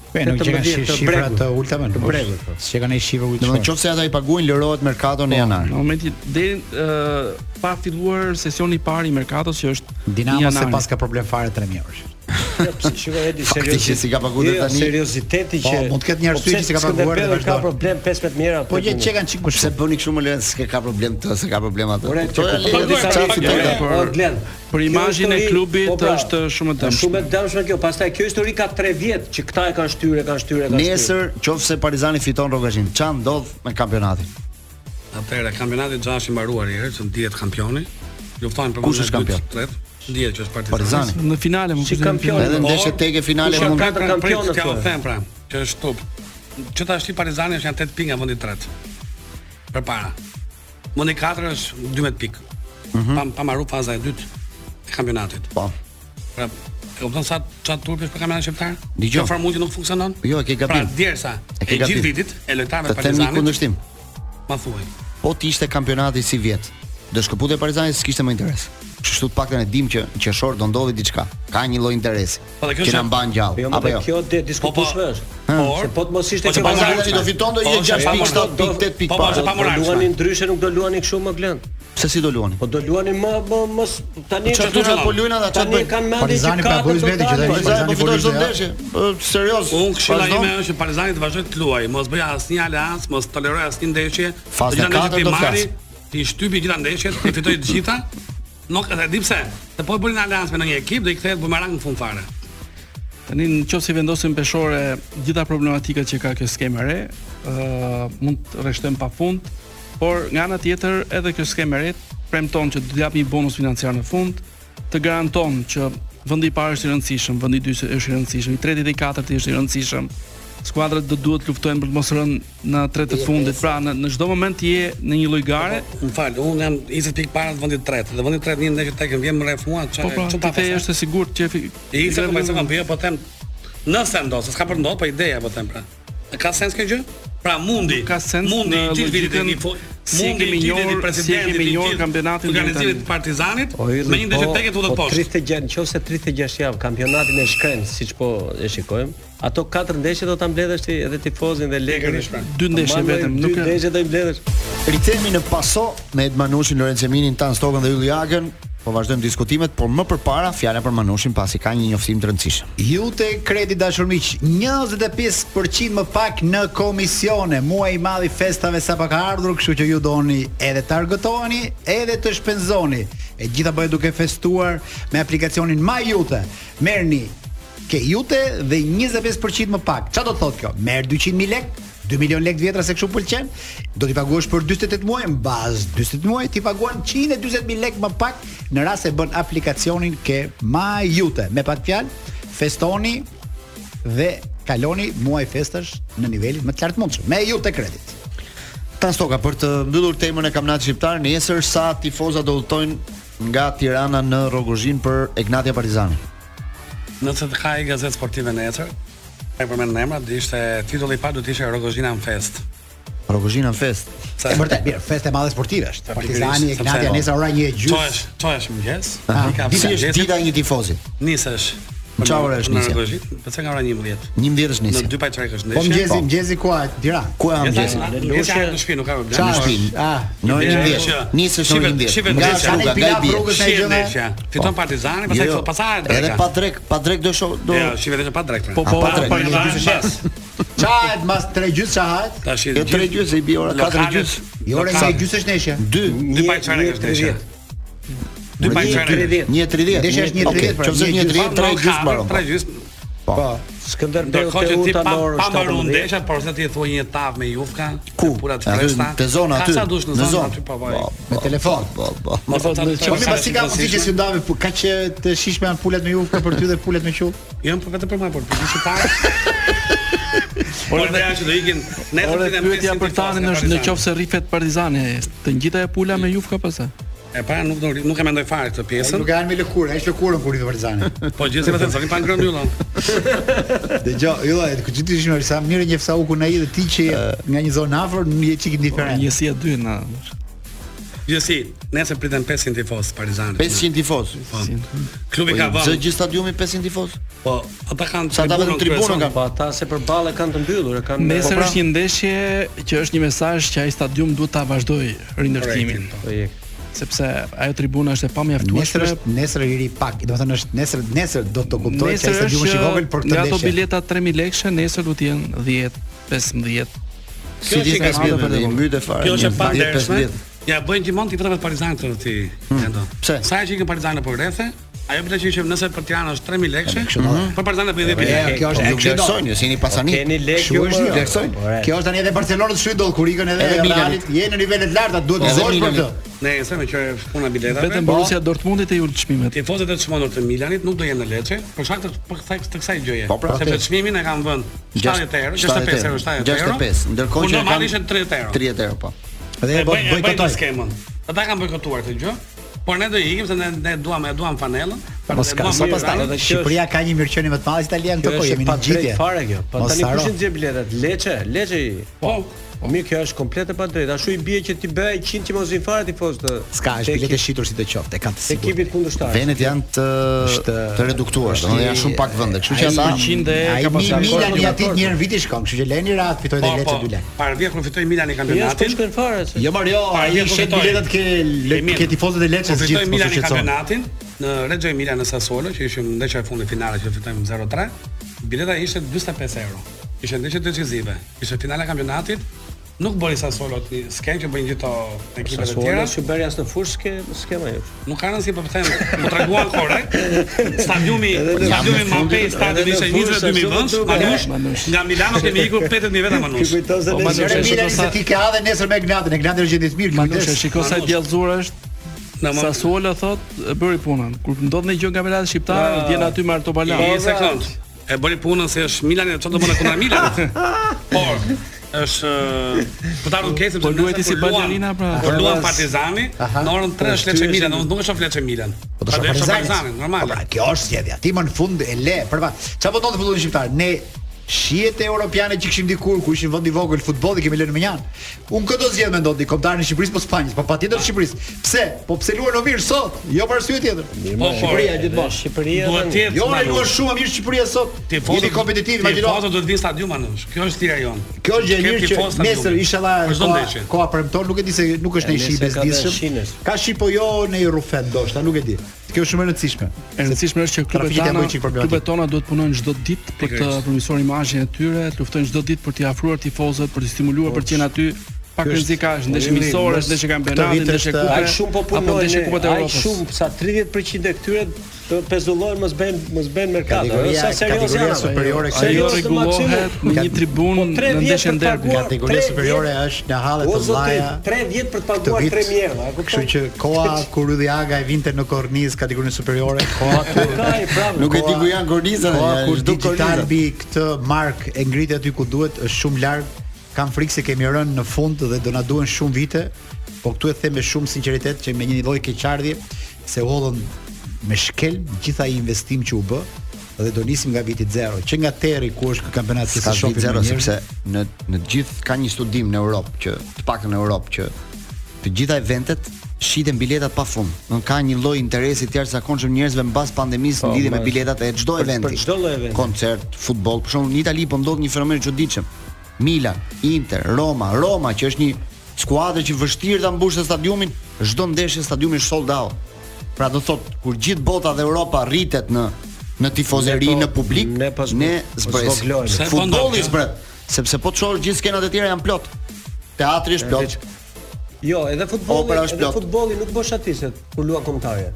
[SPEAKER 11] Po nuk që kanë shi- shifra të ulta më.
[SPEAKER 8] Të bregut, po.
[SPEAKER 11] S'e kanë ai shifra ulta.
[SPEAKER 8] Domethënë nëse ata i paguajnë lërohet merkato në janar.
[SPEAKER 2] Në momentin deri ë pa filluar sesioni i parë i merkatos që është
[SPEAKER 11] Dinamo se pas
[SPEAKER 2] pas
[SPEAKER 11] ka problem fare 3000 euro.
[SPEAKER 9] Shikoj Edi
[SPEAKER 8] Fakti që
[SPEAKER 9] seriozisht.
[SPEAKER 8] si ka paguar deri tani.
[SPEAKER 9] Serioziteti
[SPEAKER 11] Po,
[SPEAKER 9] që
[SPEAKER 11] mund të ketë një arsye
[SPEAKER 9] Po,
[SPEAKER 11] që
[SPEAKER 9] pse
[SPEAKER 11] s'ka paguar dhe
[SPEAKER 9] Skënderbeu
[SPEAKER 11] vazhdon.
[SPEAKER 9] Ka problem 15 mijëra.
[SPEAKER 8] Po gjë që kanë çikush. Pse bëni kështu më lehtë se ka problem të, se ka problem atë.
[SPEAKER 9] Ore,
[SPEAKER 8] Këto
[SPEAKER 9] që
[SPEAKER 8] janë
[SPEAKER 9] kuptoj
[SPEAKER 8] disa
[SPEAKER 9] disa
[SPEAKER 8] çfarë
[SPEAKER 9] historia,
[SPEAKER 8] fitoj.
[SPEAKER 9] po, Glen,
[SPEAKER 2] për
[SPEAKER 9] kjo
[SPEAKER 2] imazhin e
[SPEAKER 9] histori-
[SPEAKER 2] klubit
[SPEAKER 9] po, pra,
[SPEAKER 2] është shumë e
[SPEAKER 9] është
[SPEAKER 2] dëmshme.
[SPEAKER 9] Shumë e dëmshme kjo. Pastaj kjo histori ka 3 vjet që këta e kanë shtyrë, kanë shtyrë, kanë shtyrë.
[SPEAKER 8] Nesër, qofse Partizani fiton Rrogazhin, çan ndodh me kampionatin?
[SPEAKER 10] Atëherë kampionati xha është i mbaruar i herë, që ndihet kampioni. Luftojnë për
[SPEAKER 8] Kush
[SPEAKER 10] vendin
[SPEAKER 8] është
[SPEAKER 10] e dytë,
[SPEAKER 8] kampion?
[SPEAKER 10] tretë. Ndihet që është
[SPEAKER 8] Partizani.
[SPEAKER 10] Partizani.
[SPEAKER 2] në finale më
[SPEAKER 10] Si kampion.
[SPEAKER 8] Edhe ndeshje tek e finale
[SPEAKER 10] Kush
[SPEAKER 8] mund
[SPEAKER 10] ka katër kampionë
[SPEAKER 8] të
[SPEAKER 10] këtu. Ja them pra, që është top. Që tash i Partizani është janë 8 pikë nga vendi i tretë. Përpara. Mundi 4 është 12 pikë.
[SPEAKER 8] Mhm.
[SPEAKER 10] Pa pa marru faza e dytë e kampionatit.
[SPEAKER 8] Po.
[SPEAKER 10] Pra, e kupton sa çat turpi është për kampionatin shqiptar?
[SPEAKER 8] Dgjoj.
[SPEAKER 10] Që farmuti nuk funksionon?
[SPEAKER 8] Jo, e ke
[SPEAKER 10] Pra,
[SPEAKER 8] gabim.
[SPEAKER 10] djersa
[SPEAKER 8] E
[SPEAKER 10] e,
[SPEAKER 8] ke
[SPEAKER 10] gjithë
[SPEAKER 8] gabim.
[SPEAKER 10] vitit e lojtarëve
[SPEAKER 8] Të them një
[SPEAKER 10] Partizanit.
[SPEAKER 8] kundërshtim.
[SPEAKER 10] Ma thuaj.
[SPEAKER 8] Po të ishte kampionati si vjet, do shkëputej Partizani s'kishte më interes. Kështu të paktën e dim që në qershor do ndodhi diçka. Ka një lloj interesi.
[SPEAKER 10] Po, dhe kjo
[SPEAKER 8] Që na
[SPEAKER 10] është- po
[SPEAKER 8] mban gjallë.
[SPEAKER 9] Jo, më
[SPEAKER 8] Apo
[SPEAKER 9] dhe
[SPEAKER 8] jo.
[SPEAKER 9] kjo de diskutueshme është.
[SPEAKER 10] Por,
[SPEAKER 9] Se po të mos ishte
[SPEAKER 10] Po, që
[SPEAKER 9] kjo
[SPEAKER 10] pa moral,
[SPEAKER 8] Partizani do fiton do jetë
[SPEAKER 10] Po,
[SPEAKER 8] 6
[SPEAKER 10] është
[SPEAKER 8] pikë,
[SPEAKER 10] pa
[SPEAKER 8] 7
[SPEAKER 10] moral.
[SPEAKER 8] pikë, 8 pikë.
[SPEAKER 10] Po,
[SPEAKER 8] pa.
[SPEAKER 10] është pa
[SPEAKER 9] Do
[SPEAKER 10] moral.
[SPEAKER 9] luani ndryshe nuk do luani kështu më Glen.
[SPEAKER 8] Pse si do luani?
[SPEAKER 9] Po do luani më më mos tani
[SPEAKER 8] Çfarë do po luajnë ata çfarë
[SPEAKER 9] Tani
[SPEAKER 8] bëjnë?
[SPEAKER 9] kanë mendje që
[SPEAKER 11] Partizani
[SPEAKER 9] ka
[SPEAKER 11] paguaj zbeti që tani
[SPEAKER 8] Partizani po fiton çdo
[SPEAKER 11] Partizani
[SPEAKER 8] ndeshje. Po, Serioz.
[SPEAKER 10] Unë këshilla
[SPEAKER 8] vazhdo?
[SPEAKER 10] ime është që Partizani të vazhdoj të luajë, mos bëj asnjë aleancë, mos toleroj asnjë ndeshje. Të
[SPEAKER 8] Fazën
[SPEAKER 10] gjitha
[SPEAKER 8] e katërt
[SPEAKER 10] ndeshjet i
[SPEAKER 8] do flas.
[SPEAKER 10] marri, Ti shtypi gjitha ndeshjet, ti fitoj të gjitha. Nuk e di pse. Se po e bërin aleancë me ndonjë ekip, do i kthehet bumerang në fund fare.
[SPEAKER 2] Tani në qofë si vendosim peshore gjitha problematikat që ka kjo skemë e re, uh, mund të rreshtojmë pa fund, por nga ana tjetër edhe kjo skemë e re premton që do të jap një bonus financiar në fund, të garanton që vendi i parë është i rëndësishëm, vendi i dytë është i rëndësishëm, i tretit dhe i katërti është i rëndësishëm. Skuadrat do duhet të luftojnë për të mos rënë në tretë të fundit, pra në në çdo moment ti je në një lloj gare.
[SPEAKER 10] Më fal, unë jam 20 pikë para të vendit tretë, dhe vendi tretë një ndeshje tek më vjen më rreth mua,
[SPEAKER 2] Po pra,
[SPEAKER 10] çfarë
[SPEAKER 2] ti the është e sigurt që fi-
[SPEAKER 10] E ikse po pajsa kampion, po them nëse ndo, se s'ka për ndo, po ideja po them pra. E ka sens kjo gjë? Pra mundi,
[SPEAKER 2] Ka sens
[SPEAKER 10] mundi
[SPEAKER 2] në
[SPEAKER 10] gjithë vitin
[SPEAKER 2] logjikën
[SPEAKER 10] i fo-
[SPEAKER 2] si e
[SPEAKER 10] mundi
[SPEAKER 2] kemi
[SPEAKER 10] gjithë vitin
[SPEAKER 2] njohur- si
[SPEAKER 10] i
[SPEAKER 2] e
[SPEAKER 10] presidentit,
[SPEAKER 2] kemi
[SPEAKER 10] i
[SPEAKER 2] njohur
[SPEAKER 10] gjithë
[SPEAKER 2] kampionatin
[SPEAKER 10] organizimit
[SPEAKER 2] tani.
[SPEAKER 10] Partizanit,
[SPEAKER 9] Po, Ylli,
[SPEAKER 10] me një ndeshje
[SPEAKER 9] po-
[SPEAKER 10] tek e
[SPEAKER 9] po
[SPEAKER 10] tutët poshtë.
[SPEAKER 9] 36, nëse 36 javë kampionatin e shkren, siç po e shikojmë, ato katër ndeshje do ta mbledhësh ti edhe tifozin dhe lekën.
[SPEAKER 2] Dy ndeshje vetëm,
[SPEAKER 9] nuk
[SPEAKER 2] nuk
[SPEAKER 9] dy
[SPEAKER 2] e-
[SPEAKER 9] ndeshje do i mbledhësh.
[SPEAKER 8] Rikthehemi në paso me Ed Manushin, Lorenzo Eminin, Tan Stokën dhe Ylli Agën. Po vazhdojmë diskutimet, por më përpara fjala për Manushin pasi ka një njoftim të rëndësishëm.
[SPEAKER 11] Jute kredi dashur miq, 25% më pak në komisione. Muaji i madh i festave sapo ka ardhur, kështu që ju doni edhe të argëtoheni, edhe të shpenzoni. E gjitha bëhet duke festuar me aplikacionin My Jute. Merrni ke jute dhe 25% më pak. Çfarë do të thotë kjo? Merr 200.000 lekë, 2 milion lekë të vjetra se kështu pëlqen, do t'i paguash për 48 muaj, mbaz 48 muaj ti paguan 140.000 lekë më pak në rast se bën aplikacionin ke My Jute. Me pak fjalë, festoni dhe kaloni muaj festash në nivelin më të lartë mundshëm me ju te kredit.
[SPEAKER 8] Tan Stoka për të mbyllur temën e kampionatit shqiptar, nesër sa tifoza do udhtojnë nga Tirana në Rrogozhin për Egnatia Partizani.
[SPEAKER 10] Nëse të ka i gazet sportive në etër, e përmend në emra, dhe ishte titulli i parë do të ishte Rogozhina në fest.
[SPEAKER 8] Rrogozhina në fest.
[SPEAKER 10] Sa
[SPEAKER 11] E vërtet, mirë, festë e madhe sportive është. Partizani e Gnatia nesër ora 1:30.
[SPEAKER 10] Ço është, ço është mëngjes?
[SPEAKER 8] Aha.
[SPEAKER 10] Pika
[SPEAKER 8] Si është
[SPEAKER 10] mëngjesit,
[SPEAKER 8] dita e një tifozi?
[SPEAKER 10] Nisesh.
[SPEAKER 8] Qa orë është nisja?
[SPEAKER 10] Rogozhin, pse nga ora 11?
[SPEAKER 8] 11 është
[SPEAKER 10] Në
[SPEAKER 8] nisja.
[SPEAKER 10] 2 pa çfarë është
[SPEAKER 11] Po
[SPEAKER 10] ndeshja?
[SPEAKER 11] mëngjesi, mëngjesi ku a Tiranë.
[SPEAKER 8] Ku e
[SPEAKER 10] Mëngjesi,
[SPEAKER 8] ambjesi?
[SPEAKER 10] mëngjesi, mëngjesi, në shtëpi nuk ka problem.
[SPEAKER 11] Qa është?
[SPEAKER 8] Shpi.
[SPEAKER 11] Ah.
[SPEAKER 8] Në orën
[SPEAKER 10] Ideja
[SPEAKER 8] 10.
[SPEAKER 10] është-
[SPEAKER 8] Nisësh në orën
[SPEAKER 10] Shivet-
[SPEAKER 8] 10.
[SPEAKER 10] Shivet
[SPEAKER 8] Nga
[SPEAKER 10] ndeshja,
[SPEAKER 8] rruga,
[SPEAKER 11] kanë
[SPEAKER 8] nga
[SPEAKER 11] pilaf
[SPEAKER 8] i bie.
[SPEAKER 11] rrugës në
[SPEAKER 10] Shihej
[SPEAKER 11] gjëra.
[SPEAKER 10] ndeshja. Fiton Partizani, pastaj
[SPEAKER 8] Jo, jo.
[SPEAKER 10] pastaj
[SPEAKER 8] Edhe
[SPEAKER 10] dreka.
[SPEAKER 8] pa drek, pa drek do shoh do
[SPEAKER 10] Jo, shivet edhe pa drejt.
[SPEAKER 2] Po po,
[SPEAKER 8] pa drejt,
[SPEAKER 2] Partizani-
[SPEAKER 10] Partizani pas.
[SPEAKER 11] Çahet mas 3 gjys çahet.
[SPEAKER 10] Tash
[SPEAKER 8] Jo, tre gjysë, i bi ora katër gjysë.
[SPEAKER 11] Jo, ora nga gjys është neshja.
[SPEAKER 8] 2,
[SPEAKER 10] 2 pajë çare është deshja. Dy pajë çare.
[SPEAKER 8] 1:30.
[SPEAKER 11] Desha është 1:30.
[SPEAKER 8] Okej, qoftë është 1:30, tre gjysë mbaron.
[SPEAKER 10] Tre gjys.
[SPEAKER 8] Po.
[SPEAKER 9] Skënderbeu
[SPEAKER 10] Ndërkohë
[SPEAKER 9] te
[SPEAKER 10] që ti
[SPEAKER 9] Uta
[SPEAKER 10] pa
[SPEAKER 9] në orën
[SPEAKER 10] pa mbaron
[SPEAKER 9] 17.
[SPEAKER 10] ndeshja, por se ti e thua një tav me Jufka,
[SPEAKER 8] Ku?
[SPEAKER 10] pura të
[SPEAKER 8] Aty,
[SPEAKER 10] freskta.
[SPEAKER 8] te zona
[SPEAKER 10] Ka
[SPEAKER 8] aty,
[SPEAKER 10] sa dush në
[SPEAKER 8] në
[SPEAKER 10] zonë
[SPEAKER 8] zonë.
[SPEAKER 10] aty pa vaj.
[SPEAKER 11] Me telefon.
[SPEAKER 8] Po, po.
[SPEAKER 10] Mos ta
[SPEAKER 11] Po mi pasi ka mundësi që si ndave, po kaq që të shishme janë pulet me jufka për ty dhe pulet me qu.
[SPEAKER 10] Jam po vetëm për mua, por për shqiptarë. Por ne ajo do ikin ne
[SPEAKER 2] Ore
[SPEAKER 10] të
[SPEAKER 2] pyetja për tanin është në qoftë se rrifet Partizani, të ngjita e pula me Jufka pas.
[SPEAKER 10] E para nuk do nuk e mendoj fare këtë pjesën.
[SPEAKER 11] Nuk janë me lëkurë, ai lëkurën kur i Partizani.
[SPEAKER 10] Po gjithsesi vetëm sa kanë ngrënë yllon.
[SPEAKER 11] Dëgjoj, jo, e ku ti ishim sa mirë një fsau ku na i dhe ti që je nga një zonë afër, nuk je çik indiferent.
[SPEAKER 2] Njësia dy na.
[SPEAKER 11] Po, pra.
[SPEAKER 10] Gjithsesi, nëse priten 500 tifoz Partizanit.
[SPEAKER 8] 500 tifoz.
[SPEAKER 10] Po. Klubi ka
[SPEAKER 8] Çdo
[SPEAKER 10] vënë.
[SPEAKER 8] gjithë stadiumi 500 tifoz.
[SPEAKER 10] Po, ata kanë
[SPEAKER 8] Po, Sa ata vetëm tribunën kanë.
[SPEAKER 9] Po ata se përballe kanë të mbyllur, e kanë
[SPEAKER 2] Nesër
[SPEAKER 9] Po, pra,
[SPEAKER 2] është një ndeshje që është një mesazh që ai stadium duhet ta vazhdoj rindërtimin,
[SPEAKER 9] po
[SPEAKER 2] sepse ajo tribuna është e
[SPEAKER 11] po. Nesër
[SPEAKER 2] pamjaftueshme.
[SPEAKER 11] është nesër i ri pak, do të thënë është nesër nesër do të kuptoj se
[SPEAKER 2] Nesër
[SPEAKER 11] sa gjumë
[SPEAKER 2] është
[SPEAKER 11] shikogël për
[SPEAKER 2] nga
[SPEAKER 11] këtë
[SPEAKER 2] ato
[SPEAKER 11] ndeshje.
[SPEAKER 2] bileta 3000 lekshë, nesër do të jenë 10, 15.
[SPEAKER 8] Si ti ka
[SPEAKER 2] Halo për
[SPEAKER 8] zgjedhur, i
[SPEAKER 2] të
[SPEAKER 8] mbytë fare.
[SPEAKER 10] Kjo është e
[SPEAKER 8] një Hmm.
[SPEAKER 10] pandershme.
[SPEAKER 8] 10-15.
[SPEAKER 10] Ja bëjnë gjithmonë ti vetëm me Partizan këtë ti. Endo. Pse? Sa herë që ikin Partizani po rrethe, ajo bilet që ishim nëse për Tiranë është 3000 lekë,
[SPEAKER 8] po.
[SPEAKER 10] për Partizani bëj 10
[SPEAKER 11] E,
[SPEAKER 10] lekë.
[SPEAKER 11] kjo është
[SPEAKER 8] Ju
[SPEAKER 11] nuk
[SPEAKER 8] vlerësojnë, ju jeni pasani.
[SPEAKER 9] Keni lekë
[SPEAKER 11] Kjo
[SPEAKER 9] ju
[SPEAKER 11] është
[SPEAKER 9] më-
[SPEAKER 8] vlerësojnë.
[SPEAKER 11] Kjo është tani edhe Barcelonës shtyn doll kur ikën edhe,
[SPEAKER 8] Po, Edhe
[SPEAKER 11] edhe
[SPEAKER 8] Milanit.
[SPEAKER 11] Realit, je në nivele të larta, duhet të
[SPEAKER 8] Edhe
[SPEAKER 11] zosh për
[SPEAKER 8] Milanit.
[SPEAKER 11] këtë.
[SPEAKER 10] Ne se me qëre puna biletave.
[SPEAKER 2] Vetëm Borussia Dortmundit e ul çmimet.
[SPEAKER 10] Tifozët e çmendur të Milanit nuk do jenë në Lecce, për shkak të për kësaj të kësaj gjëje.
[SPEAKER 8] Po, pra.
[SPEAKER 10] sepse çmimin e kanë vënë 70 euro, 65 euro, 70 euro.
[SPEAKER 8] 65, ndërkohë
[SPEAKER 10] kur
[SPEAKER 8] që
[SPEAKER 10] normalisht
[SPEAKER 8] kanë
[SPEAKER 10] janë 30 euro.
[SPEAKER 8] 30 euro po.
[SPEAKER 11] Dhe
[SPEAKER 10] E
[SPEAKER 11] e
[SPEAKER 10] bëj
[SPEAKER 11] bojkotoj.
[SPEAKER 10] e bëj të skemën. Ata kanë bojkotuar këtë gjë, por ne do ikim se ne ne duam e duam fanellën, por
[SPEAKER 11] Mos
[SPEAKER 10] ne
[SPEAKER 11] ka,
[SPEAKER 10] duam
[SPEAKER 11] sa
[SPEAKER 10] mirë
[SPEAKER 11] pastaj
[SPEAKER 10] Realin.
[SPEAKER 11] Shqipëria ka një mirëqenie më të madhe se Italia në
[SPEAKER 9] Kjo
[SPEAKER 11] këtë kohë
[SPEAKER 9] është
[SPEAKER 11] po jemi
[SPEAKER 9] pa
[SPEAKER 11] në
[SPEAKER 9] drejt
[SPEAKER 11] gjitje.
[SPEAKER 9] fare kjo. Po
[SPEAKER 11] Mos
[SPEAKER 9] tani
[SPEAKER 11] haro.
[SPEAKER 9] kush i nxjerr biletat? Leçe, Leçe. i-
[SPEAKER 10] Po,
[SPEAKER 9] Po mirë, kjo është komplet e pa drejt. Ashtu i bie që ti bëj 100 që mos vin fare tifoz të.
[SPEAKER 11] S'ka,
[SPEAKER 9] të
[SPEAKER 11] është biletë
[SPEAKER 9] ekip-
[SPEAKER 11] shitur si të qoftë, e kanë të
[SPEAKER 9] të
[SPEAKER 11] sigurt.
[SPEAKER 9] ekipit kundërshtar.
[SPEAKER 8] Vendet janë të
[SPEAKER 11] Është
[SPEAKER 8] të reduktuar, domethënë janë shumë pak vende. Kështu që ata
[SPEAKER 2] 100 e
[SPEAKER 11] Ai
[SPEAKER 2] ka
[SPEAKER 11] mi
[SPEAKER 2] pasur
[SPEAKER 11] Milan
[SPEAKER 9] akord,
[SPEAKER 11] i
[SPEAKER 9] një
[SPEAKER 11] atit
[SPEAKER 9] akord.
[SPEAKER 11] një herë viti shkon, kështu që leni rat fitoi
[SPEAKER 10] po,
[SPEAKER 11] dhe
[SPEAKER 10] po.
[SPEAKER 11] Lecce dy lekë.
[SPEAKER 10] Para vjen kur fitoi Milani
[SPEAKER 9] Jo, s'po
[SPEAKER 10] kampionatin.
[SPEAKER 9] shkojnë fare. se-
[SPEAKER 11] Jo, Mario,
[SPEAKER 10] Para
[SPEAKER 11] ai
[SPEAKER 10] vjen kur
[SPEAKER 11] shet
[SPEAKER 10] fitoi.
[SPEAKER 11] biletat ke le-
[SPEAKER 10] E mirë.
[SPEAKER 11] ke tifozët e
[SPEAKER 10] Kur
[SPEAKER 11] Lecces
[SPEAKER 10] fitoi
[SPEAKER 11] gjithë mos
[SPEAKER 10] Milani
[SPEAKER 11] u qetson.
[SPEAKER 10] kampionatin në Reggio Emilia në Sassuolo, që ishim ndeshja e fundit finale që fitojmë 0-3, bileta ishte 45 euro. Ishte ndeshje decisive. Ishte finala e kampionatit. Nuk bëri Sassuolo atë skem që bëjnë gjithë ato ekipet e
[SPEAKER 9] Sassuolo
[SPEAKER 10] tjera.
[SPEAKER 9] që bëri as në fushë ske skema ju.
[SPEAKER 10] Nuk kanë si po them, u treguan korrekt. Stadiumi,
[SPEAKER 9] Edhe në-
[SPEAKER 10] stadiumi
[SPEAKER 9] në
[SPEAKER 10] Mbappé
[SPEAKER 9] fundit,
[SPEAKER 10] stadiumi
[SPEAKER 9] edhe
[SPEAKER 10] ishte
[SPEAKER 9] në fushë,
[SPEAKER 10] 22000 vend,
[SPEAKER 9] ashtu
[SPEAKER 10] Manush, nga Milano kemi ikur 18000 veta Manush.
[SPEAKER 9] kujton se
[SPEAKER 2] Po,
[SPEAKER 9] Lecce-
[SPEAKER 2] Manush,
[SPEAKER 11] Gjëre
[SPEAKER 2] Shiko
[SPEAKER 11] Milani se
[SPEAKER 2] sa-
[SPEAKER 11] ti ke adhe nesër me Gnadin, e Gnadi është gjendje të mirë,
[SPEAKER 2] Manush,
[SPEAKER 11] Gnadi.
[SPEAKER 2] e shiko sa i
[SPEAKER 10] Manush.
[SPEAKER 2] djallëzuar është.
[SPEAKER 10] Në moment-
[SPEAKER 2] Sassuolo thot e bëri punën. Kur ndodh një gjë nga Belgradi shqiptar, vjen aty me Artobala.
[SPEAKER 10] Një sekond. E bëri punën se është Milani, çfarë do bëna kundra Milanit? Por është po ta rrugë sepse
[SPEAKER 2] Po
[SPEAKER 10] nëse
[SPEAKER 2] luajti si
[SPEAKER 10] kur luan-
[SPEAKER 2] ballerina, pra.
[SPEAKER 10] Kur luan Partizani,
[SPEAKER 11] Aha.
[SPEAKER 10] në orën 3 është Lecce Milan, nuk është Lecce Milan. Po do
[SPEAKER 11] shoh
[SPEAKER 10] është
[SPEAKER 11] Partizanin.
[SPEAKER 10] Partizani, normal.
[SPEAKER 11] Po pra, kjo është zgjedhja. Ti më në fund e le, për pa. Çfarë po ndodhi futbolli shqiptar? Ne shihet e europiane që kishim dikur kur ishim vend i vogël futbolli kemi lënë me njan. Un këtë zgjedh mendon di kombëtarin e Shqipërisë po Spanjës, po
[SPEAKER 10] Ah.
[SPEAKER 11] patjetër të Shqipërisë. Pse? Po pse luan Ovir sot? Jo për arsye tjetër.
[SPEAKER 10] Po Shqipëria
[SPEAKER 9] gjithmonë. Shqipëria.
[SPEAKER 10] Duhet
[SPEAKER 9] tani.
[SPEAKER 10] të jetë.
[SPEAKER 11] Jo, ai
[SPEAKER 10] Manush.
[SPEAKER 11] luan shumë mirë Shqipëria sot.
[SPEAKER 10] Tifozët-
[SPEAKER 11] Jemi
[SPEAKER 10] Tifozët
[SPEAKER 11] kompetitiv, imagjino.
[SPEAKER 10] do të vinë stadium anush. Kjo është tira jon.
[SPEAKER 11] Kjo është gjë e mirë që nesër inshallah
[SPEAKER 10] çdo
[SPEAKER 11] koha,
[SPEAKER 10] ndeshje.
[SPEAKER 11] koha premton, nuk e di se nuk është
[SPEAKER 9] E,
[SPEAKER 11] ne shi
[SPEAKER 9] nesër ka dhe
[SPEAKER 11] bezdisshëm.
[SPEAKER 9] shinës.
[SPEAKER 11] Ka shi po jo në i rufet ndoshta, nuk e di. Kjo është shumë e rëndësishme.
[SPEAKER 2] E rëndësishme është që klubet
[SPEAKER 11] Trafikit e
[SPEAKER 2] tona,
[SPEAKER 11] bëjë çik problematik.
[SPEAKER 2] klubet tona duhet punojnë çdo ditë për të
[SPEAKER 10] Pikërisht.
[SPEAKER 2] përmirësuar imazhin e tyre, të luftojnë çdo ditë për t'i afruar tifozët, për t'i
[SPEAKER 11] Po,
[SPEAKER 2] stimuluar për të qenë aty pa
[SPEAKER 11] Ky është-
[SPEAKER 2] rrezikash, ndeshje
[SPEAKER 11] Ujemi,
[SPEAKER 2] miqësore,
[SPEAKER 11] Po, mos-
[SPEAKER 2] ndeshje
[SPEAKER 11] këtë
[SPEAKER 2] kampionati,
[SPEAKER 11] vit
[SPEAKER 2] ndeshje
[SPEAKER 11] është-
[SPEAKER 2] kupe.
[SPEAKER 9] Ai shumë po
[SPEAKER 2] apo ndeshje
[SPEAKER 9] punojnë,
[SPEAKER 2] kupat e
[SPEAKER 9] ai
[SPEAKER 2] Europës.
[SPEAKER 9] shumë sa 30% e këtyre të pezullohen mos bëjnë mos bëjnë merkat.
[SPEAKER 11] Kategoria-
[SPEAKER 9] Sa serioz
[SPEAKER 11] kategoria
[SPEAKER 9] janë.
[SPEAKER 11] superiore
[SPEAKER 9] Ajo
[SPEAKER 2] Ajo
[SPEAKER 11] Serios
[SPEAKER 9] serioz
[SPEAKER 2] rregullohet
[SPEAKER 9] maksimum.
[SPEAKER 2] në një
[SPEAKER 11] Ka-
[SPEAKER 2] tribunë
[SPEAKER 9] Po, tre
[SPEAKER 2] në
[SPEAKER 9] vjet
[SPEAKER 2] ndeshje
[SPEAKER 9] për
[SPEAKER 2] derbi.
[SPEAKER 9] paguar.
[SPEAKER 11] Kategoria
[SPEAKER 9] Tre
[SPEAKER 11] superiore
[SPEAKER 9] vjet.
[SPEAKER 11] është në hallet
[SPEAKER 9] O
[SPEAKER 11] të
[SPEAKER 9] zotri,
[SPEAKER 11] mëdha.
[SPEAKER 9] 3 vjet për të
[SPEAKER 11] Këtë
[SPEAKER 9] paguar
[SPEAKER 11] vit.
[SPEAKER 9] 3 mjerda, e kupton?
[SPEAKER 11] Kështu që koha kur Ylli Aga e vinte në kornizë kategorinë superiore, koha kur
[SPEAKER 9] Ka i prapë.
[SPEAKER 8] Nuk e di ku janë kornizat,
[SPEAKER 11] Koha
[SPEAKER 8] janë
[SPEAKER 11] kur
[SPEAKER 8] çdo kornizat.
[SPEAKER 11] digitalbi këtë mark e ngriti aty ku duhet është shumë larg. Kam frikë se kemi rënë në fund dhe do na duhen shumë vite, po këtu e them me shumë sinqeritet që me një lloj keqardhje se u hodhën me shkel gjithë ai investim që u bë dhe do nisim nga viti 0, që nga terri ku është ky kampionat që
[SPEAKER 8] Ska
[SPEAKER 11] shohim
[SPEAKER 8] vit zero
[SPEAKER 11] më njerëz.
[SPEAKER 8] sepse në në të gjithë ka një studim në Europë që të paktën në Europë që të gjitha eventet shiten biletat pa fund. Nuk ka një lloj interesi të jashtëzakonshëm njerëzve mbas pandemisë në lidhje me biletat e çdo eventi.
[SPEAKER 9] Po, për çdo lloj eventi.
[SPEAKER 8] Koncert, futboll, për shembull në Itali po ndodh një fenomen i çuditshëm. Milan, Inter, Roma, Roma që është një skuadër që vështirë ta mbushë stadiumin, çdo ndeshje stadiumi është sold out. Pra do thot kur gjithë bota dhe Europa rritet në në tifozeri,
[SPEAKER 9] Ne po-
[SPEAKER 8] në publik,
[SPEAKER 9] ne po zbr- po
[SPEAKER 8] ne zbresim.
[SPEAKER 9] zvoglojmë.
[SPEAKER 10] Pse po
[SPEAKER 8] Futbolli
[SPEAKER 10] ndodh kjo?
[SPEAKER 8] zbret. sepse po të shohësh gjithë skenat e tjera janë plot. Teatri është plot.
[SPEAKER 9] Jo, edhe futbolli,
[SPEAKER 8] Opera është
[SPEAKER 9] edhe
[SPEAKER 8] plot.
[SPEAKER 9] futbolli nuk boshatiset kur luan kombëtarja.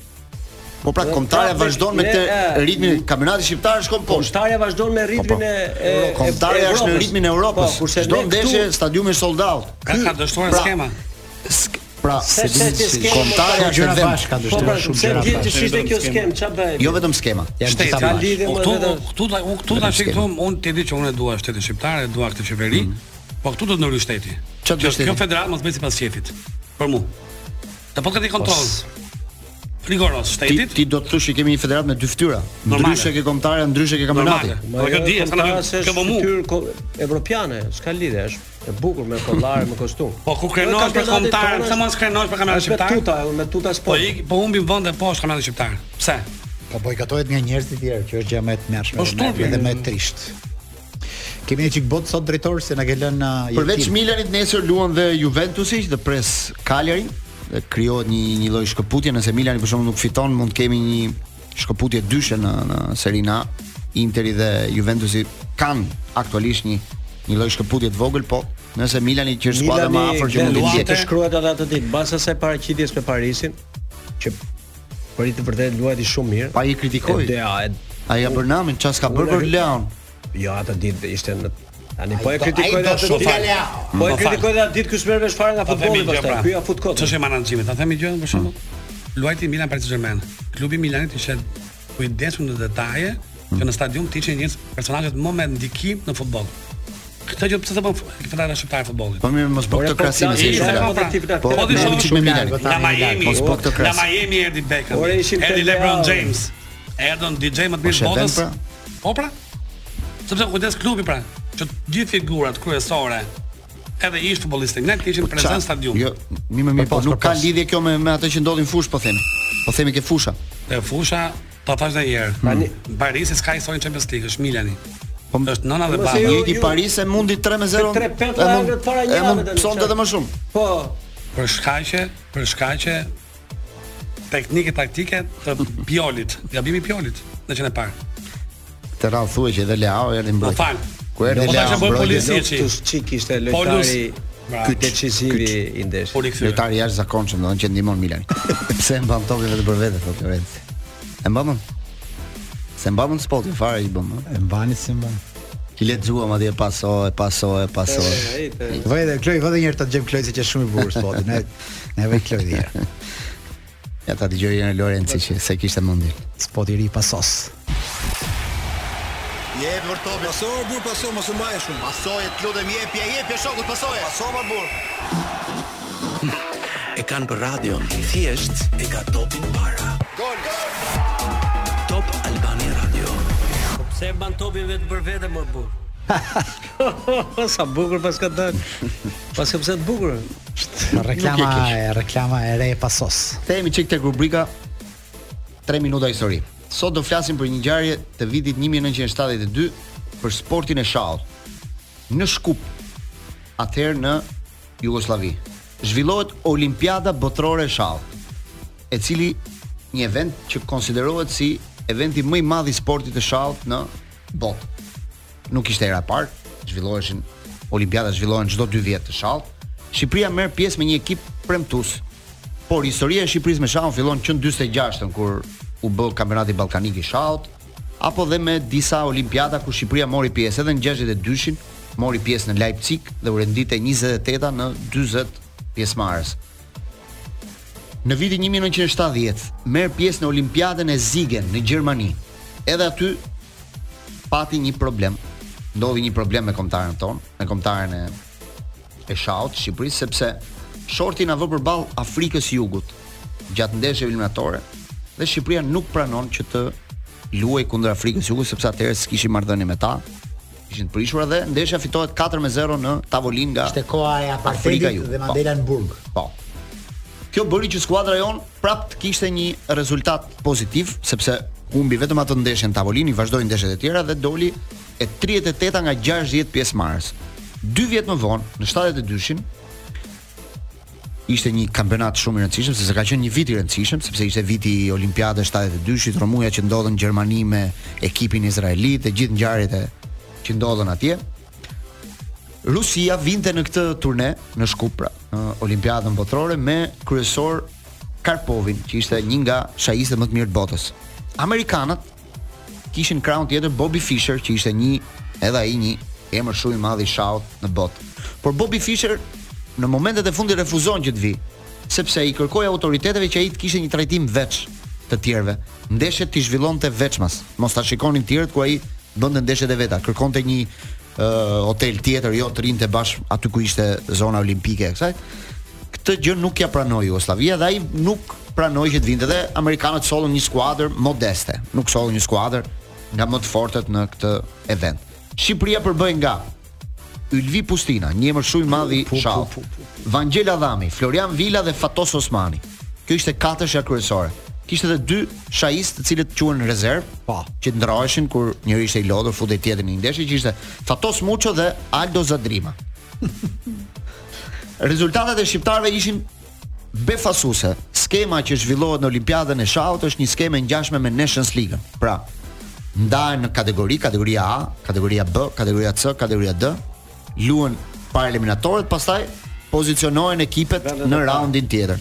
[SPEAKER 8] Po pra
[SPEAKER 9] Edhe
[SPEAKER 8] kombëtarja
[SPEAKER 9] prapë
[SPEAKER 8] vazhdon me
[SPEAKER 9] ne-
[SPEAKER 8] këtë
[SPEAKER 9] e,
[SPEAKER 8] ritmin, kampionati shqiptar shkon poshtë.
[SPEAKER 9] Kombëtarja Po, vazhdon me ritmin e e
[SPEAKER 8] Po, kombëtarja
[SPEAKER 9] e
[SPEAKER 8] është në
[SPEAKER 9] Europës.
[SPEAKER 8] ritmin e Europës.
[SPEAKER 9] Po, kurse
[SPEAKER 8] Çdo
[SPEAKER 9] ne
[SPEAKER 8] ndeshje
[SPEAKER 9] këtu-
[SPEAKER 8] stadiumi është sold out.
[SPEAKER 10] Ka ka dështuar
[SPEAKER 8] Pra,
[SPEAKER 10] skema.
[SPEAKER 8] Pra,
[SPEAKER 9] Se- se- se skema-
[SPEAKER 8] kombëtarja
[SPEAKER 9] Gjëra
[SPEAKER 8] është në vend.
[SPEAKER 9] bashkë ka ndështuar Po, pra, shumë pse gjëra vjen bashkë. që shishte kjo skemë, ç'a bëhet?
[SPEAKER 8] Jo vetëm skema.
[SPEAKER 10] Shteti.
[SPEAKER 8] gjitha
[SPEAKER 10] O,
[SPEAKER 8] bashkë.
[SPEAKER 10] Këtu këtu ta unë këtu
[SPEAKER 8] Vetëm
[SPEAKER 10] tash këtu
[SPEAKER 8] skema.
[SPEAKER 10] unë ti di që unë e dua shtetin shqiptar, e dua këtë qeveri, po këtu do të ndryj shteti.
[SPEAKER 8] Mhm. Çfarë do
[SPEAKER 10] Që
[SPEAKER 8] shteti?
[SPEAKER 10] Kjo federat mos bëj sipas qefit. Për mua. Ta po këtë i kontroll.
[SPEAKER 8] Pos.
[SPEAKER 10] Rigoros
[SPEAKER 8] Ti,
[SPEAKER 10] shtetit.
[SPEAKER 8] ti do të thosh që kemi një federat me dy fytyra.
[SPEAKER 10] Normale.
[SPEAKER 8] Ndryshe ke kombëtarja, ndryshe ke kampionati.
[SPEAKER 10] Normale.
[SPEAKER 9] Ma
[SPEAKER 10] Po, kjo
[SPEAKER 9] jo,
[SPEAKER 10] di, s'ka
[SPEAKER 9] kombëtarja
[SPEAKER 10] nevojë,
[SPEAKER 9] se është
[SPEAKER 10] kjo po mu.
[SPEAKER 9] fytyrë ko- evropiane, s'ka lidhje, është e bukur me kollare, me kostum.
[SPEAKER 10] Po ku krenohesh për kombëtar, pse mos krenohesh për kampionatin shqiptar?
[SPEAKER 9] Me tuta, me tuta
[SPEAKER 10] Po
[SPEAKER 9] sport.
[SPEAKER 10] i po humbi vende poshtë kampionatin shqiptar. Pse?
[SPEAKER 11] Po bojkotohet nga njerëz të tjerë, që është gjë më e tmerrshme
[SPEAKER 10] Është
[SPEAKER 11] dhe më-
[SPEAKER 10] turpi.
[SPEAKER 11] dhe më e trisht. Kemi një çik bot sot drejtor se na ke lënë uh, jetim.
[SPEAKER 8] Përveç Milanit nesër luan dhe Juventusi dhe pres Cagliari dhe krijohet një një lloj shkëputje nëse Milani për shembull nuk fiton mund të kemi një shkëputje dyshe në në Serie A. Interi dhe Juventusi kanë aktualisht një një lloj shkëputje të vogël, po nëse Milani që është skuadra më afër që mund të
[SPEAKER 9] të
[SPEAKER 8] jetë
[SPEAKER 9] shkruhet edhe atë ditë, pas asaj paraqitjes me Parisin, që për i të vërtetë luajti shumë mirë.
[SPEAKER 8] Pa i kritikoi.
[SPEAKER 9] E dea, e-
[SPEAKER 8] Ai ka bërë namin, çfarë s'ka bërë për Leon.
[SPEAKER 9] Jo, atë ditë ishte në Tani po e
[SPEAKER 11] do-
[SPEAKER 9] kritikoj
[SPEAKER 11] ai do
[SPEAKER 9] atë
[SPEAKER 11] shumë
[SPEAKER 9] ditë.
[SPEAKER 11] falja.
[SPEAKER 9] Po e
[SPEAKER 10] Po fal.
[SPEAKER 9] kritikoj atë ditë kush merr vesh fare nga
[SPEAKER 10] Ta themi
[SPEAKER 9] futbolli
[SPEAKER 10] gjë,
[SPEAKER 9] pastaj. Po,
[SPEAKER 10] pra.
[SPEAKER 9] Ky ja fut kot.
[SPEAKER 10] Ç'është e menaxhimit? Ta themi gjë për shembull.
[SPEAKER 8] Mm.
[SPEAKER 10] Luajti Milan Paris Saint-Germain. Klubi i Milanit ishte kujdesur në detaje që
[SPEAKER 8] Mm.
[SPEAKER 10] në stadium të ishin njerëz personazhet më me ndikim në futboll. Këtë gjë pse të bën fetare shqiptare futbollit.
[SPEAKER 8] Po mirë, mos bëj këtë krahasim se
[SPEAKER 10] I,
[SPEAKER 8] ishte.
[SPEAKER 10] se
[SPEAKER 8] Leon.
[SPEAKER 10] po, pra.
[SPEAKER 8] Po
[SPEAKER 10] Po
[SPEAKER 8] ti
[SPEAKER 10] ti shoh
[SPEAKER 8] shohësh me Milanin.
[SPEAKER 9] po,
[SPEAKER 10] Nga Po, Miami,
[SPEAKER 8] Mos bëj Po, këtë
[SPEAKER 10] nga
[SPEAKER 8] krahasim.
[SPEAKER 10] Miami erdhi Beckham,
[SPEAKER 9] Ore, ishin
[SPEAKER 10] erdhi
[SPEAKER 9] Pele,
[SPEAKER 10] LeBron
[SPEAKER 9] ore.
[SPEAKER 10] James, erdhën DJ më të mirë
[SPEAKER 8] Mos e
[SPEAKER 10] të
[SPEAKER 8] vend,
[SPEAKER 10] botës.
[SPEAKER 8] pra.
[SPEAKER 10] Po pra. Sepse kujdes klubi pra, që të gjithë figurat kryesore edhe ish futbollistë nga të ishin
[SPEAKER 8] Po, Qa?
[SPEAKER 10] prezent në stadium.
[SPEAKER 8] Jo, mi më mirë, po
[SPEAKER 11] pas,
[SPEAKER 8] nuk
[SPEAKER 11] për
[SPEAKER 8] ka
[SPEAKER 11] pas.
[SPEAKER 8] lidhje kjo me me atë që ndodhi në fush, po themi. Po themi ke fusha.
[SPEAKER 10] Dhe fusha ta thash edhe një herë. Tani Parisi s'ka historinë Champions League, është Milani.
[SPEAKER 8] Hmm. Po m-
[SPEAKER 10] është nëna dhe
[SPEAKER 9] Mos e
[SPEAKER 10] baba.
[SPEAKER 9] ju-
[SPEAKER 8] Njëri Paris e mundi 3-0.
[SPEAKER 9] Se tre petlla
[SPEAKER 8] e mund-
[SPEAKER 9] erdhët para një
[SPEAKER 8] e mund
[SPEAKER 9] javë tani,
[SPEAKER 8] Sonte
[SPEAKER 9] qa?
[SPEAKER 8] edhe më shumë.
[SPEAKER 9] Po,
[SPEAKER 10] Për shkaqe, për shkaqe teknike taktike të Piolit, gabimi i Piolit në qenë e parë.
[SPEAKER 8] Te radh thuaj që edhe Leao erdhi
[SPEAKER 10] Më
[SPEAKER 8] mbrojtje.
[SPEAKER 10] fal.
[SPEAKER 8] Ku erdhi
[SPEAKER 10] Po tash
[SPEAKER 8] Leao
[SPEAKER 10] e bën
[SPEAKER 8] mbrojtje.
[SPEAKER 10] policia. Si,
[SPEAKER 9] Loftus Cheek ishte
[SPEAKER 10] Polus. Pra,
[SPEAKER 9] lojtari
[SPEAKER 10] Bravo.
[SPEAKER 9] ky decisivi i ndeshjes.
[SPEAKER 10] Po rikthyer.
[SPEAKER 8] Lojtari jashtëzakonshëm, domethënë që ndihmon Milan. Pse e mban topin vetë për vete thotë Lorenzo. E mban. Se mban spotin fare i bëm. ëh.
[SPEAKER 11] E mbani si mban.
[SPEAKER 8] I lexuam atje paso, e paso, e paso.
[SPEAKER 9] Ai, te-
[SPEAKER 11] Vë edhe Kloj, vë edhe një herë ta djem Kloj se që është shumë i bukur spoti. Ne ne vë Kloj dhe herë.
[SPEAKER 8] Ja ta dëgjoj në Lorenzi që se kishte mundin.
[SPEAKER 11] Spoti i ri pasos.
[SPEAKER 12] Jep për topin. Paso bur paso mos u mbaje shumë. Pasoje, të lutem jep, ja jep shokut pasoje. Paso ma bur.
[SPEAKER 13] E kanë për radio. Thjesht e ka topin para.
[SPEAKER 12] Gol, gol.
[SPEAKER 13] Top Albania Radio.
[SPEAKER 5] Pse e ban topin vetë për vete më burr?
[SPEAKER 9] Sa bukur pas ka dalë. Pas ka pse të bukur.
[SPEAKER 11] Reklama,
[SPEAKER 8] Nuk e
[SPEAKER 11] e reklama e re e pasos.
[SPEAKER 8] Themi çik tek rubrika 3 minuta histori. Sot do flasim për një ngjarje të vitit 1972 për sportin e shahut në Shkup, atëherë në Jugosllavi. Zhvillohet Olimpiada Botërore e Shahut, e cili një event që konsiderohet si eventi më i madh i sportit të shahut në botë. Nuk ishte era e parë, zhvilloheshin Olimpiada zhvillohen çdo 2 vjet të shahut. Shqipëria merr pjesë me një ekip premtues. Por historia e Shqipërisë me shahun fillon që në 46-ën kur u bë kampionati ballkanik i shahut, apo dhe me disa olimpiada ku Shqipëria mori pjesë edhe në 62-shin, mori pjesë në Leipzig dhe u rendite 28-a në 40 pjesëmarrës. Në vitin 1970 merr pjesë në Olimpiadën e Zigen në Gjermani. Edhe aty pati një problem. Ndodhi një problem me kombëtaren ton, me kombëtaren e e shahut të Shqipërisë sepse shorti na vë përball Afrikës së Jugut gjatë ndeshjeve eliminatore dhe Shqipëria nuk pranon që të luajë kundër Afrikës së Jugut sepse atëherë s'kishin marrëdhënie me ta. Ishin të prishura dhe ndeshja fitohet 4-0 në tavolinë nga
[SPEAKER 11] Ishte koha
[SPEAKER 8] Afrika e
[SPEAKER 11] e apartheidit
[SPEAKER 8] Jugut,
[SPEAKER 11] dhe
[SPEAKER 8] po.
[SPEAKER 11] Mandela në burg.
[SPEAKER 8] Po. Kjo bëri që skuadra jon prap të kishte një rezultat pozitiv sepse humbi vetëm atë ndeshje në tavolinë, i vazhdoi ndeshjet e tjera dhe doli e 38-a nga 60 pjesëmarrës. 2 vjet më vonë, në 72-shin, ishte një kampionat shumë i rëndësishëm sepse ka qenë një vit i rëndësishëm sepse ishte viti i Olimpiadës 72-shit, Romuja që ndodhen në Gjermani me ekipin izraelit dhe gjithë ngjarjet e- që ndodhen atje. Rusia vinte në këtë turne në Shkup pra, në Olimpiadën botërore me kryesor Karpovin, që ishte një nga shajistët më të mirë të botës. Amerikanët kishin kraun tjetër Bobby Fischer, që ishte një edhe ai një emër shumë i madh i shahut në botë. Por Bobby Fischer në momentet e fundit refuzon që të vi, sepse i kërkoi autoriteteve që ai të kishte një trajtim veç të tjerëve. Ndeshjet i zhvillonte veçmas. Mos ta shikonin të tjerët ku ai bënte ndeshjet e veta. Kërkonte një uh, hotel tjetër, jo të rinte bash aty ku ishte zona olimpike e kësaj. Këtë gjë nuk ja pranoi Jugoslavia dhe ai nuk pranoi që të vinte dhe amerikanët sollën një skuadër modeste, nuk sollën një skuadër nga më të fortët në këtë event. Shqipëria përbëj nga Ylvi Pustina, një emër shumë i madh i shahut. Vangjel Adhami, Florian Villa dhe Fatos Osmani. Kjo ishte katërshja kryesore. Kishte edhe dy shajistë të cilët quhen në rezervë, pa, që ndroheshin kur njëri ishte i lodhur, futej tjetrin në një ndeshje që ishte Fatos Muço dhe Aldo Zadrima. Rezultatet e shqiptarëve ishin befasuese. Skema që zhvillohet në Olimpiadën e Shahut është një skemë e ngjashme me Nations League. Pra, ndahen në kategori, kategoria A, kategoria B, kategoria C, kategoria D, luhen para eliminatorët, pastaj pozicionohen ekipet në raundin tjetër.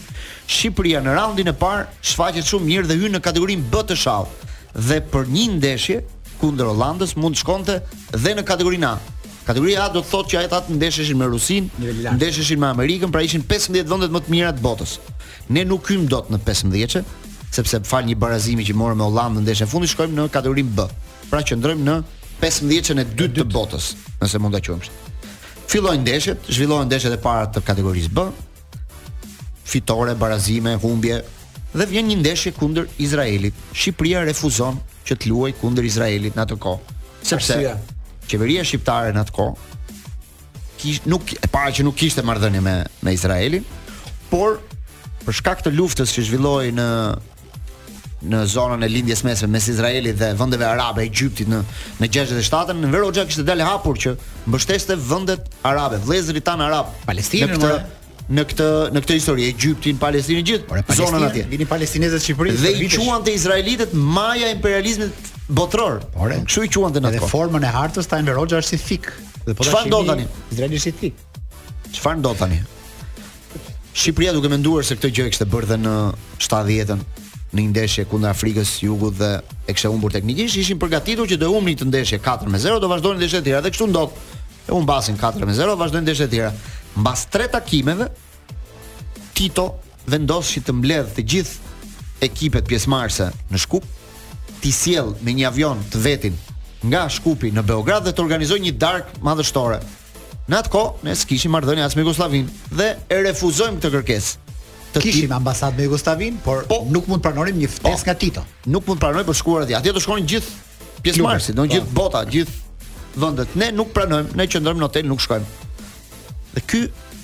[SPEAKER 8] Shqipëria në raundin e parë shfaqet shumë mirë dhe hyn në kategorinë B të shahut. Dhe për një ndeshje kundër Hollandës mund të shkonte dhe në kategorinë A. Kategoria A do të thotë që ata të ndesheshin me Rusin, ndesheshin me Amerikën, pra ishin 15 vendet më të mira të botës. Ne nuk hym dot në 15-çe, sepse fal një barazimi që morëm me Hollandën ndeshën e fundit shkojmë në kategorinë B. Pra qëndrojmë në 15-çën e dytë të botës, nëse mund ta quajmë kështu. Fillojnë ndeshjet, zhvillohen ndeshjet e para të kategorisë B. Fitore, barazime, humbje dhe vjen një ndeshje kundër Izraelit. Shqipëria refuzon që të luajë kundër Izraelit në atë kohë, sepse
[SPEAKER 9] Arsyeja.
[SPEAKER 8] qeveria shqiptare në atë kohë kish, nuk e para që nuk kishte marrëdhënie me me Izraelin, por për shkak të luftës që zhvillohej në në zonën e lindjes mesme mes Izraelit dhe vendeve arabe, Egjiptit në në 67-ën, në Veroxha kishte dalë hapur që mbështeste vendet arabe, vëllezërit tan arab,
[SPEAKER 11] Palestinën,
[SPEAKER 8] në këtë
[SPEAKER 11] more.
[SPEAKER 8] në këtë në këtë histori, Egjiptin, Palestinën, gjithë zonën atje.
[SPEAKER 11] Vini palestinezët në Shqipëri.
[SPEAKER 8] Dhe i quan të Izraelitët maja e imperializmit botror.
[SPEAKER 11] Ore.
[SPEAKER 8] Kështu i quan të në
[SPEAKER 11] Edhe
[SPEAKER 8] atë kohë.
[SPEAKER 11] formën e hartës ta Veroxha është si thik. Dhe ta
[SPEAKER 8] Çfarë do
[SPEAKER 11] shihni,
[SPEAKER 8] tani?
[SPEAKER 11] Izraeli është si thik.
[SPEAKER 8] Çfarë ndo tani? Shqipëria duke menduar se këtë gjë e kishte bërë dhe në 70-ën në një ndeshje kundër Afrikës së Jugut dhe e kishte humbur teknikisht, ishin përgatitur që do e humbnin të ndeshje 4 me 0, do vazhdonin ndeshjet e tjera dhe kështu ndodh. E humbasin 4 me 0, vazhdojnë ndeshjet e tjera. Mbas 3 takimeve Tito vendosi të mbledh të gjithë ekipet pjesëmarrëse në Shkup, ti sjell me një avion të vetin nga Shkupi në Beograd dhe të organizojë një darkë madhështore. Në atë kohë ne s'kishim marrëdhënie as me Jugosllavin dhe e refuzojmë këtë kërkesë. Të Po.
[SPEAKER 11] Kishim ambasadë me Jugoslavin, por nuk mund pranonim një ftesë nga Tito.
[SPEAKER 8] Nuk mund pranoj për shkuar atje. Atje do shkonin gjithë pjesëmarrësit, do
[SPEAKER 11] Po.
[SPEAKER 8] gjithë bota, gjithë vendet. Ne nuk pranojmë, ne qëndrojmë në hotel, nuk shkojmë. Dhe ky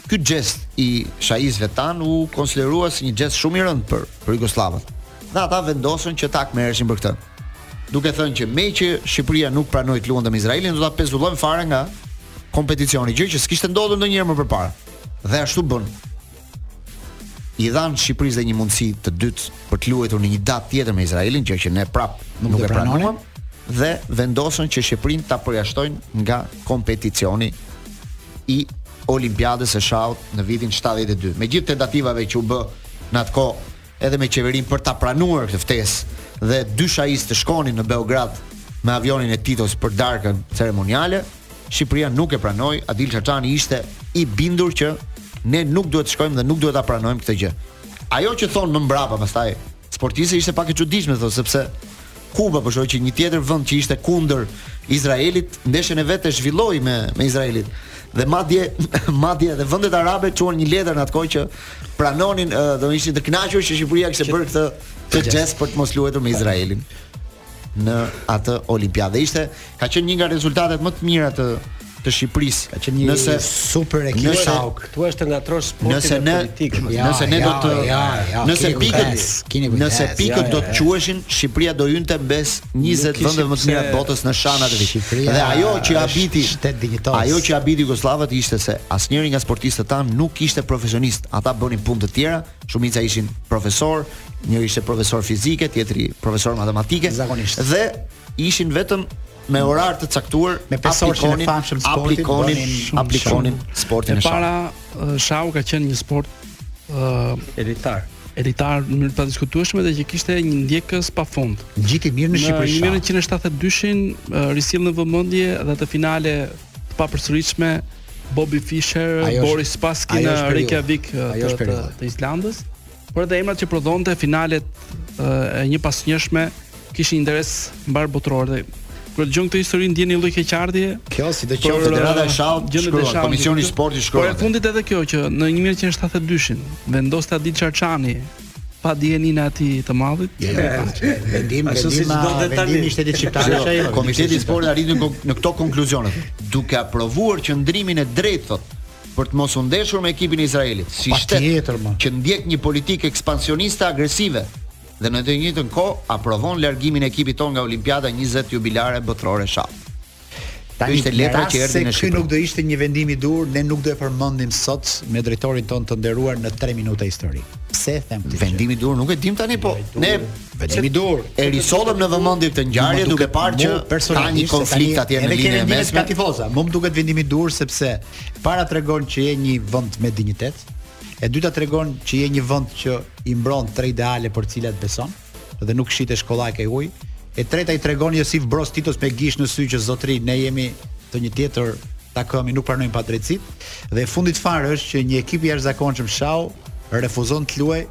[SPEAKER 8] ky gest i shajisëve tan u konsiderua si një gest shumë i rëndë për për Jugosllavët. Dhe ata vendosën që ta kmerreshin për këtë. Duke thënë që me që Shqipëria nuk pranoi të luante me Izraelin, do ta pezullohen fare nga kompeticioni, gjë që s'kishte ndodhur ndonjëherë më përpara. Dhe ashtu bën i dhanë Shqipërisë dhe një mundësi të dytë për të luajtur në një datë tjetër me Izraelin, gjë që ne prap nuk,
[SPEAKER 11] do
[SPEAKER 8] e
[SPEAKER 11] pranonim.
[SPEAKER 8] pranuam dhe vendosën që Shqipërinë ta përjashtojnë nga kompeticioni i Olimpiadës së Shahut në vitin 72. Me gjithë tentativave që u bë në atë kohë edhe me qeverinë për ta pranuar këtë ftesë dhe dy shajistë të shkonin në Beograd me avionin e Titos për darkën ceremoniale, Shqipëria nuk e pranoi. Adil Çaçani ishte i bindur që ne nuk duhet të shkojmë dhe nuk duhet ta pranojmë këtë gjë. Ajo që thonë më mbrapa pastaj sportistë ishte pak e çuditshme thonë sepse Kuba për shkak që një tjetër vend që ishte kundër Izraelit, ndeshjen e vet e zhvilloi me me Izraelit. Dhe madje madje edhe vendet arabe çuan një letër në atë kohë që pranonin, ë, do ishin të kënaqur që Shqipëria kishte bërë këtë këtë gest për të Po. mos luajtur me Izraelin në atë Olimpiadë. Dhe Ishte ka qenë një nga rezultatet më të mira të të Shqipërisë. Ka
[SPEAKER 11] qenë një super ekip Shauk.
[SPEAKER 9] Tu është të ngatrosh sportin
[SPEAKER 8] Nëse
[SPEAKER 9] e
[SPEAKER 8] ne
[SPEAKER 9] politikën.
[SPEAKER 8] nëse ne do të nëse pikët nëse pikët do të
[SPEAKER 11] quhet
[SPEAKER 8] quheshin Shqipëria do hynte mbes 20
[SPEAKER 11] Nuk ishim
[SPEAKER 8] vendeve më të mira të
[SPEAKER 11] pse
[SPEAKER 8] botës në shanat e vit.
[SPEAKER 11] Shqipëria
[SPEAKER 8] Dhe ajo që
[SPEAKER 11] është
[SPEAKER 8] habiti
[SPEAKER 11] shtet dinjitos.
[SPEAKER 8] ajo që habiti Jugoslavët ishte se asnjëri nga sportistët tan nuk ishte profesionist. Ata bënin punë të tjera, shumica ishin profesor, njëri ishte profesor fizike, tjetri profesor matematike. Zakonisht. Dhe ishin vetëm me orar të caktuar,
[SPEAKER 11] Me pesorshin e
[SPEAKER 8] aplikonin,
[SPEAKER 11] famshëm sportit,
[SPEAKER 8] aplikonin,
[SPEAKER 11] bënin shumë
[SPEAKER 8] aplikonin sportin
[SPEAKER 2] E
[SPEAKER 8] e shahut.
[SPEAKER 2] para ë, shahu ka qenë një sport ë
[SPEAKER 9] elitar.
[SPEAKER 2] Elitar në mënyrë të padiskutueshme dhe që kishte një ndjekës pafund.
[SPEAKER 11] Ngjiti mirë në Shqipëri shah.
[SPEAKER 2] Në 1972-shin ë, risillën vëmendje dhe atë finale të papërsëritshme Bobby Fischer,
[SPEAKER 11] Ajo është-
[SPEAKER 2] Boris Spassky
[SPEAKER 11] ajo
[SPEAKER 2] në
[SPEAKER 11] është periudha.
[SPEAKER 2] Reykjavik ë,
[SPEAKER 11] Ajo
[SPEAKER 2] të,
[SPEAKER 11] është
[SPEAKER 2] të,
[SPEAKER 11] periudha.
[SPEAKER 2] të Islandës. Por edhe emrat që prodhonte finalet ë, e një pas njëshme kishin interes mbar botror dhe kur dëgjon këtë histori ndjeni lloj keqardhje.
[SPEAKER 11] Kjo si do
[SPEAKER 8] qoftë, Federata e Shahut shkruan, Komisioni i Sportit shkruan
[SPEAKER 2] Por e
[SPEAKER 8] atë.
[SPEAKER 2] fundit edhe kjo që në 1972-shin vendoste Adil Çarçani pa dijenin e atij të madhit.
[SPEAKER 11] vendim
[SPEAKER 2] Ashtu si
[SPEAKER 11] vendima
[SPEAKER 2] çdo detaj.
[SPEAKER 11] vendimi i shtetit
[SPEAKER 8] Jo,
[SPEAKER 11] shqiptar është ajo.
[SPEAKER 8] Komiteti i sportit arriti në kon- në këto konkluzione, duke aprovuar qëndrimin e drejtë thot për të mos u ndeshur me ekipin e Izraelit, si shtet që ndjek një politikë ekspansioniste agresive dhe në të njëjtën kohë aprovon largimin e ekipit tonë nga Olimpiada 20 jubilare botërore shah. Kjo ishte letra që erdhi në
[SPEAKER 11] Ky
[SPEAKER 8] Shqipëri.
[SPEAKER 11] nuk do ishte një vendim i dur, ne nuk do e përmendim sot me drejtorin ton të nderuar në 3 minuta histori. Pse e them këtë?
[SPEAKER 8] Vendimi i dur nuk e dim tani po. Ne
[SPEAKER 11] vendimi i dur.
[SPEAKER 8] E risollëm në vëmendje këtë ngjarje
[SPEAKER 11] Mua
[SPEAKER 8] duke
[SPEAKER 11] duket-
[SPEAKER 8] parë që
[SPEAKER 11] mua
[SPEAKER 8] ka
[SPEAKER 11] personalisht
[SPEAKER 8] një
[SPEAKER 11] se
[SPEAKER 8] konflikt
[SPEAKER 11] tani
[SPEAKER 8] atje në
[SPEAKER 11] edhe kemi
[SPEAKER 8] linjën e
[SPEAKER 11] ndihet
[SPEAKER 8] mesme.
[SPEAKER 11] Ka tifoza, mua më duket vendimi i dur sepse para tregon që je një vend me dinjitet, e dyta tregon që je një vend që i mbron tre ideale për të cilat beson dhe nuk shite shkollak e huaj. E treta i tregon Josif Broz Titos me gish në sy që zotri ne jemi të një tjetër takomi nuk pranojmë padrejtësit dhe e fundit fare është që një ekip i jashtëzakonshëm shau refuzon të luajë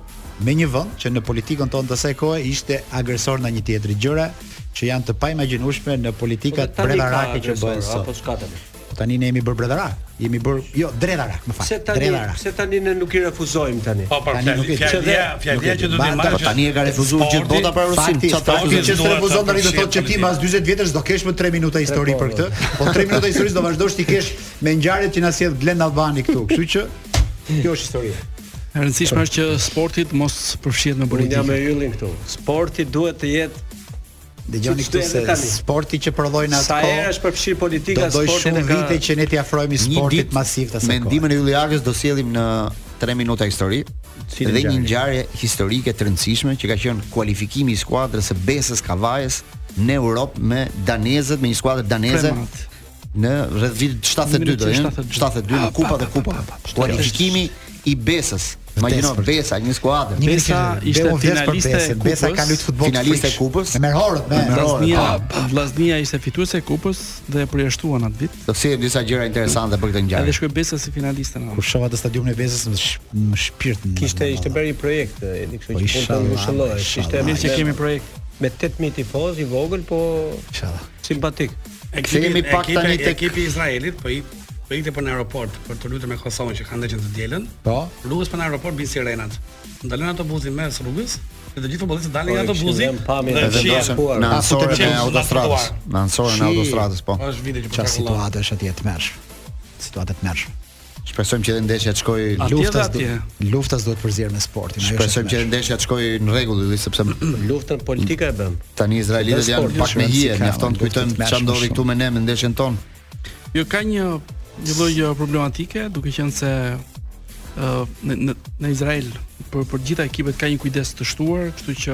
[SPEAKER 11] me një vend që në politikën tonë të asaj kohe ishte agresor ndaj një tjetri gjëra që janë të paimagjinueshme në politikat
[SPEAKER 2] Po
[SPEAKER 11] bredarake që bëhen
[SPEAKER 5] Apo
[SPEAKER 11] sot.
[SPEAKER 5] s'ka tani.
[SPEAKER 11] Tani ne jemi bërë bredarak, jemi bërë jo dretarak, më fal.
[SPEAKER 9] Pse tani,
[SPEAKER 11] Dretarak.
[SPEAKER 9] pse tani ne nuk i refuzojmë tani?
[SPEAKER 10] Po, po,
[SPEAKER 11] Tani nuk e di.
[SPEAKER 10] fjallia, fjallia
[SPEAKER 11] Nuk
[SPEAKER 10] që
[SPEAKER 11] e di.
[SPEAKER 10] do të
[SPEAKER 11] Banda,
[SPEAKER 10] marrë.
[SPEAKER 11] po tani e ka refuzuar gjithë bota pra, për Rusin. Çfarë fakti që të refuzon tani do thotë që ti mas 40 vjetësh do kesh më 3 minuta histori për këtë. Po 3 minuta historisë do vazhdosh ti kesh me ngjarjet që na sjell Glen Albani këtu. Kështu që kjo është historia.
[SPEAKER 2] E rëndësishme është që sportit mos përfshihet me
[SPEAKER 9] Po. Unë jam me
[SPEAKER 2] politikë.
[SPEAKER 9] yllin këtu. Sporti duhet të jetë
[SPEAKER 11] Dëgjoni
[SPEAKER 9] Siç
[SPEAKER 11] këtu
[SPEAKER 9] do
[SPEAKER 11] se
[SPEAKER 9] edhe tani.
[SPEAKER 11] sporti që prodhojnë atë
[SPEAKER 9] sa
[SPEAKER 11] kohë.
[SPEAKER 9] herë është përfshirë
[SPEAKER 11] Do
[SPEAKER 9] politika
[SPEAKER 11] doj
[SPEAKER 9] sportin
[SPEAKER 11] shumë
[SPEAKER 9] e ka.
[SPEAKER 11] vite që ne t'i afrohemi sportit masiv të asaj kohë.
[SPEAKER 8] Mendimin e Ylliakës do sjellim në 3 minuta histori
[SPEAKER 11] Cilin
[SPEAKER 8] dhe një
[SPEAKER 11] ngjarje?
[SPEAKER 8] ngjarje historike të rëndësishme që ka qenë kualifikimi i skuadrës së Besës Kavajës në Europë me danezët, me një skuadër daneze
[SPEAKER 2] Premat.
[SPEAKER 8] në rreth vitit 72 do jenë
[SPEAKER 2] 1972.
[SPEAKER 8] 72 në Kupa dhe Kupa. Kualifikimi i Besës. Imagjino
[SPEAKER 11] për-
[SPEAKER 8] Besa, një skuadrë.
[SPEAKER 11] Një minut që- Beu vdes për Besën. Besa ka luajtur futboll
[SPEAKER 8] finaliste e
[SPEAKER 11] freak.
[SPEAKER 8] kupës. Po.
[SPEAKER 11] E merr horët, me.
[SPEAKER 2] Vllaznia, Vllaznia ishte fituese e kupës dhe e përjashtuan atë vit.
[SPEAKER 8] Do të sjellim disa gjëra interesante për këtë
[SPEAKER 2] Edhe
[SPEAKER 8] ngjarje.
[SPEAKER 2] shkoi Besa si finaliste në.
[SPEAKER 11] Kur shoha të stadiumin e Bezës më, sh më shpirt. më-
[SPEAKER 9] Kishte ishte bërë një projekt, edhe kështu
[SPEAKER 11] Po,
[SPEAKER 9] që punën
[SPEAKER 11] inshallah,
[SPEAKER 9] ngushëllohej. Ishte
[SPEAKER 11] inshallah.
[SPEAKER 2] Mirë që kemi projekt.
[SPEAKER 9] me 8000 tifoz i vogël, po
[SPEAKER 11] Inshallah.
[SPEAKER 9] simpatik.
[SPEAKER 8] Kthehemi pak tani tek-
[SPEAKER 10] ekipi i Izraelit, po i po ikte për në aeroport për të luajtur me Kosovën që kanë ndeshjen të dielën.
[SPEAKER 11] Po.
[SPEAKER 10] Rrugës për në aeroport bin sirenat. Ndalen autobusi mes rrugës dhe të gjithë futbollistët dalin
[SPEAKER 9] Po,
[SPEAKER 10] nga
[SPEAKER 9] i kishin
[SPEAKER 10] autobusi.
[SPEAKER 9] dhënë pamje
[SPEAKER 10] dhe
[SPEAKER 9] të
[SPEAKER 8] Edhe
[SPEAKER 10] fshihen.
[SPEAKER 8] ndosën
[SPEAKER 9] puar.
[SPEAKER 8] në
[SPEAKER 11] Pa,
[SPEAKER 8] ansorën
[SPEAKER 11] futbolistët
[SPEAKER 8] e
[SPEAKER 10] janë
[SPEAKER 8] autostradës.
[SPEAKER 10] zbatuar.
[SPEAKER 8] Në ansorën e
[SPEAKER 11] Shi.
[SPEAKER 8] autostradës, po.
[SPEAKER 10] Është video që po
[SPEAKER 11] Çfarë
[SPEAKER 10] qarkullohet.
[SPEAKER 11] situatë është atje të mërsh. Situatë të mërsh.
[SPEAKER 8] Shpresojmë që edhe ndeshja të shkojë
[SPEAKER 2] Atje dhe
[SPEAKER 11] Luftas do
[SPEAKER 2] atje.
[SPEAKER 11] luftas duhet përzier me sportin. ajo është
[SPEAKER 8] Shpresojmë
[SPEAKER 11] e
[SPEAKER 8] që
[SPEAKER 11] tmerrshme.
[SPEAKER 8] ndeshja të shkojë në rregull, Ylli, sepse
[SPEAKER 9] Luftën politika e bën.
[SPEAKER 8] tani izraelitët
[SPEAKER 9] Dhe
[SPEAKER 8] janë
[SPEAKER 9] sporti,
[SPEAKER 8] pak me
[SPEAKER 11] shpresoj
[SPEAKER 8] hije,
[SPEAKER 11] si ka,
[SPEAKER 8] mjafton
[SPEAKER 11] do
[SPEAKER 8] të
[SPEAKER 11] të
[SPEAKER 8] kujtojmë
[SPEAKER 11] mërshme
[SPEAKER 8] çfarë ndodhi
[SPEAKER 11] shumë.
[SPEAKER 8] këtu me ne në ndeshjen tonë.
[SPEAKER 2] Jo ka një një lloj uh, problematike, duke qenë se uh, në, në në Izrael për për gjitha ekipet ka një kujdes të shtuar, kështu që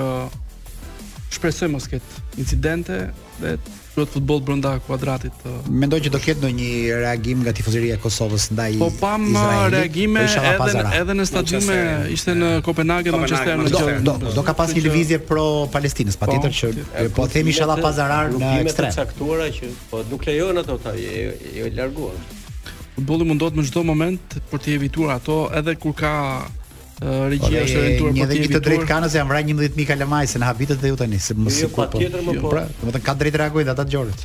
[SPEAKER 2] shpresoj mos ketë incidente dhe luhet futboll brenda kuadratit të
[SPEAKER 11] Mendoj që do ketë ndonjë reagim nga tifozëria e Kosovës ndaj
[SPEAKER 2] Po pam uh,
[SPEAKER 11] Izraelit,
[SPEAKER 2] reagime
[SPEAKER 11] po isha pa
[SPEAKER 2] edhe
[SPEAKER 11] zara.
[SPEAKER 2] edhe në stadiume,
[SPEAKER 10] Manchester,
[SPEAKER 2] ishte në Kopenhagë,
[SPEAKER 10] Kopenhagë,
[SPEAKER 2] Manchester,
[SPEAKER 11] Do,
[SPEAKER 10] Manchester.
[SPEAKER 2] në
[SPEAKER 11] do, do ka pas një lëvizje pro Palestinës, patjetër që po themi inshallah pa zarar në
[SPEAKER 9] Rrugime të
[SPEAKER 11] ekstrem.
[SPEAKER 9] caktuara që po nuk lejohen ato ta jo jo larguan.
[SPEAKER 11] Po,
[SPEAKER 2] Futbolli mundohet në çdo moment për të evituar ato, edhe kur ka uh,
[SPEAKER 11] Ore,
[SPEAKER 2] regjia është po e rentuar
[SPEAKER 11] Një
[SPEAKER 2] për
[SPEAKER 11] dhe
[SPEAKER 2] të
[SPEAKER 11] një të drejtë
[SPEAKER 2] evituar.
[SPEAKER 11] kanës janë vrarë 11000 kalamaj se në habitet dhe ju tani, se mos
[SPEAKER 9] Jo,
[SPEAKER 11] sikur po.
[SPEAKER 9] patjetër, më po.
[SPEAKER 11] Pra, domethënë ka drejtë reagojnë dhe ata dëgjorët.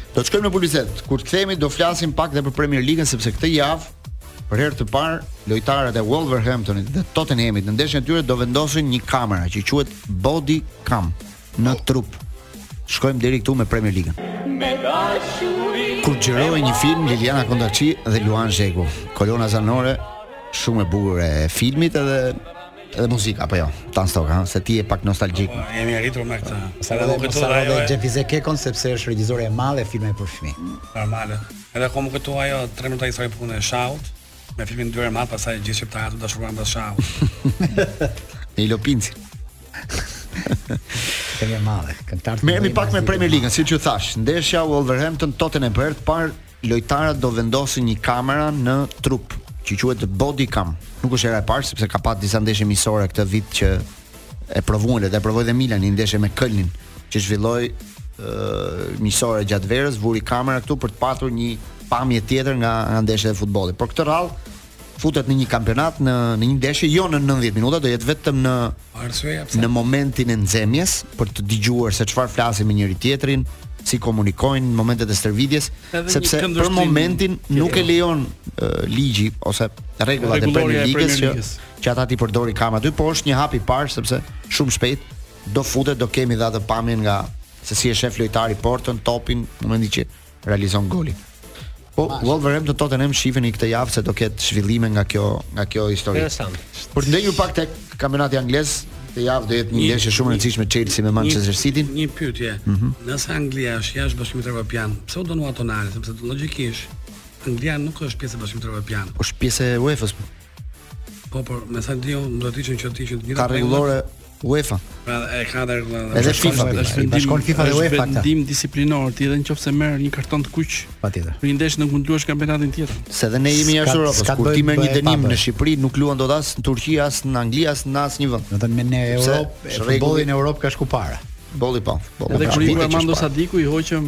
[SPEAKER 8] Do të shkojmë në publicitet. Kur të kthehemi do flasim pak edhe për Premier League-ën sepse këtë javë për herë të parë lojtarët e Wolverhamptonit dhe Tottenhamit në ndeshjen e tyre do vendosin një kamera që quhet body cam në trup. Shkojmë deri këtu me Premier League-ën. Kur xhiroi një film Liliana Kondaçi dhe Luan Zheku, kolona zanore shumë e bukur e filmit edhe edhe muzika apo jo. Tan Stoka, ha, se ti je pak nostalgjik.
[SPEAKER 10] Po, Jemi arritur me këtë. Sa
[SPEAKER 11] Edhe
[SPEAKER 10] do
[SPEAKER 11] mos
[SPEAKER 10] këtu
[SPEAKER 11] harro
[SPEAKER 10] po ajo.
[SPEAKER 11] dhe
[SPEAKER 10] e-
[SPEAKER 11] Xhefize Kekon sepse është regjizore e madhe e filmave për fëmijë.
[SPEAKER 10] Normale. Edhe komu këtu ajo 3 minuta histori punë e Shaut me filmin Dyer Mat, pastaj gjithë shqiptarët u dashuruan pas Shaut.
[SPEAKER 8] Në Ilopinci.
[SPEAKER 11] e madhe. Këngëtar.
[SPEAKER 8] Merremi pak me Premier League-ën, siç ju thash. Ndeshja Wolverhampton Tottenham për të parë lojtarët do vendosin një kamera në trup, që quhet body cam. Nuk është era e parë sepse ka pat disa ndeshje miqësore këtë vit që e provuan le, dhe e provoi dhe Milani një ndeshje me Kölnin, që zhvilloi ë miqësore gjatë verës, vuri kamera këtu për të patur një pamje tjetër nga nga ndeshjet e futbollit. Por këtë radhë futet në një kampionat në në një ndeshje jo në 90 minuta, do jetë vetëm në
[SPEAKER 10] Arsyeja
[SPEAKER 8] në momentin e nxemjes për të dëgjuar se çfarë flasin me njëri tjetrin, si komunikojnë në momentet e stërvitjes,
[SPEAKER 10] Edhe një
[SPEAKER 8] sepse për
[SPEAKER 10] këndvështrim
[SPEAKER 8] momentin
[SPEAKER 10] tjetër.
[SPEAKER 8] nuk e lejon uh, ligji ose rregullat e
[SPEAKER 10] Rregulloria e
[SPEAKER 8] Premier Ligës
[SPEAKER 10] Premier
[SPEAKER 8] që,
[SPEAKER 10] Ligës.
[SPEAKER 8] që ata ti përdorin kam aty, por po është një hap i parë sepse shumë shpejt do futet, do kemi dhe atë pamjen nga se si e shef lojtari portën, topin, në momentin që realizon golin. Po Wolverhampton Tottenham shifeni këtë javë se do ketë zhvillime nga kjo nga kjo histori.
[SPEAKER 9] Interesant.
[SPEAKER 8] Por të ndenjur pak tek kampionati anglez, këtë javë do jetë një
[SPEAKER 10] Një-
[SPEAKER 8] ndeshje shumë e rëndësishme Chelsea me Manchester City.
[SPEAKER 10] Një pyetje. Nëse Anglia është jashtë Bashkimit Evropian, pse u dënua Tonali? Sepse logjikisht Anglia nuk është pjesë e Bashkimit Evropian.
[SPEAKER 8] Është pjesë e UEFA-s. po.
[SPEAKER 10] Po por me sa diu do të ishin që të ishin të
[SPEAKER 8] Ka rregullore UEFA.
[SPEAKER 10] Pra e ka dhe rregullore.
[SPEAKER 8] Edhe FIFA,
[SPEAKER 2] Është vendim,
[SPEAKER 8] FIFA dhe
[SPEAKER 2] është
[SPEAKER 8] UEFA këta.
[SPEAKER 2] vendim disiplinor, ti edhe nëse merr një karton të kuq,
[SPEAKER 11] patjetër.
[SPEAKER 2] Për një ndeshje nuk mund të luash kampionatin tjetër.
[SPEAKER 8] Se dhe ne jemi jashtë Europës. Kur ti merr një dënim në Shqipëri, nuk luan dot as në Turqi, as në Angli, as në asnjë vend.
[SPEAKER 11] Do të thënë me në
[SPEAKER 8] Pse?
[SPEAKER 11] Europë, e
[SPEAKER 8] Rregulli-
[SPEAKER 11] futbolli në Europë ka shku para.
[SPEAKER 8] Bolli po. futbolli
[SPEAKER 2] Edhe
[SPEAKER 8] ka.
[SPEAKER 2] kur i
[SPEAKER 8] Vite që
[SPEAKER 2] Armando
[SPEAKER 8] është para.
[SPEAKER 2] Sadiku i hoqëm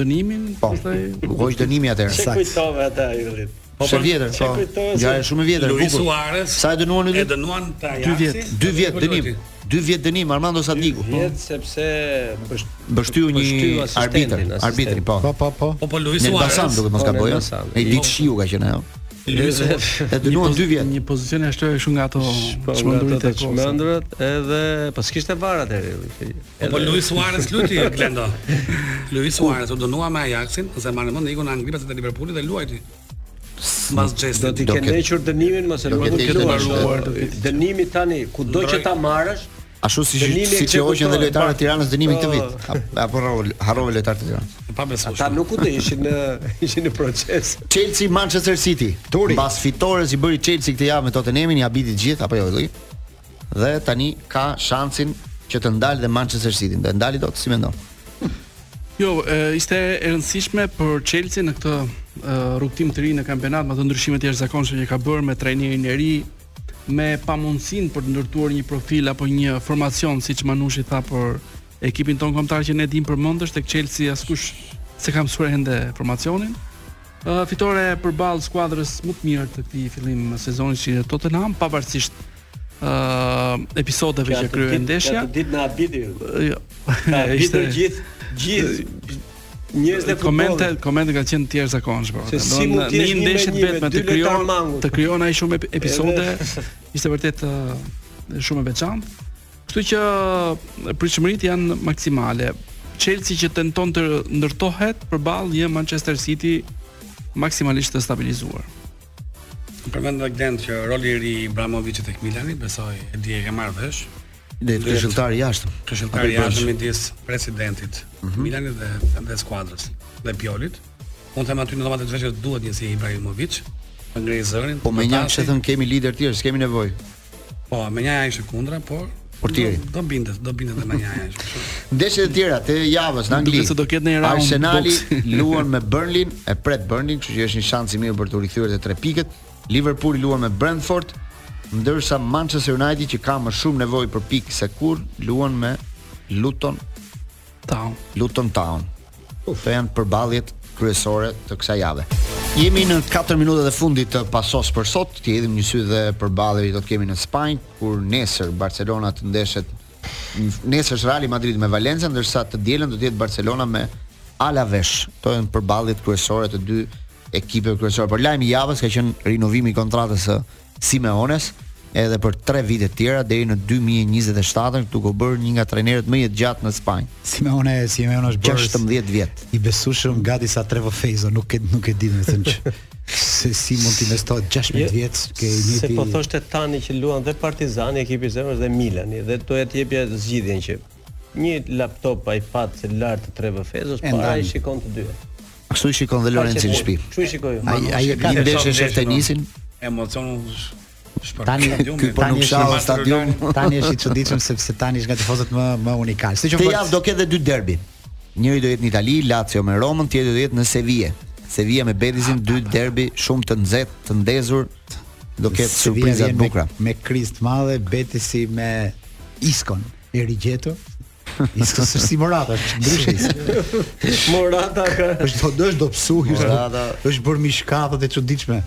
[SPEAKER 2] dënimin,
[SPEAKER 8] Po. U hoq dënimi atëherë.
[SPEAKER 2] Çe
[SPEAKER 8] Sakt.
[SPEAKER 5] po,
[SPEAKER 10] kujtove ata idhit.
[SPEAKER 8] Është e vjetër, po. Ngjarje shumë e vjetër, e
[SPEAKER 10] Luis
[SPEAKER 8] bukur.
[SPEAKER 10] Suarez.
[SPEAKER 8] Sa e dënuan në
[SPEAKER 10] E
[SPEAKER 8] vit?
[SPEAKER 10] dënuan ta
[SPEAKER 8] 2 vjet, 2 vjet dënim. 2 vjet dënim Armando Sadiku.
[SPEAKER 5] Vjet sepse bësh
[SPEAKER 8] Bështyu një
[SPEAKER 5] Bështyu asistentin,
[SPEAKER 8] arbitër,
[SPEAKER 5] asistent.
[SPEAKER 8] arbitri po.
[SPEAKER 5] Po, po, po.
[SPEAKER 10] Po, po, Luis
[SPEAKER 8] Nel
[SPEAKER 10] Suarez.
[SPEAKER 8] Basan duhet mos
[SPEAKER 10] Po,
[SPEAKER 8] gaboj.
[SPEAKER 10] Nel
[SPEAKER 8] ha?
[SPEAKER 10] Basan.
[SPEAKER 8] E ditë shiu ka qenë ajo.
[SPEAKER 10] Luis-
[SPEAKER 8] E dënuan 2 vjet.
[SPEAKER 2] Një pozicion e ashtu shumë nga ato
[SPEAKER 5] Po nga ato
[SPEAKER 2] çmendurit
[SPEAKER 5] të
[SPEAKER 2] e kohës.
[SPEAKER 5] çmendurat edhe po s'kishte var atëherë.
[SPEAKER 10] Po po Luis Suarez luti Glendo. Luis Suarez u dënua me Ajaxin, ose marrë mend ikun në Angli pas te Liverpooli dhe luajti. Mbas Jesit.
[SPEAKER 9] Do t'i ke ndëqur dënimin mos e
[SPEAKER 10] do
[SPEAKER 9] nuk
[SPEAKER 10] ketë
[SPEAKER 9] e
[SPEAKER 10] dënim,
[SPEAKER 9] luar.
[SPEAKER 10] do ketë-
[SPEAKER 9] Dënimi tani kudo që ta marrësh,
[SPEAKER 8] Ashtu si
[SPEAKER 9] Dënimi
[SPEAKER 8] si që hoqën dhe
[SPEAKER 9] ekzekutohet,
[SPEAKER 8] lojtarët e
[SPEAKER 9] pa.
[SPEAKER 8] Tiranës dënimin
[SPEAKER 9] Po.
[SPEAKER 8] këtë vit. A- Apo harrove- harrove lojtarët e Tiranës.
[SPEAKER 10] pa besueshëm.
[SPEAKER 9] Ata nuk u të ishin në ishin në proces.
[SPEAKER 8] Chelsea Manchester City. Turi. Mbas fitores i bëri Chelsea këtë javë me Tottenhamin, i habiti të gjithë apo jo lloj. Dhe tani ka shansin që të ndalë dhe Manchester City. Do e ndali dot si mendon?
[SPEAKER 2] Jo, e, ishte e rëndësishme për Chelsea në këtë e, rrugtim të ri në kampionat, me ato ndryshimet e jashtëzakonshme që ka bërë me trajnerin e ri, me pamundësinë për të ndërtuar një profil apo një formacion siç Manushi tha për ekipin ton kombëtar që ne dim përmendesh tek Chelsea askush se ka mësuar ende formacionin. Ë, fitore përballë skuadrës më të mirë të këtij fillim sezoni që është Tottenham, pavarësisht ë episodeve që kryen ndeshja.
[SPEAKER 9] Atë ditë na habiti.
[SPEAKER 2] Jo.
[SPEAKER 9] Na habiti
[SPEAKER 2] Ishte-
[SPEAKER 9] gjithë gjithë njerëz dhe
[SPEAKER 2] komente komente kanë qenë të tjerë zakonshme. po,
[SPEAKER 9] Se si mund
[SPEAKER 2] Domethënë,
[SPEAKER 9] t'jesh një
[SPEAKER 2] një
[SPEAKER 9] me
[SPEAKER 2] ndeshje
[SPEAKER 9] një, me dy
[SPEAKER 2] vetme
[SPEAKER 9] lojtarë
[SPEAKER 2] të krijon
[SPEAKER 9] mangut.
[SPEAKER 2] të krijon ai shumë ep- episode,
[SPEAKER 9] Edhe-
[SPEAKER 2] ishte vërtet ë, shumë e veçantë. Kështu që pritshmëritë janë maksimale. Chelsea që tenton të ndërtohet përballë një Manchester City maksimalisht të stabilizuar.
[SPEAKER 10] Përmend edhe Glend që roli i ri i Ibrahimovicit tek Milani, besoj e di e ke marrë vesh.
[SPEAKER 8] Dhe këshilltari jashtë.
[SPEAKER 10] Këshilltari
[SPEAKER 8] Apo i
[SPEAKER 10] jashtë
[SPEAKER 8] brendshëm.
[SPEAKER 10] midis presidentit
[SPEAKER 8] Mhm.
[SPEAKER 10] të Milanit dhe dhe skuadrës dhe Piolit. Unë them aty në domatë të vesh që duhet një si Ibrahimovic, për ngrej zërin.
[SPEAKER 8] Po me një
[SPEAKER 10] potasi.
[SPEAKER 8] që thënë kemi lider tjerë, s'kemi nevojë.
[SPEAKER 10] Po, me një ishte kundra, por
[SPEAKER 8] Portieri.
[SPEAKER 10] Do, do bindet, do bindet edhe me një ishte.
[SPEAKER 8] Ndeshjet e tjera të javës në Angli.
[SPEAKER 2] Duket se do ketë një round
[SPEAKER 8] Arsenali
[SPEAKER 2] boxi.
[SPEAKER 8] luan me Burnley, e pret Burnley, kështu që është një shans i mirë për të rikthyer te 3 pikët. Liverpooli luan me Brentford, ndërsa Manchester United që ka më shumë nevojë për pikë se kur luan me Luton
[SPEAKER 2] Town.
[SPEAKER 8] Luton Town. Këto janë përballjet kryesore të kësaj jave. Jemi në 4 minutat e fundit të pasos për sot. Ti hedhim një sy dhe përballje do të kemi në Spanjë, kur nesër Barcelona të ndeshet nesër është Real Madrid me Valencia, ndërsa të dielën do të jetë Barcelona me Alaves. Këto janë përballjet kryesore të dy ekipeve kryesore. Por lajmi i javës ka qenë rinovimi i kontratës së Simeones edhe për 3 vite të tjera deri në 2027 këtu ku bërë një nga trajnerët më i gjatë në Spanjë.
[SPEAKER 11] Simeone, Simeone është bërë
[SPEAKER 8] 16 vjet.
[SPEAKER 11] I besueshëm gati sa Trevo Feizo, nuk e nuk e di domethënë që se si mund të investohet 16 vjet ke një
[SPEAKER 9] Se po thoshte tani që luan dhe Partizani, ekipi i zemrës dhe Milani dhe do të jepja zgjidhjen që një laptop iPad celular të Trevor Fezos
[SPEAKER 8] E
[SPEAKER 9] para
[SPEAKER 8] ndan.
[SPEAKER 9] i shikon të dyja.
[SPEAKER 8] Kështu i shikon dhe Lorenzi në shtëpi.
[SPEAKER 9] Kështu i shikoj.
[SPEAKER 8] Ai ai e ka ndeshje shef tenisin.
[SPEAKER 10] Emocion
[SPEAKER 11] Tani
[SPEAKER 8] Ky po nuk shau stadium.
[SPEAKER 11] Tani është i çuditshëm sepse tani është nga tifozët më më unikal. Siç
[SPEAKER 8] Këtë javë do ketë edhe dy derbi. Njëri do jetë në Itali, Lazio me Romën, tjetri do jetë në Sevilla. Sevilla me Betisin dy derbi shumë të nxehtë, të ndezur. Do ketë surpriza të bukura.
[SPEAKER 11] Me, me kriz të madhe, Betisi me Iskon e rigjetur. Iskon është si Morata, është ndryshe. Iskon.
[SPEAKER 9] Morata ka
[SPEAKER 11] është do dësh do psu, është
[SPEAKER 8] Morata.
[SPEAKER 11] është bërë mishkatat e çuditshme.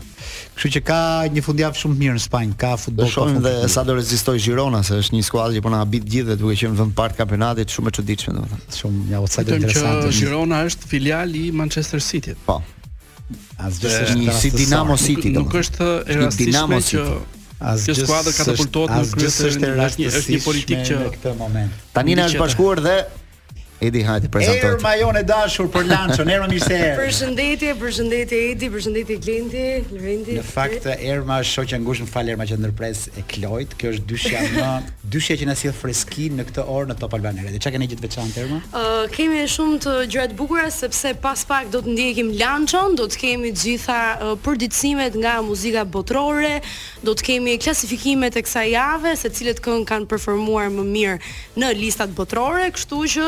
[SPEAKER 11] Kështu që ka një fundjavë shumë të mirë në Spanjë, ka
[SPEAKER 8] Do
[SPEAKER 11] futboll. ka
[SPEAKER 8] shohim
[SPEAKER 11] futboll.
[SPEAKER 8] dhe sa do rezistoj Girona, se është një skuadër që po na habit gjithë dhe duke qenë në vend part kampionatit, shumë e çuditshme domethënë.
[SPEAKER 11] Shumë një outsider
[SPEAKER 2] Vetëm që Girona është filial i Manchester City.
[SPEAKER 8] Po.
[SPEAKER 11] Asgjë
[SPEAKER 8] s'është Një si rastësor. Dinamo City,
[SPEAKER 2] Nuk, nuk
[SPEAKER 8] domethënë.
[SPEAKER 2] është
[SPEAKER 8] Është
[SPEAKER 2] e
[SPEAKER 8] një Dinamo
[SPEAKER 2] rastishme që
[SPEAKER 8] City.
[SPEAKER 2] kjo
[SPEAKER 11] Asgjë
[SPEAKER 2] skuadër
[SPEAKER 11] s'është-
[SPEAKER 2] katapultohet në
[SPEAKER 11] asgjë
[SPEAKER 2] krye të
[SPEAKER 11] s'është e
[SPEAKER 2] është një është një
[SPEAKER 11] rastësishme
[SPEAKER 2] politikë që
[SPEAKER 11] në këtë moment.
[SPEAKER 8] Tani na është bashkuar dhe Edi hajde
[SPEAKER 11] Erë
[SPEAKER 8] prezantojt.
[SPEAKER 11] majon e dashur për Lançon, erë mirë se erë.
[SPEAKER 14] Përshëndetje, përshëndetje Edi, përshëndetje Glenti, Lëvendi.
[SPEAKER 11] Në fakt Erma është shoqja ngushtë në fal Erma që ndërpres e Klojt. Kjo është dyshja më dyshja që na sill freski në këtë orë në Top Albania Radio. Çka keni gjithë veçantë Erma?
[SPEAKER 14] Uh, kemi shumë të gjëra të bukura sepse pas pak do të ndjekim lançon, do të kemi të gjitha uh, përditësimet nga muzika botërore, do të kemi klasifikimet e kësaj jave se cilët këngë kanë performuar më mirë në listat botërore, kështu që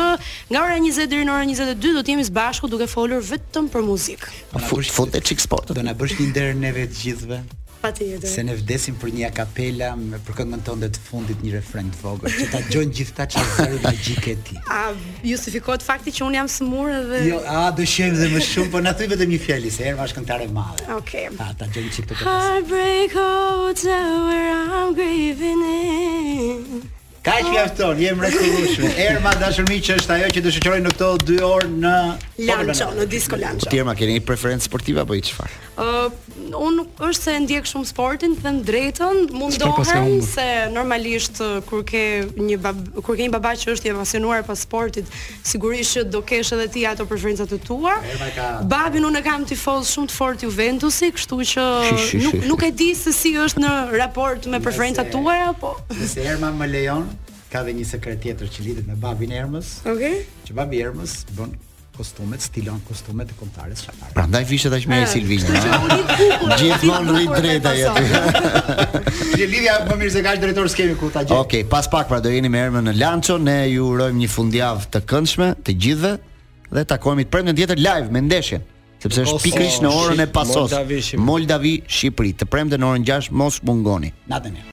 [SPEAKER 14] nga ora 20 deri në orën 22 do të jemi së bashku duke folur vetëm për muzikë.
[SPEAKER 8] Fut e çik sport.
[SPEAKER 11] Do na bësh një nder neve të gjithëve.
[SPEAKER 14] Patjetër.
[SPEAKER 11] Se ne vdesim për një akapela me për këngën tonë të fundit një refren të vogël, që ta gjojnë gjithta që zëri magjike e ti.
[SPEAKER 14] A justifikohet fakti që un jam smurë dhe
[SPEAKER 11] Jo, a do shojmë dhe më shumë, po na thuj vetëm një fjalë se Erma është këngëtare e madhe.
[SPEAKER 14] Okej.
[SPEAKER 11] Ta ta gjojmë çik këto.
[SPEAKER 14] Heartbreak hotel where I'm grieving in.
[SPEAKER 11] Kaq
[SPEAKER 14] Ah.
[SPEAKER 11] mjafton, je mrekullueshme. Erma dashur miq që është ajo që do shoqëroj në këto 2 orë në
[SPEAKER 14] Lanço, në disco Lanço.
[SPEAKER 8] Tjerma keni një preferencë sportive apo i çfarë?
[SPEAKER 14] Uh, unë nuk është se ndjek shumë sportin, të them drejtën,
[SPEAKER 8] S'për pas ka
[SPEAKER 14] mundohem
[SPEAKER 8] humbur.
[SPEAKER 14] se normalisht uh, kur ke një bab, kur ke një baba që është i apasionuar pas sportit, sigurisht që do kesh edhe ti ato preferencat e tua.
[SPEAKER 11] ka-
[SPEAKER 14] Babin unë e kam tifoz shumë të fortë Juventusi, kështu që
[SPEAKER 11] Shi, shi,
[SPEAKER 14] nuk
[SPEAKER 11] shi.
[SPEAKER 14] nuk e di se si është në raport me preferencat tuaja, po
[SPEAKER 11] Nëse Erma më lejon, ka dhe një sekret tjetër që lidhet me babin e Ermës.
[SPEAKER 14] Okej.
[SPEAKER 11] Që babi i Ermës bën kostumet, stilon kostumet e kombëtarës shqiptare.
[SPEAKER 8] Prandaj fishet aq mirë
[SPEAKER 11] Ah,
[SPEAKER 8] Silvinja.
[SPEAKER 11] kështu që
[SPEAKER 8] ha?
[SPEAKER 11] u lidh kukur,
[SPEAKER 8] Gjithmonë
[SPEAKER 11] u
[SPEAKER 8] rrit
[SPEAKER 11] lidh kukur me
[SPEAKER 8] drejta jetë.
[SPEAKER 11] Që lidhja më mirë se ka është drejtor skemi ku ta gjej.
[SPEAKER 8] Okej, pas pak pra do jeni me Ermën në Lanço, ne ju urojmë një fundjavë të këndshme të gjithëve dhe takohemi të premten tjetër live me ndeshjen, sepse është
[SPEAKER 11] Kosovë,
[SPEAKER 8] pikërisht në orën e
[SPEAKER 11] Shqip-
[SPEAKER 8] pasos.
[SPEAKER 11] Moldavi, Shqipëri.
[SPEAKER 8] Moldavi, Shqipëri. Të premten në orën 6 mos mungoni.
[SPEAKER 11] Natën e mirë.